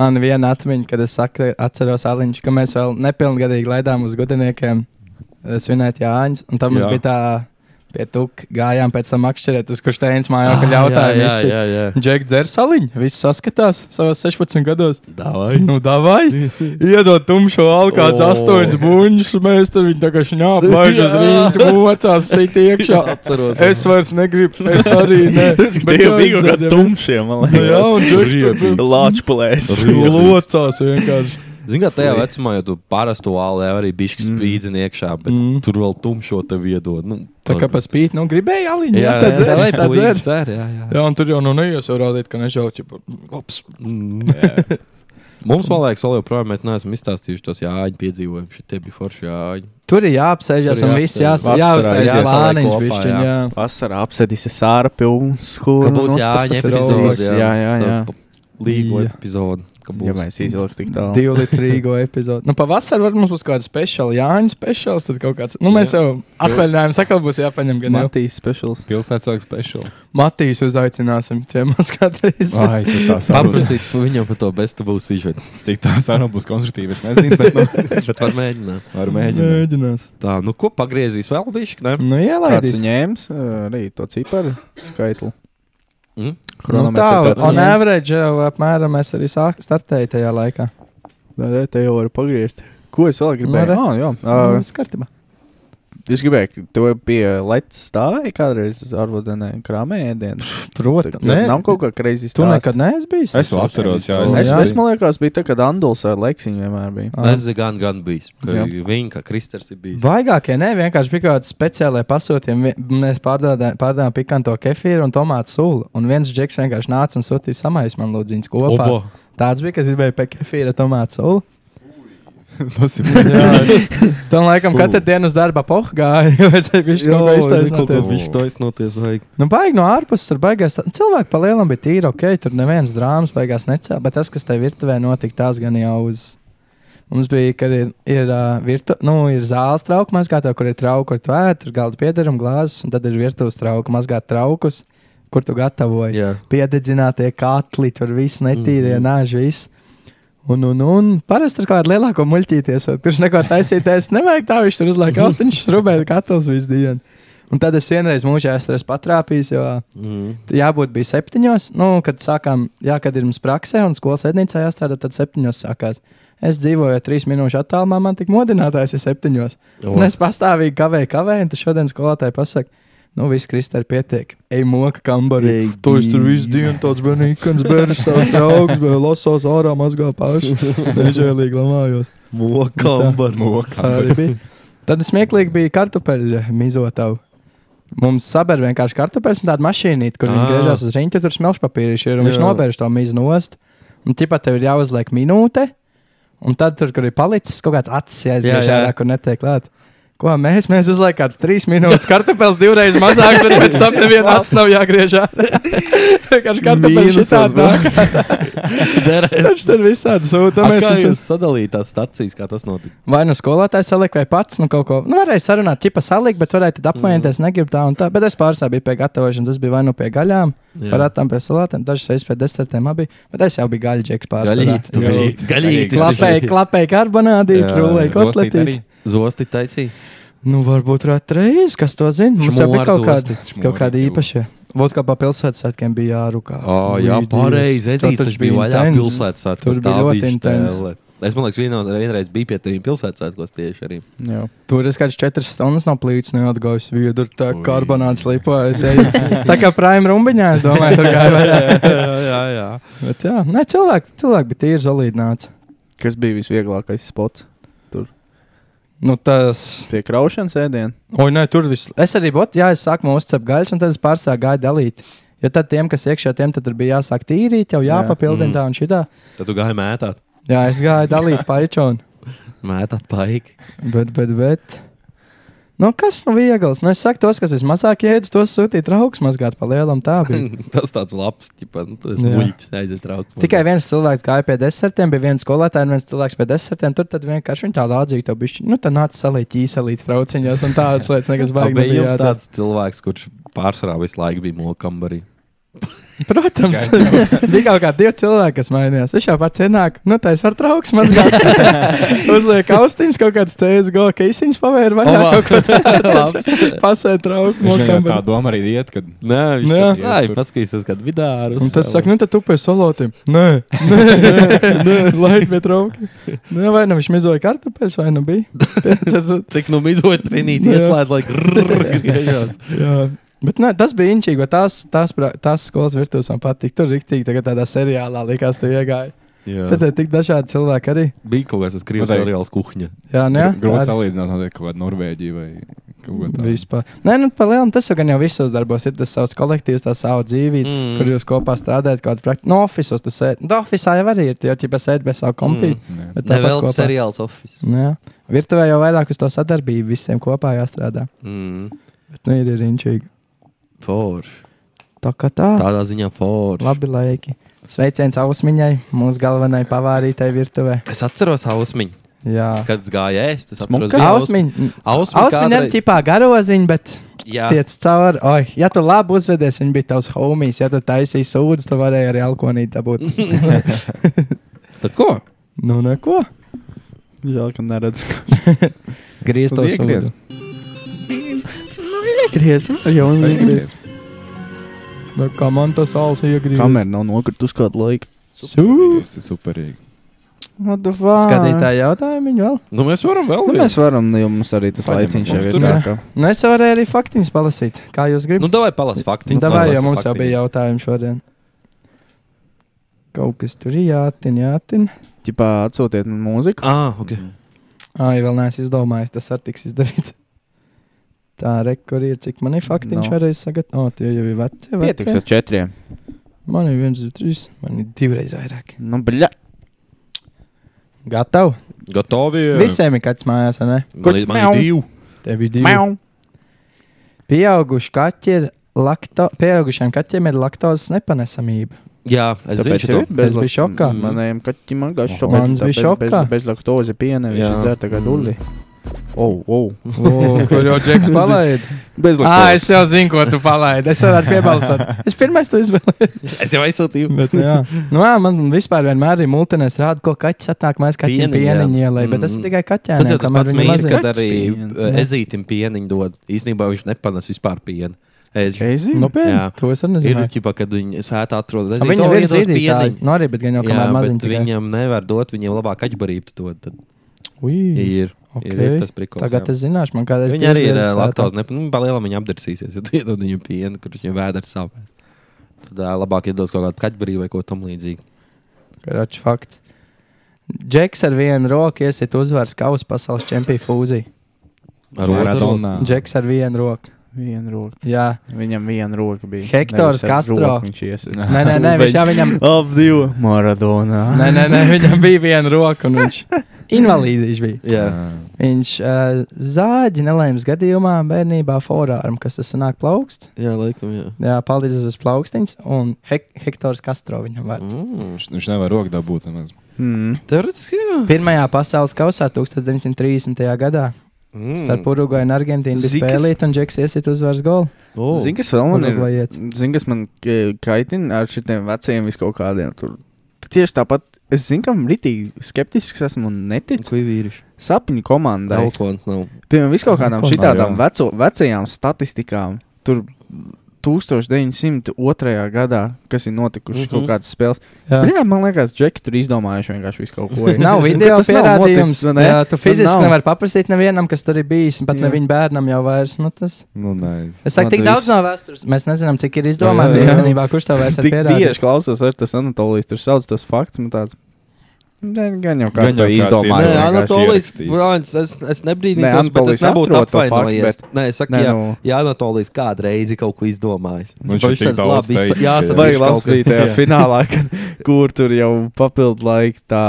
Speaker 1: Man viena atmiņa, kad es saka, atceros Aliņš, ka mēs vēl nepilngadīgi laidām uz gudiniekiem eh, svinēt Jāņus. Un tam mums
Speaker 4: Jā.
Speaker 1: bija tā, pie tuk gājām pēc tam akšķerēt, uz kurš tēns mājokļa
Speaker 2: Ah, Jā, jā,
Speaker 1: jautājumu.
Speaker 2: jā, jā.
Speaker 1: Džek dzers aliņu, viss saskatās savās 16 gados.
Speaker 2: Davai.
Speaker 1: Nu, davai! Iedod tumšo alu, kāds
Speaker 2: O.
Speaker 1: oh. astoņas buļbuļs, mēs tam viņa tagad šņāp, laiž uz
Speaker 2: Jā.
Speaker 1: rīta, mocās,
Speaker 2: (laughs)
Speaker 1: sit iekšā.
Speaker 2: Es atceros.
Speaker 1: Es vairs negribu, (laughs) es arī ne.
Speaker 9: Bet jau bija kaut kāda tumšie, man
Speaker 1: Nu jā,
Speaker 9: liekas.
Speaker 1: un Džeks
Speaker 2: Riebīgi.
Speaker 1: tur
Speaker 9: Lāču plēs.
Speaker 2: Riebīgi.
Speaker 1: locās vienkārši.
Speaker 2: Zini, kā tajā vecumā, ja tu parasto alu jau arī bišķi
Speaker 9: Mm.
Speaker 2: spīdzini iekšā, bet mm.
Speaker 1: Mm.
Speaker 2: tur vēl tumšo tev iedod. Nu,
Speaker 1: Tā kā paspīt, nu gribēja aliņu, jā,
Speaker 2: Jā,
Speaker 1: (laughs) tā
Speaker 2: jā,
Speaker 1: dzēr,
Speaker 2: jā,
Speaker 1: tā
Speaker 2: puikas
Speaker 1: dzēr.
Speaker 2: dzer, jā, jā.
Speaker 1: Jā, un tur jau nu neies jau rādīt, ka nežauķi. Ops.
Speaker 2: Mm. Mums, man liekas, vēl joprojām mēs neesam izstāstījuši tos jāņu piedzīvojumus. Šie tie bija forši jāņi.
Speaker 1: Tur ir jāapsēžas
Speaker 2: Tur
Speaker 1: un
Speaker 2: jāapsēžas.
Speaker 1: viss jās,
Speaker 9: Vasarā
Speaker 1: jāuztais
Speaker 9: jāsaliek
Speaker 1: plāniņš,
Speaker 2: kopā,
Speaker 1: bišķiņ,
Speaker 2: jā.
Speaker 1: jā.
Speaker 9: Vasarā apsēdīs sārpi un skolu.
Speaker 2: Ka būs jāņa epizode.
Speaker 9: Jā, jā, jā.
Speaker 2: Līgo
Speaker 1: Jā.
Speaker 2: epizode. ka
Speaker 9: Ja
Speaker 2: būs.
Speaker 9: mēs izvilks tik tālu.
Speaker 1: Divu litrīgo epizodu. Nu, pavasarī varbūt mums būs kāda speciāla Jāņa speciāls. Tad kaut kāds. Nu, mēs
Speaker 2: Jā.
Speaker 1: jau atvaļinājām, sakā būs jāpaņem gan jau.
Speaker 9: Matīs specials.
Speaker 4: Pilsētas cilvēks special.
Speaker 1: Matīs uzaicināsim ciemos kādreiz.
Speaker 4: Ai, tu tā saruna.
Speaker 2: Paprasīt viņam par to bestu būs izvērsta.
Speaker 4: Cik tā saruna būs konstruktīva, es nezinu, bet nu,
Speaker 2: Bet var mēģināt.
Speaker 4: varu mēģināt.
Speaker 1: Mēģinās.
Speaker 2: Tā, nu ko pagriezīs vēl bišķi? Ne?
Speaker 1: Nu,
Speaker 9: Kāds
Speaker 1: ielaidīs.
Speaker 9: ņēmis ā, arī to ciparu skaitli?
Speaker 2: Mm?
Speaker 1: Nu,
Speaker 9: Chronometru
Speaker 1: tā,
Speaker 9: kāds
Speaker 1: un
Speaker 9: ņēmis?
Speaker 1: average jau apmēram es arī sāku startēju tajā laikā.
Speaker 9: Nē, nē, te jau var pagriezt. Ko es
Speaker 1: Nu,
Speaker 9: vēl
Speaker 1: re.
Speaker 9: gribēju? Ah, jā,
Speaker 1: Nu,
Speaker 9: uh,
Speaker 1: viss kārtībā.
Speaker 9: es gribēju, to bija Latvijas stāvēja kādreiz uz Arvodenē krāmēdienu.
Speaker 1: Protams.
Speaker 9: Nē, nav kaut kā kreizis.
Speaker 1: Tu nekad neesi bijis.
Speaker 4: Es vēl atceros, jā.
Speaker 9: Es,
Speaker 1: Jā.
Speaker 9: es man liekas, bija tā, kad Anduls ar Leksiju vienmēr bija.
Speaker 1: Ā.
Speaker 2: Es gan, gan bijis. ka
Speaker 9: Jā.
Speaker 2: Viņa, kā Kristers, ir bijis.
Speaker 1: Vaigākie ne, vienkārši bija kaut kādi speciālie pasūtījumi. Vi- Mēs pārdodā- pārdevām pikanto kefīru un tomātu sulu. Un viens džeks vienkārši nāca un
Speaker 2: (laughs)
Speaker 1: sūtīja samaisu man lūdziņas kopā.
Speaker 2: Opa.
Speaker 1: Tāds bija, kas gribēja pēc kefīra tomātu sulu.
Speaker 4: Tas
Speaker 1: (laughs)
Speaker 4: ir
Speaker 1: Tam laikam katru dienu uz darba pohgāja. Viņš to iztaisnoties.
Speaker 2: Viņš to iznoties vajag.
Speaker 1: Nu, baigi no ārpuses tur baigās. tā- Cilvēki pa lielam bija tīri ok, tur neviens drāmas beigās necēla. Bet tas, kas tajā virtuvē notika, tās gan jau uz. Mums bija, kad ir, ir, uh, virtu, nu, ir zāles trauka mazgātā, kur ir trauki, kur tvērt, tur galda piederuma glāzes, un tad ir virtuves trauka mazgāt traukus, kur tu gatavoji.
Speaker 2: Jā.
Speaker 1: Piededzinātie katli, tur viss netīrie, mm -hmm. nāž viss. Un, un, un parasti tur kāda lielāka muļķīties, kurš neko taisīties. Nevajag tā, viņš tur uzliek austiņš, rubēt katls visu dienu. Un tad es vienreiz mūžā esmu patrāpījis, jo
Speaker 2: Mm.
Speaker 1: jābūt bija septiņos. Nu, kad sākām, jā, kad ir mums praksē un skolas ednīcā jāstrādā, tad septiņos sākās. Es dzīvoju trīs minūšu attālumā, man tik modinātājs ir septiņos.
Speaker 2: O. (laughs)
Speaker 1: Un es pastāvīgi kavēju, kavēju, un tad šodien skolotāji pasaka, nu viss kristēri pietiek. Ej, moka, kambarī. To es tur visu dienu tāds bērnīkans, bērns, savs draugs, bet lasos ārā mazgā (laughs) paši. Nežēlīgi lamājos.
Speaker 2: Mokambar.
Speaker 1: Tā arī bija. Tad smieklīgi bija kartupeļu mizotava. Mums saber vienkārši kartupeļs un tāda mašīnīte, kur viņi
Speaker 2: Ā.
Speaker 1: griežas uz rīņķa, tur smelš papīrīši ir un viņš
Speaker 2: Jā.
Speaker 1: nobērš to mizu nost. Un tipā tev ir jāuzliek minūte, un tad tur, kur ir palicis kaut kāds acis,
Speaker 2: Jā,
Speaker 1: jāizgriež
Speaker 2: jā.
Speaker 1: ārā, kur netiek klāt. Ko mēs, mēs uzliekam kāds trīs minūtes kartupeļs divreiz mazāk, bet (laughs) pēc tam neviena acis nav jāgriež ārā. (laughs) Vienkārši kartupeļs ir
Speaker 9: Mīnusos, bro.
Speaker 1: tāds. (laughs) Taču tur visādi sūta.
Speaker 2: Mēs
Speaker 1: mēs
Speaker 2: kā
Speaker 1: viņus-
Speaker 2: jūs sadalījāt stācijas, kā tas notika?
Speaker 1: Vai nu skolotājs salika, vai pats nu, kaut ko. Nu, varēja sarunāt, tipa salikt, bet varēja tad apmainīties. Mm. Negribu tā un tā. Bet es pārsvarā biju pie gatavošanas. Es biju vai nu pie gaļām, par atām pie salātiem, dažas reizes pie desertiem abi. Bet es jau biju gaļģeks pārsvarā.
Speaker 2: Gaļītis, tu biji. Gaļītis.
Speaker 1: Klapēji, klapēji karbonādī,
Speaker 2: Jā,
Speaker 1: krūlēji, kotletī.
Speaker 2: Zosti taisīja.
Speaker 1: Nu, varbūt rēt reiz, kas to zina. Mums jau bija
Speaker 2: Šmors
Speaker 1: kaut kādi,
Speaker 4: osti.
Speaker 1: kaut kādi
Speaker 4: Šmori,
Speaker 1: īpašie. Vot kā pa pilsētas svētkiem bija jārukā.
Speaker 2: Oh, jā,
Speaker 1: Ui,
Speaker 2: pareizi.
Speaker 1: Dievs.
Speaker 2: Es
Speaker 1: Tā taču
Speaker 2: īstenībā biju vaļā
Speaker 1: intens.
Speaker 2: pilsētas
Speaker 1: Tur
Speaker 2: svētkos.
Speaker 1: bija
Speaker 2: tā
Speaker 1: ļoti
Speaker 2: bija
Speaker 1: intens.
Speaker 2: štēle. Es man liekas, vienreiz, vienreiz biju pie tiem pilsētas svētkos tieši arī.
Speaker 9: Jā.
Speaker 1: Tur es kāds 4 stundas no plīts neatgājis viedur, tā
Speaker 4: Ui.
Speaker 1: karbonāts lipojas. (laughs) Tā kā prime rumbiņā, es domāju, tur gāja vairāk.
Speaker 2: jā, jā.
Speaker 1: Bet jā, ne, cilvēki, cilvēki bija tīri zalīdināti.
Speaker 9: Kas bija visvieglākais spots?
Speaker 1: Nu tas,
Speaker 9: Pie kraušanas ēdienas.
Speaker 1: oi, nē, tur viss. Es arī, bot, jā, es sākumā uzcep gaļas, un tad es pārsāk gāju dalīt. Jo tad tiem, kas iekšā, tiem tad tur bija jāsāk tīrīt, jau
Speaker 9: Jā.
Speaker 1: jāpapildina
Speaker 2: Mm.
Speaker 1: tā un šitā.
Speaker 2: Tad tu gāji mētāt.
Speaker 1: Jā, es gāju dalīt paičonu.
Speaker 2: Mētāt
Speaker 1: (laughs)
Speaker 2: paiki.
Speaker 1: Bet, bet, bet. Nu, kas nu viegls? Nu, es saku, tos, kas vismazāk jēdz, tos sūtīt rauks mazgāt pa lielam tā bija.
Speaker 2: Tas tāds labs, ķipa, nu, tas
Speaker 1: Jā.
Speaker 2: muļķis aiziet raukt.
Speaker 1: Tikai viens cilvēks gāja pie desertiem, bija viens skolotājs, viens cilvēks pie desertiem. Tur tad vienkārši viņa tā lādzīga, tā bišķi, nu, tā nāca salīt īsalīt trauciņos un tādas lietas, nekas
Speaker 2: Vai
Speaker 1: baigi
Speaker 2: bija
Speaker 1: nebija
Speaker 2: jums
Speaker 1: nu jādara.
Speaker 2: tāds cilvēks, kurš pārsvarā visu laiku bija mokambarī?
Speaker 1: Protams, (laughs) bija kaut kādi divi cilvēki, kas mainījās. Viņš jau pats ienāk, nu, tā es varu trauks mazgāt.
Speaker 2: (laughs)
Speaker 1: Uzliek austiņas, kaut kāds CSGO keisiņš pavēra vaļā,
Speaker 2: Oba.
Speaker 1: kaut ko
Speaker 2: (laughs)
Speaker 1: tādu. Pasē trauku,
Speaker 4: Viņam tā
Speaker 1: mokam.
Speaker 4: doma arī iet, kad
Speaker 2: Nē, viņš
Speaker 1: Nē.
Speaker 2: tāds,
Speaker 4: Jā,
Speaker 2: "Ai,
Speaker 4: tur-
Speaker 2: paskatīsies, kad vidārus.
Speaker 1: Un tas saka, nu, tad tu pie salotiem. Nē,
Speaker 2: (laughs)
Speaker 1: nē, nē, laik pie trauki. Nē, vai nu viņš mizoja kartupeļus, vai nu bija.
Speaker 2: cik nu mizot trinīt
Speaker 1: Jā.
Speaker 2: ieslēd, lai grrrr griežās.
Speaker 1: Jā. Bet nē, tas bija inčīgi, jo tās, tās, pra- tās skolas virtuves man patīk. Tur rīktīgi, tagad tādā seriālā likās, tu iegāji.
Speaker 2: Jā.
Speaker 1: Tad ir tik dažādi cilvēki arī.
Speaker 2: bija kaut kas, kas krievis
Speaker 4: Vai-
Speaker 2: seriāls kuhņa.
Speaker 1: Jā, nē,
Speaker 4: grūti
Speaker 1: tā ir-
Speaker 4: salīdzināt ar kaut kādu Norvēģiju vai kaut ko tādu.
Speaker 1: Vispār. Nē, nu, pa lielam tas jau gan jau visos darbos ir tas savs kolektīvs, tā sava dzīvība, mm.
Speaker 2: Mm.
Speaker 1: kur jūs kopā strādājat. Kādu praktiski, no oficiālā tas ir. No oficiālā Nu, jau arī ir, tie jau ķipa sēdi bez savu kompītu.
Speaker 2: Mm.
Speaker 4: Nē.
Speaker 1: Bet tāpat
Speaker 2: Nevēl
Speaker 1: kopā. Nu,
Speaker 2: seriāls office.
Speaker 1: Jā, virtuvē jau vairāk uz to sadarbību visiem kopā jāstrādā.
Speaker 2: Mm.
Speaker 1: Bet nu ir, ir inčīgi.
Speaker 2: Forši.
Speaker 1: Tā kā tā.
Speaker 2: Tādā ziņā forši.
Speaker 1: Labi laiki. Sveiciens Ausmiņai, mūsu galvenajai pavārītai virtuvē.
Speaker 2: Es atceros ausmiņu,
Speaker 1: Jā,
Speaker 2: kad es gāju ēst. Es atceros,
Speaker 9: Smuka?
Speaker 2: bija
Speaker 1: Ausmiņa.
Speaker 2: Ausmiņa
Speaker 1: Ausmiņa ir
Speaker 2: kādreiz-
Speaker 1: tipā garoziņa, bet
Speaker 2: Jā,
Speaker 1: tiec cauri. Oi, ja tu labi uzvedies, viņa bija tavs homijs. Ja tu taisīji sūdzu, tu varēji arī alkonīt dabūt.
Speaker 2: tad ko?
Speaker 1: nu, neko.
Speaker 9: Žēl, ka neredz.
Speaker 1: Griezt to
Speaker 4: Iegriez.
Speaker 1: sūdzu. Griezt.
Speaker 9: Jā, un
Speaker 4: Iegriez.
Speaker 1: Bet kā Nu, man tas alus iegriezt?
Speaker 9: Kamera nav nokritusi kādu laiku.
Speaker 1: Sūdzu.
Speaker 4: Tas ir superīgi.
Speaker 9: What the fuck?
Speaker 1: Skatītāji jautājumu viņa vēl.
Speaker 2: Nu, mēs varam vēl.
Speaker 9: Nu,
Speaker 2: vienu.
Speaker 9: mēs varam, jo mums arī tas
Speaker 4: Paņem,
Speaker 9: laiciņš jau
Speaker 4: mums
Speaker 9: ir
Speaker 1: tur
Speaker 9: tā,
Speaker 1: ir.
Speaker 9: ka
Speaker 1: Nu, es varēju arī faktiņus palasīt, kā jūs gribat.
Speaker 2: Nu, davai palas
Speaker 1: Nu,
Speaker 2: faktiņu.
Speaker 1: Davai,
Speaker 2: palas
Speaker 1: jo mums jau
Speaker 2: faktiņu.
Speaker 1: bija jautājumi šodien. Kaut kas tur ir jātina, jātina.
Speaker 9: ķipā atsūtiet man mūziku.
Speaker 2: Ah, ok.
Speaker 1: Ai, vēl neesmu izdomājis, tas arī tiks izdarīts. Tā rekords ir, cik man ir faktiņš
Speaker 9: No.
Speaker 1: no. reiz sagatavot. Tie jau ir veci,
Speaker 9: Pietiks
Speaker 1: veci.
Speaker 9: ar četriem.
Speaker 1: Man ir viens, divi, trīs, man ir divreiz vairāk.
Speaker 9: Nu, bļa.
Speaker 1: Gatavi.
Speaker 2: Gatavi.
Speaker 1: Visiem ir kāds mājās, vai ne?
Speaker 2: Man, man ir divi.
Speaker 1: Tev ir divi. Pieauguši kaķi ir lakto, pieaugušiem kaķiem ir laktozes nepanesamība.
Speaker 2: Jā, es zinu,
Speaker 9: Tāpēc
Speaker 2: šo.
Speaker 9: ir bez
Speaker 1: Es biju šokā.
Speaker 9: Manējiem kaķim man gāja šokā.
Speaker 1: Mans bija šokā.
Speaker 9: Bez laktoze piena, viņš
Speaker 2: Jā.
Speaker 9: dzēr tagad uli. Oh, oh.
Speaker 1: O, Kur jau
Speaker 9: (laughs)
Speaker 1: džeks palaid?
Speaker 9: Bez
Speaker 1: Ā, Ah, es jau zinu, ko tu palaidi. Es varētu piebalsot. Es pirmais to izvēlējos.
Speaker 2: Es jau aizsūtīju.
Speaker 1: Bet, jā. Nu, jā, man vispār vienmēr ir multinēs rāda, ko kaķis atnāk mājās kaķiem
Speaker 2: Pieniņi, jā.
Speaker 1: pieniņi ielai, bet tas ir
Speaker 2: Mm.
Speaker 1: tikai kaķēniem.
Speaker 2: Tas jau tas
Speaker 1: kamēr
Speaker 2: pats
Speaker 1: viņi
Speaker 2: mīļš,
Speaker 1: mazi.
Speaker 2: kad
Speaker 9: Kaķis
Speaker 2: arī
Speaker 9: piens,
Speaker 2: eh,
Speaker 1: jā.
Speaker 2: ezītim pieniņu dod. Īsnībā viņš nepanes vispār pienu. Es
Speaker 9: Ezi?
Speaker 1: Nu, pieni,
Speaker 2: Jā.
Speaker 1: to es arī
Speaker 2: ir
Speaker 1: nezinu.
Speaker 2: ģipa, kad viņi sēta atrod.
Speaker 1: Ā, Viņam ir zīdītāji. Nu, arī, bet gan jau
Speaker 2: Jā,
Speaker 1: kamēr
Speaker 2: bet
Speaker 1: maziņi tikai.
Speaker 2: viņam nevar dot, viņam labāk aģbarību dod. Tad
Speaker 1: Ui,
Speaker 2: ir, okay. ir,
Speaker 1: okei.
Speaker 2: ir tas prikols.
Speaker 1: Tagad
Speaker 2: jā.
Speaker 1: es zināšu, man kādreiz
Speaker 2: Viņa arī ir
Speaker 1: piezviezis
Speaker 2: laktos. Nu, Palielam viņa apdirsīsies, (laughs) ja tu iedod viņam pienu, kurš viņam vēdā ir sāpēs. Tad ā, labāk iedod kaut kādu kaķbarību vai ko tam līdzīgu.
Speaker 1: Račs fakts. Džeks ar vienu roku iesiet uzvaras kausa pasaules čempionu fūziju.
Speaker 2: Ar otru.
Speaker 4: Maratona.
Speaker 1: Džeks ar vienu roku.
Speaker 9: Vienu roku.
Speaker 1: Jā,
Speaker 9: Viņam viena roka bija.
Speaker 1: Hektors
Speaker 9: Nevis ar
Speaker 1: Castro.
Speaker 9: roku Viņš iesa.
Speaker 1: nē, nē,
Speaker 2: (laughs)
Speaker 1: nē viņš jau viņam.
Speaker 9: Ap divu. Maradona.
Speaker 1: Nē, nē, nē, viņam bija viena roka, un
Speaker 2: (laughs)
Speaker 1: viņš invalīdi viņš bija.
Speaker 2: Jā.
Speaker 1: Viņš uh, zāģi nelaimes gadījumā bērnībā forārmu, kas tas nāk plaukst.
Speaker 2: jā, laikam, jā.
Speaker 1: Jā, paldies, tas ir plaukstiņš, un hek Hektors Kastro viņam vārds.
Speaker 2: Mm.
Speaker 4: Viņš, viņš nevar roku dabūt. nemaz.
Speaker 9: Mm.
Speaker 2: Teoretiski, jā.
Speaker 1: Pirmajā pasaules kausā 1930. gadā
Speaker 2: Mm.
Speaker 1: starp Uruguay un Argentīnu bija
Speaker 9: Zikas-
Speaker 1: spēlīta, un Džeks iesiet uzvaras golu.
Speaker 2: Oh.
Speaker 9: Zini, kas vēl man ir?
Speaker 1: Urugvajiets.
Speaker 9: Zini, kas man eh, kaitina ar šiem veciem vis kaut kādiem. Tur. Tieši tāpat, es zinu, kam rītīgi skeptisks esmu un neticu
Speaker 2: ko ir vīrišķi?
Speaker 9: sapņu komandai.
Speaker 2: Telefons nav.
Speaker 9: Piemēram, vis kaut kādām
Speaker 1: Ko?
Speaker 9: šitām
Speaker 4: Jā.
Speaker 9: veco, vecajām statistikām. Tur 1902. gadā, kas ir notikušas
Speaker 2: Mhm.
Speaker 9: mm -hmm. kaut kādas spēles.
Speaker 1: Jā.
Speaker 9: Jā, man liekas, Džeki tur izdomājuši vienkārši visu
Speaker 1: (laughs)
Speaker 9: kaut ko. (laughs)
Speaker 1: Nav video
Speaker 9: Tas nav
Speaker 1: pierādījums.
Speaker 9: noticis, vai ne?
Speaker 1: Jā, tu
Speaker 9: Tas
Speaker 1: fiziski
Speaker 9: nav.
Speaker 1: nevari paprasīt nevienam, kas tur ir bijis. un Pat
Speaker 9: Jā.
Speaker 1: ne viņa bērnam jau vairs. Nu, tas...
Speaker 4: Nu, nice.
Speaker 1: Es saku,
Speaker 9: Man
Speaker 1: tik
Speaker 9: tas
Speaker 1: daudz no vēstures. Mēs nezinām, cik ir izdomāts
Speaker 9: Jā, jā, jā.
Speaker 1: īstenībā, kurš to vairs ir
Speaker 9: Tik tieši
Speaker 1: pierādījis.
Speaker 9: klausos, ar tas Anatolijas tur sauc tas fakts. man Tāds, ne, gan jau kāds
Speaker 4: Gan
Speaker 9: to
Speaker 4: jau kāds
Speaker 9: izdomāja.
Speaker 4: ir.
Speaker 2: Nē,
Speaker 4: Nē,
Speaker 2: Anatolijas
Speaker 4: vienkārši
Speaker 2: brālis, es, es
Speaker 9: Nē,
Speaker 2: nebrīnītos, bet
Speaker 9: Anatolijas
Speaker 2: es nebūtu
Speaker 9: atrod to
Speaker 2: apvainojies.
Speaker 9: faktu,
Speaker 2: Nē, es saku,
Speaker 9: Nē,
Speaker 2: jā,
Speaker 9: nu.
Speaker 2: jā, Anatolijas kādreiz ir kaut ko izdomājis.
Speaker 4: Nu, viņš
Speaker 2: Vai
Speaker 4: ir tik
Speaker 2: tāds
Speaker 4: daudz
Speaker 2: labi
Speaker 4: teicis,
Speaker 2: izsa- jāsadīšu
Speaker 9: Vai
Speaker 4: Viņš
Speaker 9: labs
Speaker 2: kaut kas.
Speaker 9: bija
Speaker 2: (laughs)
Speaker 9: tajā
Speaker 2: Jā.
Speaker 9: finālā, kad, kur tur jau papildu laiku tā.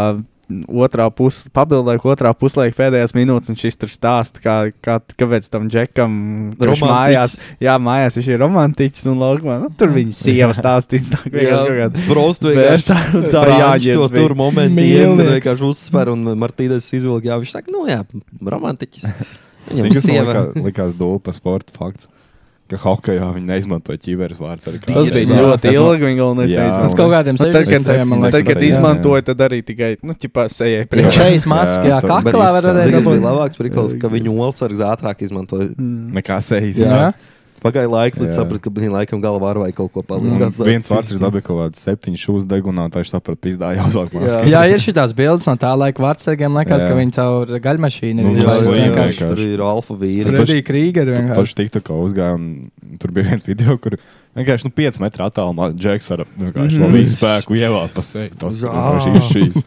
Speaker 9: Otrā puslā, papildinājumā, otrā puslaika pēdējās minūtes, un šis tur stāsta, kā, kā, kāpēc tam džekam kurš
Speaker 2: Romantiķis.
Speaker 9: mājās, jā, mājās viņš ir romantiķis un laukumā. Nu, tur
Speaker 2: (laughs)
Speaker 9: viņa sieva stāstīs, tā kā
Speaker 2: Jā,
Speaker 9: jau kāda
Speaker 2: Brostu vienkārši
Speaker 9: vērtā, tā
Speaker 2: Frančs to
Speaker 9: jāģērba.
Speaker 2: tur momentī
Speaker 1: Mīlnieks.
Speaker 2: iemeta, vienkārši uzsver un Martīdas izvilk, jā, viņš saka, nu jā, romantiķis.
Speaker 4: Zini,
Speaker 2: Viņam
Speaker 4: kas man
Speaker 2: sieva.
Speaker 4: likā- likās dūpa sporta fakts. Ka hokejā viņi neizmantoja ķīveres vārdus arī kā.
Speaker 9: Tas
Speaker 2: Tīrs,
Speaker 9: bija
Speaker 2: jā.
Speaker 9: ļoti
Speaker 4: Es man-
Speaker 9: ilgi, un galvenais
Speaker 4: Jā,
Speaker 9: neizmantoja.
Speaker 1: Tas kaut kādiem
Speaker 9: Nu, Tad, kad,
Speaker 1: 60. man
Speaker 4: septiņdesmit.
Speaker 9: tad,
Speaker 1: liekas.
Speaker 9: kad
Speaker 4: jā.
Speaker 9: izmantoja, tad arī tikai, nu, ķipā sejai priekšā.
Speaker 4: Jā.
Speaker 1: Šejas maskā, jā,
Speaker 4: Jā, tur
Speaker 1: kaklā
Speaker 4: bija
Speaker 1: var
Speaker 2: Tas
Speaker 4: izsākt.
Speaker 1: redzēt.
Speaker 2: bija
Speaker 1: dabūt.
Speaker 2: labāks prikols, ka
Speaker 9: Jā,
Speaker 2: viņu olsargs ātrāk izmantoja.
Speaker 9: Mm.
Speaker 4: Nekā sejas.
Speaker 1: Jā.
Speaker 2: Pagāja laiks, līdz
Speaker 4: Jā.
Speaker 2: sapratu, ka, blīn, laikam galvā ar vai kaut ko
Speaker 4: Un
Speaker 2: palīdz.
Speaker 4: Viens vārds ir dabūjis kaut kādu septiņu šūnu degunā, tā viņš saprata, pizdā jau uzvelk masku.
Speaker 1: Jā, ir šīs bildes no tā laika vārdsargiem. Liekas,
Speaker 4: Jā.
Speaker 1: ka viņi caur gaļmašīnu
Speaker 4: Nu,
Speaker 1: ir
Speaker 4: jā,
Speaker 1: izlaisti
Speaker 4: jā,
Speaker 1: vienkārši.
Speaker 4: vienkārši.
Speaker 2: Tur ir alfa vīri.
Speaker 4: Tas
Speaker 1: Freddy Krīger vienkārši.
Speaker 4: Paši tiktu, ka uzgāja un tur bija viens video, kur vienkārši nu, 5 metru attālumā Džeks ar vienkārši mm. visu spēku ievāpa pa seju. Tas
Speaker 2: Jā.
Speaker 4: vienkārši ir šīs.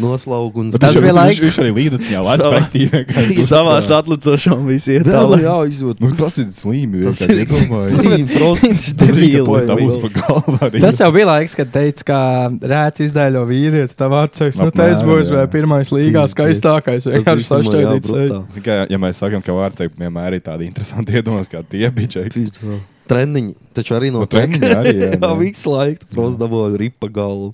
Speaker 2: Noslauguns.
Speaker 1: Tas
Speaker 4: Viņš-
Speaker 1: bija
Speaker 4: viņš-
Speaker 1: laiks.
Speaker 4: Viņš arī līdzi jau
Speaker 9: Savā-
Speaker 4: atpakaļ.
Speaker 9: Savāds atlicošām visiem.
Speaker 2: Vēl jā, izjūt.
Speaker 4: Nu, tas ir slīmi.
Speaker 2: Tas
Speaker 4: vienkārši,
Speaker 2: ir
Speaker 4: es domāju.
Speaker 2: grūti.
Speaker 4: Tas ir
Speaker 9: debili,
Speaker 4: tikai dabūs pa galvu arī.
Speaker 1: Tas jau bija laiks, kad teica, ka rēts izdaļo vīrieti. Tā vārds saka, nu, tas
Speaker 4: Apmēram,
Speaker 1: būs
Speaker 4: jā.
Speaker 1: vai pirmais līgā skaistākais. Vienkārši
Speaker 2: nu,
Speaker 1: sašķēdīts.
Speaker 4: Tikai, ja mēs sakām, ka vārdsēji vienmēr ir tādi interesanti iedomās, kā tie bija Džeki.
Speaker 2: Treniņi taču arī no
Speaker 4: Nu, treniņi arī,
Speaker 2: (laughs)
Speaker 4: jā,
Speaker 2: Jā,
Speaker 4: jā.
Speaker 2: visu laiku prasa dabūja ripa galvu.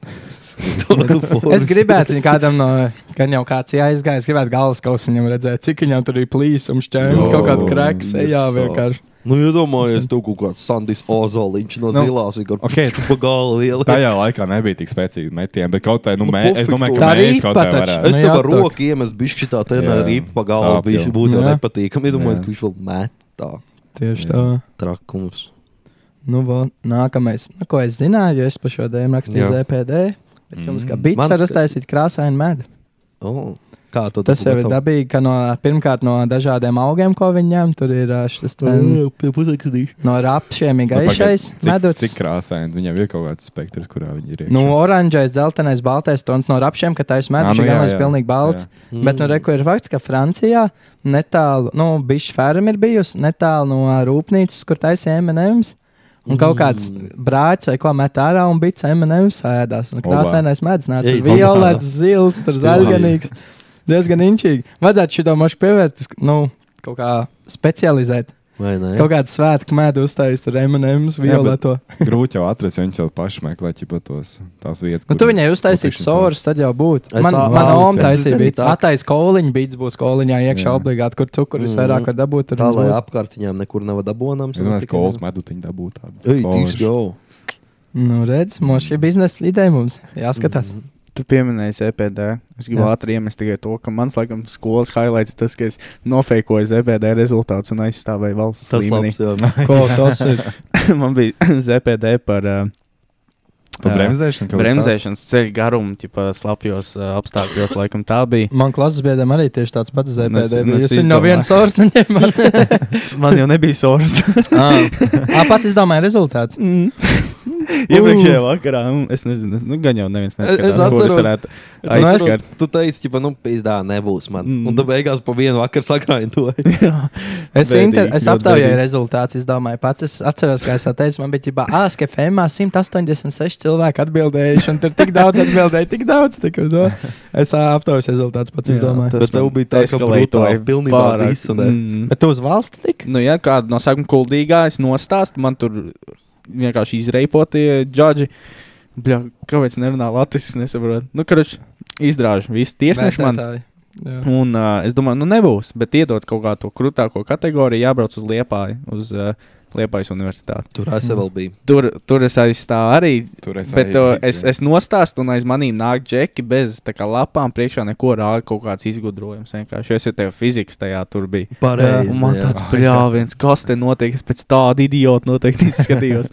Speaker 2: To forši.
Speaker 1: Es gribētu viņu kādam no, kad jau kāds jāizgāja, es gribētu galvas kausu viņam redzēt, cik viņam tur ir plīsums, šķērslis,
Speaker 2: Jo,
Speaker 1: kaut kāda krāks,
Speaker 2: ir
Speaker 1: ejā
Speaker 2: sāp.
Speaker 1: vienkārši.
Speaker 2: Nu, iedomājies, tu kaut kāds Sandis Ozoliņš no
Speaker 4: Nu,
Speaker 2: zilās, viņa kaut
Speaker 4: ok.
Speaker 2: kā pa galvu
Speaker 9: (laughs)
Speaker 2: ielika.
Speaker 4: Tajā laikā nebija tik spēcīgi metieni, bet kaut kā, nu,
Speaker 2: Nu,
Speaker 4: mē, es
Speaker 2: pufik
Speaker 4: domāju,
Speaker 2: to.
Speaker 4: ka
Speaker 1: Tā
Speaker 4: mēs
Speaker 1: ripa
Speaker 4: kaut kā
Speaker 1: taču.
Speaker 4: varētu.
Speaker 2: Es
Speaker 1: Nu,
Speaker 2: tev
Speaker 1: jā,
Speaker 2: ar
Speaker 1: tā-
Speaker 2: roku iemetu bišķi tā tenā
Speaker 4: Jā.
Speaker 2: ripa pa galvu,
Speaker 4: Sāp
Speaker 2: bija
Speaker 4: jau.
Speaker 2: būtu jau
Speaker 1: Jā.
Speaker 2: nepatīkami. Iedomājies,
Speaker 4: Jā.
Speaker 2: ka viņš vēl met tā
Speaker 1: Tieši
Speaker 4: Jā.
Speaker 1: tā.
Speaker 2: trakums.
Speaker 1: Nu, vēl nākamais, nu, ko es zināju, jo es par šo dēmu rakstīju
Speaker 2: Jā.
Speaker 1: ZPD, bet jums kā
Speaker 4: Mm.
Speaker 1: bits
Speaker 2: Mans
Speaker 1: var
Speaker 2: ka-
Speaker 1: uztaisīt krāsainu medu.
Speaker 2: O, Kā to
Speaker 1: Tas jau ir dabīgi, ka no, pirmkārt no dažādiem augiem, ko viņi ņem, tur ir ā, šis te,
Speaker 2: Pusakstīs.
Speaker 1: no rapšiem ir gaišais meduts.
Speaker 4: Nu, Cik krāsaini viņam ir kaut kāds spektrs, kurā viņi ir.
Speaker 1: Nu, oranžais, dzeltenais, baltais tons no rapšiem, ka taisa
Speaker 4: Ā,
Speaker 1: meduša,
Speaker 4: nu jā,
Speaker 1: gan es
Speaker 4: jā.
Speaker 1: pilnīgi balts.
Speaker 2: Mm.
Speaker 1: Mm. Bet, nu, reku ir fakts, ka Francijā netālu, nu, bišķi ferma ir bijusi netālu no ā, rūpnīcas, kur taisa M&M's. Un kaut kāds
Speaker 4: Mm.
Speaker 1: brāļs vai ko met ārā un bija cemenēvis sēdās. Un krāsainais medus nāca.
Speaker 2: Ei,
Speaker 1: Tur violets, zils, tur zaļganīgs. Diezgan inčīgi. Vajadzētu šo mašu pievērt, uz- nu, kaut kā specializēt.
Speaker 2: Vai ne?
Speaker 1: Kaut kādu svētku medu uztaisīt ar emuļus,
Speaker 4: Jā, bet-
Speaker 1: violeto.
Speaker 4: Grūti jau atrast, ja viņš jau pašai meklē ķipa tos, tās vietas.
Speaker 1: Nu,
Speaker 4: kur
Speaker 1: tu viņai
Speaker 4: viņš- kur
Speaker 1: uztaisītu
Speaker 4: viņš
Speaker 1: sorus, tad jau būtu.
Speaker 2: Es
Speaker 1: Man,
Speaker 2: tā-
Speaker 1: man
Speaker 2: tā-
Speaker 1: oma
Speaker 2: es-
Speaker 1: taisīja bīts.
Speaker 2: tā-
Speaker 1: Atais koliņa bīts būs koliņā iekšā
Speaker 4: Jā.
Speaker 1: obligāti, kur cukuru
Speaker 2: Mhm.
Speaker 1: visvairāk var dabūt.
Speaker 2: Tā lai
Speaker 1: ir.
Speaker 2: apkārt viņām nekur nav dabūnams.
Speaker 4: Es domāju, ka kolas medūtiņa dabūtā.
Speaker 2: Ei, tiks go.
Speaker 1: Nu, redz, mums šī biznesa ideja mums jāskatās.
Speaker 2: Mhm.
Speaker 9: Tu pieminēji CPD. Es gribu
Speaker 1: Jā.
Speaker 9: ātri iemest tikai to, ka mans, laikam, skolas highlights ir tas, ka es nofeikoju ZPD rezultātus un aizstāvēju valsts
Speaker 2: Tas labs,
Speaker 9: līmenī.
Speaker 2: jā.
Speaker 1: Ko tas ir?
Speaker 9: (laughs) Man bija (clears throat) ZPD par uh,
Speaker 4: Par bremzēšanu. kaut kas
Speaker 9: bremzēšanas ceļu garumu, tipā slapjos uh, apstākļos, laikam tā
Speaker 2: (laughs)
Speaker 9: bija.
Speaker 1: Man klases biedram arī tieši tāds pats
Speaker 9: Mēs-
Speaker 1: ZPD.
Speaker 9: mēs
Speaker 1: Viņš no
Speaker 9: izdomājam.
Speaker 1: vienas oras
Speaker 9: (laughs)
Speaker 1: neņēma.
Speaker 9: Man jau nebija sorus.
Speaker 1: Ā, pats izdomāja rezultātu.
Speaker 2: Mm.
Speaker 9: (laughs) Iepriekšējā vakarā, nu, es nezinu, nu, gan jau neviens
Speaker 2: Uh. Es
Speaker 9: neskatās, kur es
Speaker 2: atceros.
Speaker 9: varētu
Speaker 2: Tu nes-
Speaker 9: aizskart.
Speaker 2: Tu teici, ka, nu, pizdā, nebūs man.
Speaker 9: Mm.
Speaker 2: Un tu beigās pa vienu vakaru sakrāji to.
Speaker 1: (laughs) Es,
Speaker 9: Bēdīgi,
Speaker 1: inter... es
Speaker 9: ļoti
Speaker 1: aptaujāju
Speaker 9: bēdīgi.
Speaker 1: rezultātus, izdomāju pats. Es atceros, kā es jau teicu, man bija ģībā, ah, ka FMā 186 cilvēki atbildējuši, un tur tik daudz atbildēja, tik daudz. Tik, no. Es ā, aptaujas rezultātus pats
Speaker 9: Jā,
Speaker 1: izdomāju.
Speaker 9: tas
Speaker 2: Bet tev
Speaker 9: man
Speaker 2: bija tā, ka
Speaker 9: eskalēja to
Speaker 2: brutāli, pilnībā visu, ne?
Speaker 9: Mm.
Speaker 1: Bet tu uz valsts tik?
Speaker 9: Nu, ja kāda no sākuma kuldīgais nostāst, man tur vienkārši izreipotie džudži. Bļa, kāpēc nerunā latviešu? Es nesaprotu. Nu, karš izdrāž visu tiesnešu man.
Speaker 1: Vērtētāji. Jā.
Speaker 9: Un uh, es domāju, nu nebūs, bet iedot kaut kā to krūtāko kategoriju, jābrauc uz Liepāju, uz uh, Liepājas universitāti.
Speaker 2: Tur es vēl biju.
Speaker 9: Tur, tur es aizstāvu arī,
Speaker 4: Tur es
Speaker 9: bet
Speaker 4: arī
Speaker 9: uh,
Speaker 4: biju,
Speaker 9: es,
Speaker 4: jā.
Speaker 9: es nostāstu un aiz manīm nāk džeki bez tā kā lapām, priekšā neko rāda kaut kāds izgudrojums. Vienkārši es jau tev fizikas tajā tur biju.
Speaker 2: Pareizi.
Speaker 9: Un man
Speaker 2: jā.
Speaker 9: tāds pļāviens, kas te notiek, es pēc tāda idiota noteikti
Speaker 1: (laughs)
Speaker 9: izskatījos.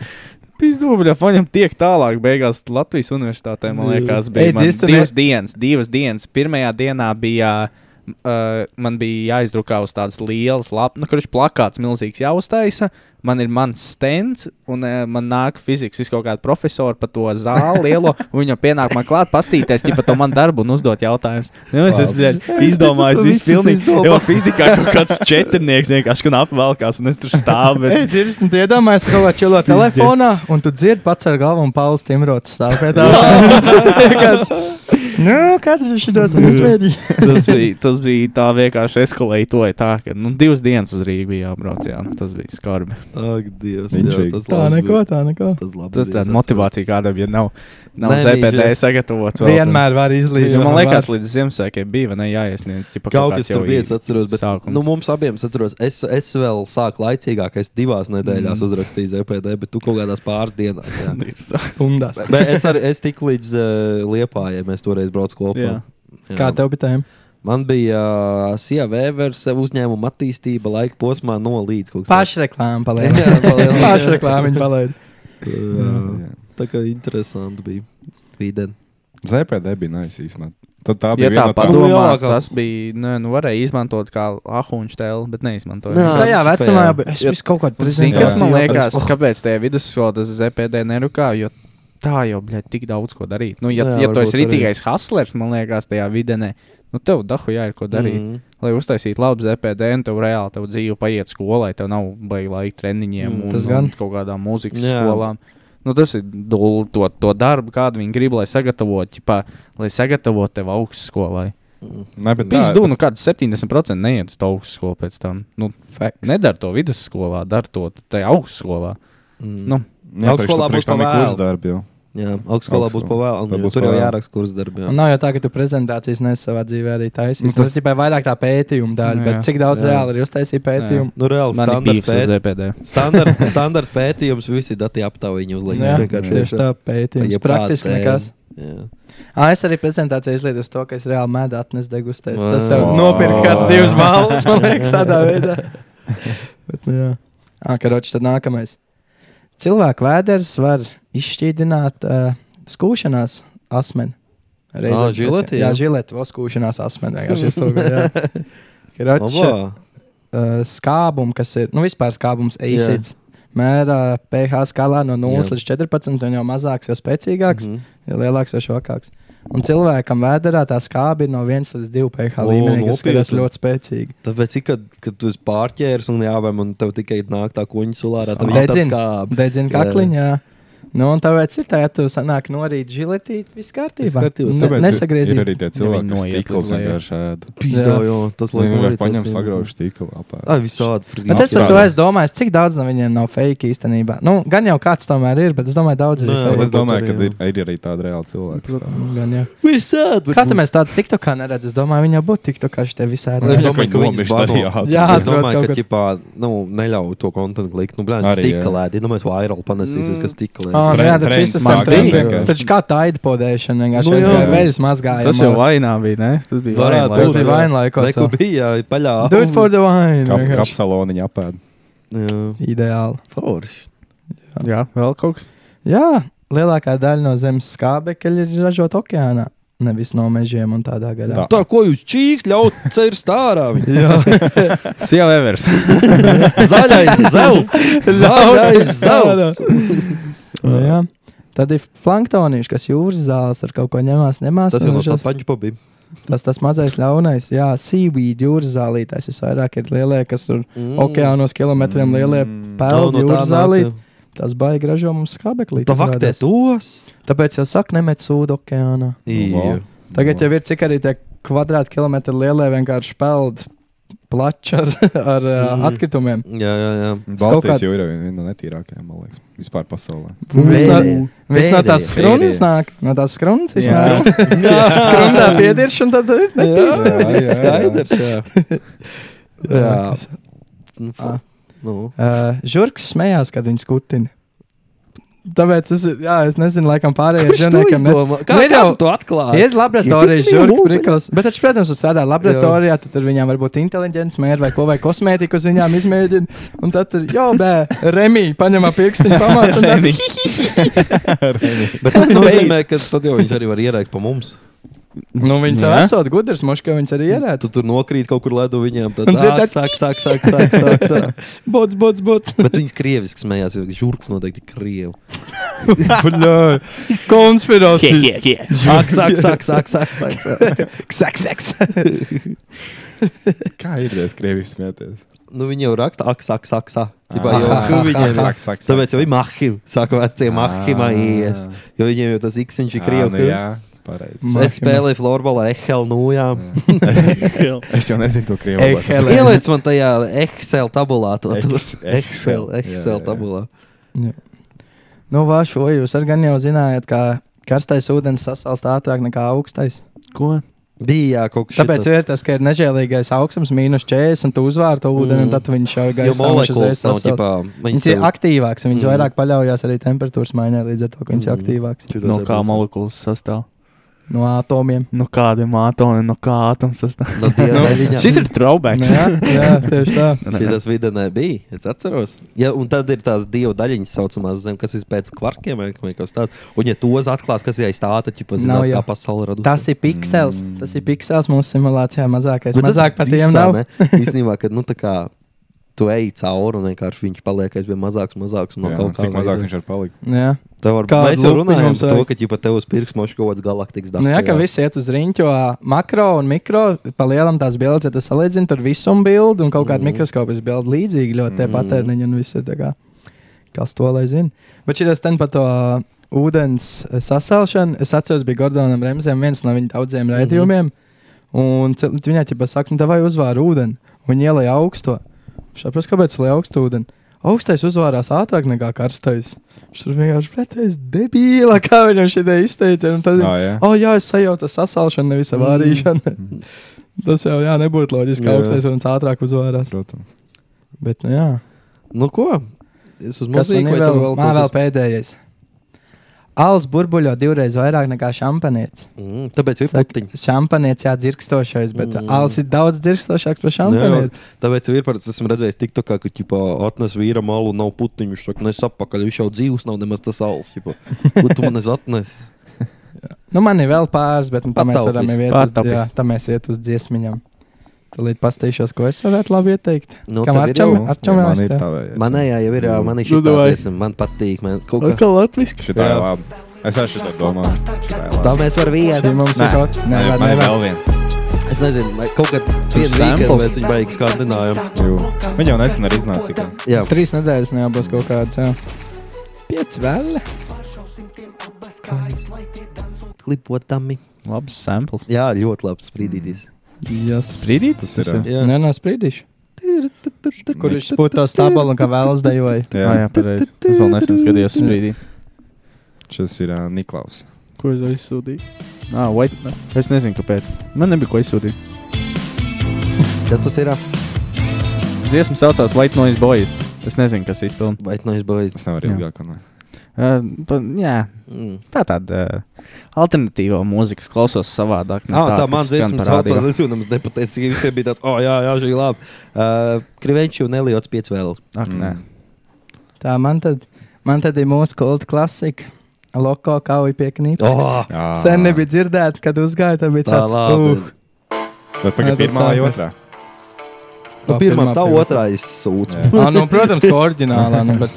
Speaker 9: Pizduļā, viņam tiek tālāk, beigās Latvijas universitātē, man liekas,
Speaker 1: Ei,
Speaker 9: bija man
Speaker 1: distu-
Speaker 9: divas dienas, divas dienas. Pirmajā dienā bija, uh, man bija jāizdrukā uz tādas lielas lapas, nu, kurš plakāts milzīgs jāuztaisa. Man ir mans stends, un uh, man nāk fizikas vis kaut kāda profesora par to zāli lielo, un viņa pienāk man klāt pastīties, ja par to man darbu un uzdot jautājumus. Nu, es esmu bļaļ, izdomājis,
Speaker 1: Tu
Speaker 9: viss
Speaker 1: visus
Speaker 9: pilnīgi.
Speaker 1: izdomā.
Speaker 9: Jo fizikā kaut kāds četrnieks vienkārši kun apvelkās, un es tur stāvu.
Speaker 1: Ei,
Speaker 9: Bet...
Speaker 1: Dievs, nu, tu iedomājies, ka kaut kā čilo telefonā, un tu dzirdi pats ar galvu, un Pauls Timrots stāv pie
Speaker 9: (laughs)
Speaker 1: tā. Vienkārši, Nu, kāds ir šis dots? Nesmēģi.
Speaker 9: tas, bija, tas bija tā vienkārši eskalēja to, tā, ka nu, divas dienas uz Rīgā bija jābrauc. Jā. Tas bija skarbi.
Speaker 2: Ak, Dievs.
Speaker 4: Inčīgi.
Speaker 2: Jā, tas
Speaker 1: Tā
Speaker 2: labs
Speaker 1: neko,
Speaker 2: bija.
Speaker 1: tā neko.
Speaker 2: Tas labs bija,
Speaker 9: Tas
Speaker 2: es
Speaker 9: tāds motivācija kādam, ja nav, nav
Speaker 2: Nē,
Speaker 9: ZPD
Speaker 2: viņš-
Speaker 9: sagatavots. vēl, tad-
Speaker 1: Vienmēr var izlīst.
Speaker 9: Jo, man liekas, līdz Ziemassvētkiem bija vai ne, jāiesniedz ķipa,
Speaker 2: Kaut
Speaker 9: kāds
Speaker 2: kas tur
Speaker 9: jau
Speaker 2: bija,
Speaker 9: ir
Speaker 2: es atceros, bet
Speaker 9: sākums.
Speaker 2: nu, mums abiem es atceros, es, es vēl sāku laicīgāk, es divās nedēļās mm. uzrakstīju ZPD, bet tu kaut kādās pāris dienās.
Speaker 1: (laughs)
Speaker 2: jā.
Speaker 1: liekas, stundās.
Speaker 2: bet es arī es tiku līdz uh, Liepājai, mēs toreiz braucām kopā.
Speaker 9: Jā.
Speaker 2: Jā.
Speaker 1: Kā tev bija tēma?
Speaker 2: Man bija uh, Sija Vēvers uzņēmuma attīstība laika posmā no līdz kaut kas
Speaker 1: Pašreklāma
Speaker 2: palaida.
Speaker 1: palaida.
Speaker 2: Jā, palaida.
Speaker 1: Pašreklāma viņa palaida.
Speaker 2: tāds. Jā. Eh, Tā kā interesanti bija. Viden.
Speaker 4: ZPD E bija nice īstenībā. Tad tā
Speaker 9: Ja tā
Speaker 4: bija viena no tām-
Speaker 9: padomā,
Speaker 2: Nu, lielākā-
Speaker 9: tas bija. Nē, nu varēja izmantot kā ahuņš tēlu, bet neizmantoja.
Speaker 2: Nā,
Speaker 1: Tajā
Speaker 2: tipā,
Speaker 1: vecumā
Speaker 2: jā.
Speaker 1: jau bija. Es visu kaut kādu
Speaker 9: Zini,
Speaker 1: prezentāciju
Speaker 9: kas man
Speaker 1: jau
Speaker 9: liekas,
Speaker 1: teicu,
Speaker 9: kāpēc tajā vidusskolā tas ZPD nerukā? Jo tā jau, bļaļ, tik daudz ko darīt. Nu, ja,
Speaker 2: Jā,
Speaker 9: jā, ja tu esi
Speaker 2: varbūt arī.
Speaker 9: rītīgais haslers, man liekas, tajā videnē, nu tev dahu jā, ir ko darīt. Mm.
Speaker 2: Mm.
Speaker 9: Lai uztaisītu labu ZPD, un tev reāli tev dzīve paiet skolai, tev nav baigi laika treniņiem
Speaker 2: Mm,
Speaker 9: mm, un,
Speaker 1: tas gan.
Speaker 9: un kaut kādām muzikas
Speaker 2: Jā.
Speaker 9: jā. skolām. Nu, tas ir dūlis, to, to darbu, kādu viņi grib, lai sagatavotu, ķipā, lai sagatavotu tevi augstskolai.
Speaker 2: Mm.
Speaker 4: Nē, bet tā-
Speaker 9: Pizdu, nu kāds 70% neiet uz to augstskolu pēc tam. Nu,
Speaker 1: Facts.
Speaker 9: nedara to vidusskolā, dara to tajā augstskolā.
Speaker 2: Mm.
Speaker 9: Nu,
Speaker 4: Jā,
Speaker 2: Augstskolā
Speaker 4: priekš- priekš
Speaker 2: būs
Speaker 4: tam ir
Speaker 2: pavēlu.
Speaker 4: kursdarbi jau.
Speaker 2: Jā, augstskolā būs
Speaker 4: Augstskolā.
Speaker 2: pavēlams.
Speaker 4: Tā būs
Speaker 2: Tur jau
Speaker 4: pavēlu.
Speaker 2: jāraksta kurs darbā.
Speaker 1: Nav jau tā, ka tu prezentācijas nes savā dzīvē arī taisīsi.
Speaker 4: Nu,
Speaker 1: Tas
Speaker 4: tas-
Speaker 1: tikai vairāk tā pētījuma daļa,
Speaker 9: Nu,
Speaker 1: bet
Speaker 9: jā.
Speaker 1: cik daudz
Speaker 2: Jā.
Speaker 1: reāli ir uztaisīt pētījumu.
Speaker 2: Nu, reāli
Speaker 9: Man ir
Speaker 2: standarta
Speaker 9: bijis
Speaker 2: pētījums.
Speaker 9: ZPD.
Speaker 2: Standart, standart pētījums, visi dati aptaujā uzliek.
Speaker 1: Jā,
Speaker 2: vienkārši
Speaker 1: tieši tā pētījums.
Speaker 2: Jebkāds,
Speaker 1: Praktiski
Speaker 2: jā.
Speaker 1: nekas.
Speaker 2: Jā.
Speaker 1: Ā, es arī prezentācijā izlietu uz to, ka es reāli mēdu atnesu degustēt.
Speaker 2: Vau.
Speaker 1: Tas jau nopirka kāds divas balvas, man liekas, tādā veidā. Bet, nu, jā. Ā, karoči, tad nākamais. Cilvēku vēders var izšķīdināt uh, skūšanās asmeni.
Speaker 2: Ā,
Speaker 1: Reizēm
Speaker 2: žileti,
Speaker 1: pēc-
Speaker 2: jā.
Speaker 1: Jā, žileti, vēl skūšanās asmeni.
Speaker 2: (laughs)
Speaker 1: vienkārši iztūko, jā. Karoči,
Speaker 2: Labā.
Speaker 1: uh, skābums, kas ir, nu, vispār skābums eisīts. Mērā pH skalā no 0
Speaker 2: Jā.
Speaker 1: līdz 14, un jau mazāks, jau spēcīgāks.
Speaker 2: Mhm.
Speaker 1: Ja lielāks vai švakāks. Un cilvēkam vēdā tā skābe ir no 1 līdz 2 pH
Speaker 2: O,
Speaker 1: līmenī, kas
Speaker 2: nopietni.
Speaker 1: skatās ļoti spēcīgi.
Speaker 2: Tāpēc, ik, kad, kad tu esi pārķēries un jāvēm, un tev tikai nāk tā kuņa sulārā, tad viņš tāds
Speaker 1: Dedzina
Speaker 2: kā
Speaker 1: dedzin
Speaker 2: Jā.
Speaker 1: kakliņā. Nu, un tāpēc ir tā, ja tu sanāk no rīta žiletīt, viss kārtībā.
Speaker 2: Viss kārtībā.
Speaker 1: Ne,
Speaker 2: Tāpēc
Speaker 4: ir
Speaker 1: nesagriezīs.
Speaker 4: arī tie cilvēki, kas
Speaker 9: noiet
Speaker 4: tīklus
Speaker 9: uz leju.
Speaker 4: vienkārši ēd.
Speaker 1: Jā.
Speaker 2: pīzdājo. Tas
Speaker 4: Lai
Speaker 2: laikam
Speaker 4: vienkārši
Speaker 2: arī
Speaker 4: paņem
Speaker 2: tas-
Speaker 4: sagraužu tīklu apēst.
Speaker 2: Ai, visādi frīķi.
Speaker 1: Bet es par to es domāju, cik daudz no viņiem nav fake īstenībā. Nu, gan jau kāds tomēr ir, bet es domāju, daudz ir
Speaker 2: Nē,
Speaker 1: fake.
Speaker 4: Un
Speaker 2: Vai
Speaker 4: Es domāju,
Speaker 2: kaut
Speaker 4: ka
Speaker 2: arī,
Speaker 4: ir, ir arī tāda reāla cilvēka.
Speaker 1: Protams, gan jau.
Speaker 2: Visādi. nu,
Speaker 1: Kā tu mēs tādu tiktokā neredzam? Es domāju, viņa būtu tiktokā šitie visādi.
Speaker 2: Es domāju, ka
Speaker 4: Nomirst
Speaker 2: viņš bano.
Speaker 4: arī, jā.
Speaker 1: Jā,
Speaker 2: es domāju,
Speaker 1: kaut
Speaker 2: ka
Speaker 1: kur.
Speaker 2: ķipā, nu, neļauj to kontentu likt. Nu, blēņ,
Speaker 4: Arī, jā.
Speaker 2: stika lēdi. Domāju, vai viral panesīsies, kas stika
Speaker 1: Ā,
Speaker 2: lēdi.
Speaker 1: nu Jā,
Speaker 4: Trend-
Speaker 1: taču
Speaker 4: trends
Speaker 1: šis tam
Speaker 4: sākās
Speaker 1: trījām.
Speaker 4: vienkārši.
Speaker 1: Taču kā tā ir podēšana, vienkārši
Speaker 2: Nu,
Speaker 1: nu,
Speaker 2: jā.
Speaker 1: veļas mazgājumā.
Speaker 9: Tas jau vainā bija, ne? Tas bija
Speaker 2: Varētu
Speaker 1: Tas
Speaker 9: vainā.
Speaker 1: bija
Speaker 2: būt.
Speaker 1: vainlaikos.
Speaker 2: Neko bija, jā, paļā.
Speaker 1: Do it for the wine.
Speaker 4: Kap,
Speaker 1: vienkārši.
Speaker 4: kapsaloniņa apēd.
Speaker 2: Jā,
Speaker 1: Ideāli.
Speaker 2: forši.
Speaker 9: Jā, vēl kaut kas.
Speaker 1: Jā, lielākā daļa no zemes skābekļa ir ražota okeānā, nevis no mežiem un tādā garā. (laughs)
Speaker 4: Tā.
Speaker 2: Tā, ko jūs čīkt ļaut cerst ārā? viņu?
Speaker 9: Sievu Evers.
Speaker 2: Zaļais
Speaker 1: (laughs)
Speaker 2: zelts. Zaļais zelts. (laughs)
Speaker 1: Nu, jā. Tad ir planktonīši, kas jūras zāles ar kaut ko ņemās, ņemās.
Speaker 2: Tas
Speaker 1: un
Speaker 2: jau no
Speaker 1: ražos-
Speaker 2: sapaņu pobi.
Speaker 1: tas, tas mazais ļaunais, jā, sīvīdi jūras zālītājs. Visvairāk ir lielie, kas tur mm. okeānos kilometriem lielie peldi no, no jūras zālītājs. Tas baigi ražo mums skābekli.
Speaker 2: Tā vaktē tos.
Speaker 1: Tāpēc jau saka, nemet sūdu okeānā.
Speaker 4: Nu,
Speaker 2: Jā.
Speaker 1: Tagad jau ir cik arī tie kvadrātkilometri lielie vienkārši peld plača ar, ar mm.
Speaker 2: Mhm.
Speaker 1: atkritumiem.
Speaker 2: Jā, jā, jā.
Speaker 1: kaut
Speaker 4: Baltijas
Speaker 1: kā-
Speaker 4: jūra ir viena no netīrākajām, man liekas, vispār
Speaker 2: (laughs)
Speaker 4: pasaulē.
Speaker 1: Viss no,
Speaker 2: Vēdēja.
Speaker 1: viss no tās
Speaker 2: Vēdēja.
Speaker 1: skrunas nāk. No tās skrunas viss
Speaker 9: Jā.
Speaker 1: nāk.
Speaker 2: (laughs)
Speaker 1: Skrundā piediršana, tad viss netīrs.
Speaker 4: Jā, jā,
Speaker 2: Viss
Speaker 4: jā.
Speaker 2: skaidrs. Jā. jā.
Speaker 1: Jā.
Speaker 2: Nu,
Speaker 1: Ah.
Speaker 2: fa- Nu.
Speaker 1: Uh, žurks smējās, kad viņu skutina. Tāpēc es, jā, es nezinu, laikam pārējiem
Speaker 2: Žurniekam
Speaker 1: žurniekam.
Speaker 2: ne-
Speaker 1: ne-
Speaker 2: Kā
Speaker 1: ir jau-
Speaker 2: jau to atklāja?
Speaker 1: Ir laboratorijas žurka
Speaker 2: Lūpeņi.
Speaker 1: priklis. Bet, taču, protams, uz tādā laboratorijā tad tur viņām var būt inteliģents, mērķis vai ko vai kosmētiku uz viņām izmēģina. Un tad tur jau bē, remī, paņemā pirkstiņu pamāca. un tad-
Speaker 2: Bet tas nozīmē, ka tad jau viņš arī var ierēkt pa mums.
Speaker 1: Nu, viņš jau
Speaker 9: Jā.
Speaker 1: esot gudrs, moškā viņš arī ierēta.
Speaker 2: Tu tur nokrīt kaut kur ledu viņiem. Tad
Speaker 1: Un
Speaker 2: ā,
Speaker 1: dzirdēt,
Speaker 2: sāk, sāk, sāk, sāk, sāk, sāk.
Speaker 1: Bots, bots, (laughs) bots.
Speaker 2: Bet viņš krieviski smējās, jo žurks noteikti ir krievu.
Speaker 1: Bļā, konspirācija.
Speaker 2: Sāk, sāk, sāk, sāk, sāk, sāk.
Speaker 1: Ksaks, ksaks.
Speaker 4: Kā ir diezgan krievis smieties?
Speaker 2: Nu, viņi jau raksta, ak, sāk, sāk, sāk. Ķipā
Speaker 1: Ah,
Speaker 2: jau
Speaker 1: ah,
Speaker 2: ka
Speaker 1: ah,
Speaker 2: viņiem.
Speaker 1: ah,
Speaker 4: Saka, saka,
Speaker 2: Tāpēc jau ir mahim. Saka, vecie mahim aies. Jo viņiem jau tas iksiņš ir krievu.
Speaker 4: Ah. Nu, jā, pareizi.
Speaker 1: Mahima.
Speaker 2: Es spēlēju florbola ehel nojām.
Speaker 4: (laughs) Es jau nezinu to krievu.
Speaker 1: Ej,
Speaker 4: vārdu.
Speaker 1: Helēna.
Speaker 2: Ieliec man tajā Excel tabulā. To, tu-
Speaker 4: Ex-
Speaker 2: Excel,
Speaker 4: Excel,
Speaker 2: Excel
Speaker 4: jā, jā.
Speaker 2: tabulā.
Speaker 1: Nu, vā, šo jūs ar gan jau zinājāt, ka karstais ūdens sasalst ātrāk nekā augstais.
Speaker 9: Ko?
Speaker 2: Bija jā, kaut kas
Speaker 1: Tāpēc ir tas, ka ir nežēlīgais augstums, mīnus 40, un tu uzvāri to ūdeni, mm.
Speaker 2: Mm.
Speaker 1: un tad viņš jau ir
Speaker 2: Jo
Speaker 1: gaisā. viņš uzreiz
Speaker 2: molekulas nav
Speaker 1: sasauc.
Speaker 2: ģipā.
Speaker 1: Viņas ir aktīvākas, un viņas
Speaker 2: Mm.
Speaker 1: mm. vairāk paļaujas arī temperatūras maiņai, līdz ar to, ka viņas ir
Speaker 2: Mm.
Speaker 1: aktīvākas
Speaker 9: No kā molekulas sastāv?
Speaker 1: no atomiem.
Speaker 9: No kādiem atomiem, no kā atoms sastāv?
Speaker 2: No
Speaker 4: (laughs)
Speaker 2: dieva.
Speaker 9: Šis ir traubēks.
Speaker 1: Jā, jā,
Speaker 2: (laughs)
Speaker 1: tieši tā.
Speaker 2: Šī
Speaker 4: (laughs)
Speaker 2: tas vidienē bija. Es atceros. Ja, un tad ir tās divu daļiņas, saucamās, zem, kas ir pēc kvarkiem vai vai kaut kas tāds. Un, ja tos atklās, kas ir aiz tā, tad jau
Speaker 1: Nav
Speaker 2: pazīstams, kā
Speaker 1: jau.
Speaker 2: pasaule radās.
Speaker 1: Tas ir piksels. Mm. Tas ir piksels mūsu simulācijā mazākais. Bet
Speaker 2: tas
Speaker 1: mazāk par tiem
Speaker 2: visā,
Speaker 1: nav.
Speaker 2: ne? Īstenībā, kad nu, tā kā tu ej cauri un vienkārši viņš paliek aizvien mazāks, mazāks. No
Speaker 4: Jā,
Speaker 2: kaut kā
Speaker 4: Cik mazāk viņš var palikt?
Speaker 1: Jā,
Speaker 2: Tā var būt.
Speaker 1: Kādu
Speaker 2: Mēs jau
Speaker 1: lupiņu
Speaker 2: runājam
Speaker 1: mums
Speaker 2: par to,
Speaker 1: vajag?
Speaker 2: ka jau pat tev uz pirksts mošu kaut kāds galaktikas darbs.
Speaker 1: nu, jā ka viss iet uz riņķo, makro un mikro. Pa lielam tās bildes, ja tu salīdzini, tur visuma bildi un kaut kāda mm.
Speaker 2: Mm.
Speaker 1: mikroskopas bilde līdzīgi ļoti tie
Speaker 2: Mm.
Speaker 1: patērniņi un viss ir tā kā. Kas to lai zina? Bet šis ten par to ūdens eh, sasalšanu, es atceros, bija Gordonam Remzēm viens no viņa daudziem raidījumiem. Un cil- viņa ķipa saka, nu, vai uzvāri ūdeni, un ielai augsto. Saprotu, kāpēc lai augstu ūdeni? Augstais uzvārās ātrāk nekā karstais. Viņš tur vienkārši pretējs debīla, kā viņam šī ideja izteica. un Tad,
Speaker 4: Ā,
Speaker 1: oh,
Speaker 4: jā.
Speaker 1: oh, jā, es sajaucu sasaušanu, nevis avārīšanu. Tas jau jā, nebūtu loģiski, ka
Speaker 2: Jā.
Speaker 1: augstais un ātrāk uzvārās.
Speaker 4: Protams.
Speaker 1: Bet, nu, jā.
Speaker 2: Nu, ko? Es uz
Speaker 1: Kas man ir
Speaker 2: muziku vai tev
Speaker 1: vēl,
Speaker 2: vēl
Speaker 1: man
Speaker 2: kaut
Speaker 1: vēl
Speaker 2: kas?
Speaker 1: pēdējais? Alus burbuļo divreiz vairāk nekā šampanietis.
Speaker 2: Mm, Tāpēc ir
Speaker 1: Saka,
Speaker 2: putiņi.
Speaker 1: Šampanietis jā, dzirkstošais, bet
Speaker 2: Mm.
Speaker 1: mm. alus ir daudz dzirkstošāks par šampanieti.
Speaker 2: Tāpēc ir par to, esmu redzējis, TikTokā, ka ķipā, atnes vīra malu, nav putiņu. Viņš saka, nesapakaļ, viņš jau dzīvs nav nemaz tas alus. ķipā. Ko tu man atnes?
Speaker 1: Nu, man ir vēl pāris, bet nu, tā mēs
Speaker 2: Pataupis.
Speaker 1: varam iet uz,
Speaker 9: Pataupis.
Speaker 1: jā, tā mēs iet uz dziesmiņām. Tad līdz pastīšos, ko es varētu labi ieteikt.
Speaker 2: Nu,
Speaker 1: Kam
Speaker 2: tev ir
Speaker 1: Arčam,
Speaker 2: jau-
Speaker 1: Arčam
Speaker 4: man
Speaker 1: vēl
Speaker 4: ir
Speaker 1: ir tā?
Speaker 4: tā vērts.
Speaker 2: Manējā jau ir, jā, man ir
Speaker 9: Nu,
Speaker 2: šī
Speaker 9: davai.
Speaker 2: tāda, man patīk. Man kaut kā
Speaker 9: (laughs) Kā latviešu?
Speaker 4: Šitā ir labi. Es arī šitā domāju.
Speaker 8: Tā mēs varam
Speaker 1: Šī
Speaker 8: vienot.
Speaker 1: mums ir kaut kas
Speaker 4: Nē, man ir vēl viena.
Speaker 2: Es nezinu, vai kaut kad
Speaker 9: Tas
Speaker 2: vienā brīdī
Speaker 9: samples?
Speaker 2: mēs viņu beigas kārdinājām.
Speaker 4: Jū. Viņa jau nesen arī iznāca. tikai.
Speaker 8: Jā,
Speaker 1: Trīs nedēļas nebūs kaut kāds. Jā. Pieci vēl.
Speaker 8: klipotami.
Speaker 9: Labs samples.
Speaker 8: Jā, ļoti labs brīdītis.
Speaker 1: Jā,
Speaker 9: Brīdīt
Speaker 4: Tas ir,
Speaker 9: ir.
Speaker 8: Jā.
Speaker 1: Nē, nē, sprīdīšu. Kur viņš spūta to stabulu un kā vēlas dejoja.
Speaker 9: Jā, jā pareizi. Es vēl nesen skatījos uz brīdi.
Speaker 4: Šis ir ā, Niklaus.
Speaker 9: Ko es aizsūtīju? Nā, white. Es nezinu, kāpēc. Man nebija ko aizsūtīt.
Speaker 8: Kas tas ir?
Speaker 9: Dziesma saucās White Noise Boys. Es nezinu, kas izpildīja.
Speaker 2: Vai no izbaudas?
Speaker 4: Es nevaru
Speaker 9: Jā.
Speaker 4: ilgāk. un-
Speaker 9: Uh, pa- jā,
Speaker 2: Mm.
Speaker 9: tā tāda uh, alternatīva mūzika klausās savādāk. ne
Speaker 2: Ah, tā
Speaker 9: kas
Speaker 2: man
Speaker 9: skan
Speaker 2: zināms,
Speaker 9: pa
Speaker 2: ka
Speaker 9: radio.
Speaker 2: tas jūtams nepateicis. ka Visiem bija tāds, o, jā, jā, šī ir labi. Uh, Krivenči un Eliots 5 vēl.
Speaker 9: Ak, nē.
Speaker 4: Mm.
Speaker 1: Tā man tad, man tad ir mūsu kulta klasika. Loko kauja pie knības.
Speaker 2: Oh,
Speaker 4: Jā.
Speaker 1: Sen nebija dzirdēta, kad uzgāja. Tā bija
Speaker 2: tā
Speaker 1: tāds
Speaker 2: labi.
Speaker 1: uh,
Speaker 4: Bet pagaid,
Speaker 1: Nē, tas
Speaker 4: pirmā vai
Speaker 1: sākas.
Speaker 4: otrā?
Speaker 2: Nu,
Speaker 1: kā
Speaker 2: pirmā, tā
Speaker 1: pirmā.
Speaker 2: otrā izsūta.
Speaker 4: Jā.
Speaker 1: Ah, nu, (laughs) protams, ka oriģinālā, nu, bet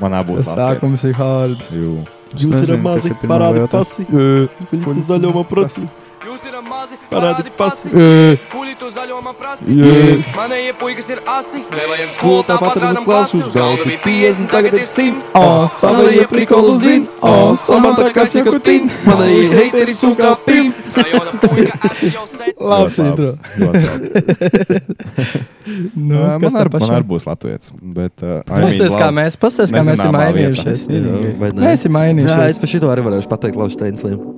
Speaker 4: Manā būtu
Speaker 1: tas
Speaker 4: labi.
Speaker 1: sākums ir hard.
Speaker 4: Jū.
Speaker 9: Es nezinu, kas ir pirmā vai otrā.
Speaker 2: pasi. Viņi tu zaļumā prasi.
Speaker 10: Jūs ir mazi,
Speaker 2: Parādi
Speaker 10: parādi
Speaker 2: pasi.
Speaker 10: pasi. Kuli tu zaļo man prasi. Manējie puikas ir asi. Nevajag skolu, tāpat rādam klasu. Uz galda bija 50, tagad ir 100. O, savējie prikolu zin. O, samantā kas ir kutin. Manējie heiteri sūkā pim. Rajona puika asi jau sen.
Speaker 1: Labs
Speaker 4: Ļoti
Speaker 1: intro.
Speaker 4: Ļoti labi.
Speaker 1: Nu,
Speaker 4: Ā, Man
Speaker 1: kas tev
Speaker 4: ar- man
Speaker 1: pašam?
Speaker 4: arī būs latviešu. Bet, uh, I mean,
Speaker 1: Pastāstiet, kā
Speaker 4: labi.
Speaker 1: mēs, pastāst, kā mēs esam
Speaker 4: Nezināmā vietā.
Speaker 1: mainījušies.
Speaker 4: Jā,
Speaker 2: vai ne?
Speaker 1: Mēs esam
Speaker 2: Jā, es
Speaker 1: mainījušies.
Speaker 2: par šito arī varēšu pateikt Laušteinslim.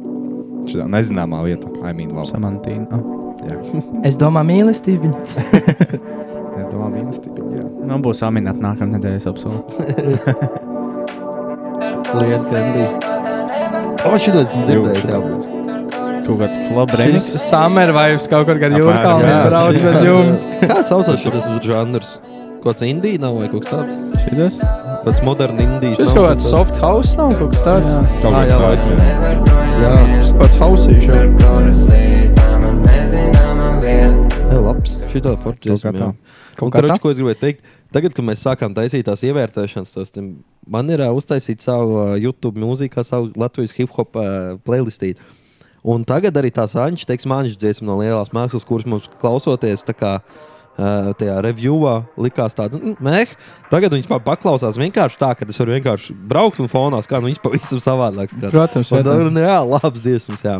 Speaker 4: Šitā nezināmā vieta. I mean, labi.
Speaker 9: Samantīna. Oh.
Speaker 1: Es domāju, mīlestība.
Speaker 4: Es domāju, mīlestība. Jā.
Speaker 9: Nu, būs aminēt nākamā nedēļa, es apsolu.
Speaker 2: Liet Candy. O, šito esmu dzirdējis, jā.
Speaker 9: Kaut kāds klubs
Speaker 1: Šis
Speaker 9: remix.
Speaker 1: summer vibes kaut kur gar
Speaker 4: Apmēram,
Speaker 1: jūrkalniem
Speaker 4: jā,
Speaker 1: brauc
Speaker 4: šis
Speaker 1: bez
Speaker 4: tāds,
Speaker 1: jums.
Speaker 2: Kā saucās šis žanrs? Kaut kāds indija nav vai kaut kas tāds?
Speaker 9: Šitas?
Speaker 2: Kaut kāds moderns indijas.
Speaker 1: Šis kaut
Speaker 2: nav, kaut
Speaker 1: kāds soft house nav kaut kas tāds.
Speaker 4: Kaut
Speaker 2: Ā,
Speaker 4: kas
Speaker 2: jā,
Speaker 4: tāds. jā.
Speaker 2: Jā,
Speaker 1: Šis pats hausīšu.
Speaker 2: jā labs. Šito
Speaker 4: Kaut kā
Speaker 2: forčēsim, jā.
Speaker 4: tā.
Speaker 2: Kaut
Speaker 1: kā
Speaker 2: kā
Speaker 1: tā.
Speaker 2: tā. Ko es gribēju teikt? Tagad, kad mēs sākām taisīt tās ievērtēšanas, tos, tiem, man ir uh, uztaisīt savu uh, YouTube mūziku, savu Latvijas hip hop uh, playlistī. Un tagad arī tās anģis, teiks, mākslinieks dziesma no lielās mākslas, kuras mums klausoties. tā Kā, uh, tajā revīzijā likās tāda mehānisma. Tagad viņi paklausās vienkārši tā, ka es varu vienkārši braukt un fonā skan. Viņas pavisam savādāk skan.
Speaker 1: Protams,
Speaker 2: Un tā
Speaker 1: protams.
Speaker 2: ir jā, labs dziesmas. Jā.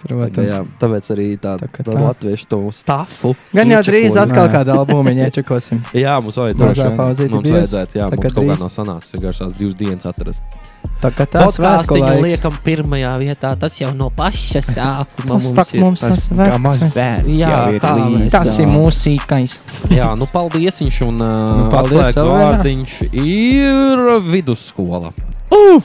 Speaker 2: Tā kā,
Speaker 1: protams.
Speaker 2: jā, tāpēc arī tāda
Speaker 1: Tā kā
Speaker 2: tā
Speaker 1: tā.
Speaker 2: latviešu to stafu.
Speaker 1: Gan jau drīz
Speaker 2: iečekoja.
Speaker 1: atkal kāda albumiņa iečakosim.
Speaker 2: Jā, mums
Speaker 1: Mazā
Speaker 2: vajadzētu.
Speaker 1: pauzīte
Speaker 2: Mums
Speaker 1: bijis.
Speaker 2: vajadzētu, jā,
Speaker 1: Tā kā
Speaker 2: mums kaut kā
Speaker 1: drīz.
Speaker 2: nav sanācis. Vienkārši tās divas dienas atrast.
Speaker 1: Tā kā tas svētku laiks.
Speaker 7: liekam pirmajā vietā. Tas jau no paša sākuma.
Speaker 1: Tas tak mums tas svētku.
Speaker 7: bērns. Jā,
Speaker 2: jau ir
Speaker 7: kā
Speaker 2: līdzi.
Speaker 7: mēs
Speaker 1: Tas
Speaker 7: tā-
Speaker 1: ir mūsu īkais.
Speaker 2: Jā, nu paldies viņš un uh,
Speaker 1: Nu, paldies
Speaker 2: atslēgas
Speaker 1: tev, Vainā.
Speaker 2: vārdiņš ir vidusskola.
Speaker 4: Jā.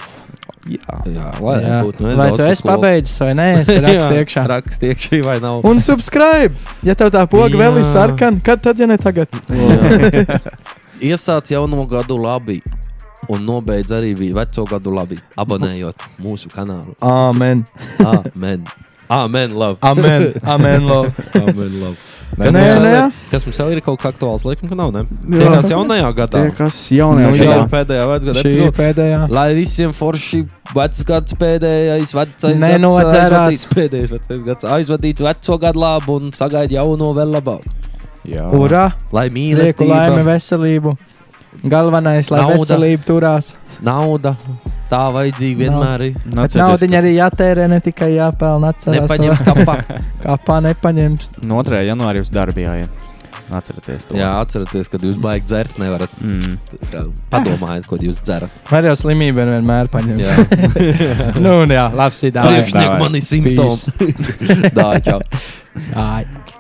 Speaker 2: Jā, lai
Speaker 1: Uh! Jā.
Speaker 2: būtu. Nu,
Speaker 1: Vai tu esi
Speaker 2: (laughs)
Speaker 1: pabeidzis vai nē, es rakstu iekšā.
Speaker 2: Rakstiet iekšā vai nav.
Speaker 1: Un subscribe! Ja tev tā poga vēl ir
Speaker 2: Jā.
Speaker 1: sarkana, kad tad, ja ne tagad?
Speaker 2: Iesāc jauno gadu labi. Un nobeidz arī vi- veco gadu labi. Abonējot mūsu kanālu.
Speaker 1: Amen!
Speaker 2: Amen. Amen. Love.
Speaker 1: Amen! Amen! love.
Speaker 2: Amen love.
Speaker 1: Nē,
Speaker 2: Kas, mums vēl
Speaker 1: nē,
Speaker 2: ir-
Speaker 1: jā.
Speaker 2: kas mums vēl ir kaut kā aktuāls? Laikam, ka nav. Ne?
Speaker 9: Jā.
Speaker 2: Tiekās jaunajā gadā.
Speaker 9: Tie, kas
Speaker 1: Nu,
Speaker 9: jaunajā
Speaker 2: Šī
Speaker 1: jā.
Speaker 9: gadā.
Speaker 2: ir pēdējā vecgada
Speaker 1: Šī ir
Speaker 2: epizode.
Speaker 1: pēdējā.
Speaker 2: Lai visiem forši vecgads pēdējais, vecais
Speaker 1: Nenodzerās.
Speaker 2: gads, aizvadīts pēdējais vecais gads, aizvadīt veco gadu labu un sagaid jauno vēl labāk.
Speaker 4: Jā.
Speaker 1: Urā!
Speaker 2: Lai
Speaker 1: Lieku laimi,
Speaker 2: mīlestība,
Speaker 1: veselību! Galvenais, lai
Speaker 2: Nauda.
Speaker 1: veselība turās.
Speaker 2: nauda, tā vajadzīga vienmēr ir.
Speaker 1: Bet naudiņa arī jātērē, ne tikai jāpelnā.
Speaker 2: Nepaņems kapā.
Speaker 1: (laughs) Kāpā nepaņems.
Speaker 9: No 2. janvāra jūs darbā jāiet. Atcerieties to.
Speaker 2: Jā, atcerieties, kad jūs baigi dzert, nevarat
Speaker 9: Mm.
Speaker 2: tā, padomājiet, ko jūs dzerat.
Speaker 1: Man jau slimība vienmēr paņem.
Speaker 2: Jā,
Speaker 1: (laughs) nu, un jā, labi, sīdā.
Speaker 2: (laughs) priekšnieki man ir simptomi. Dā, čau.
Speaker 1: Ai.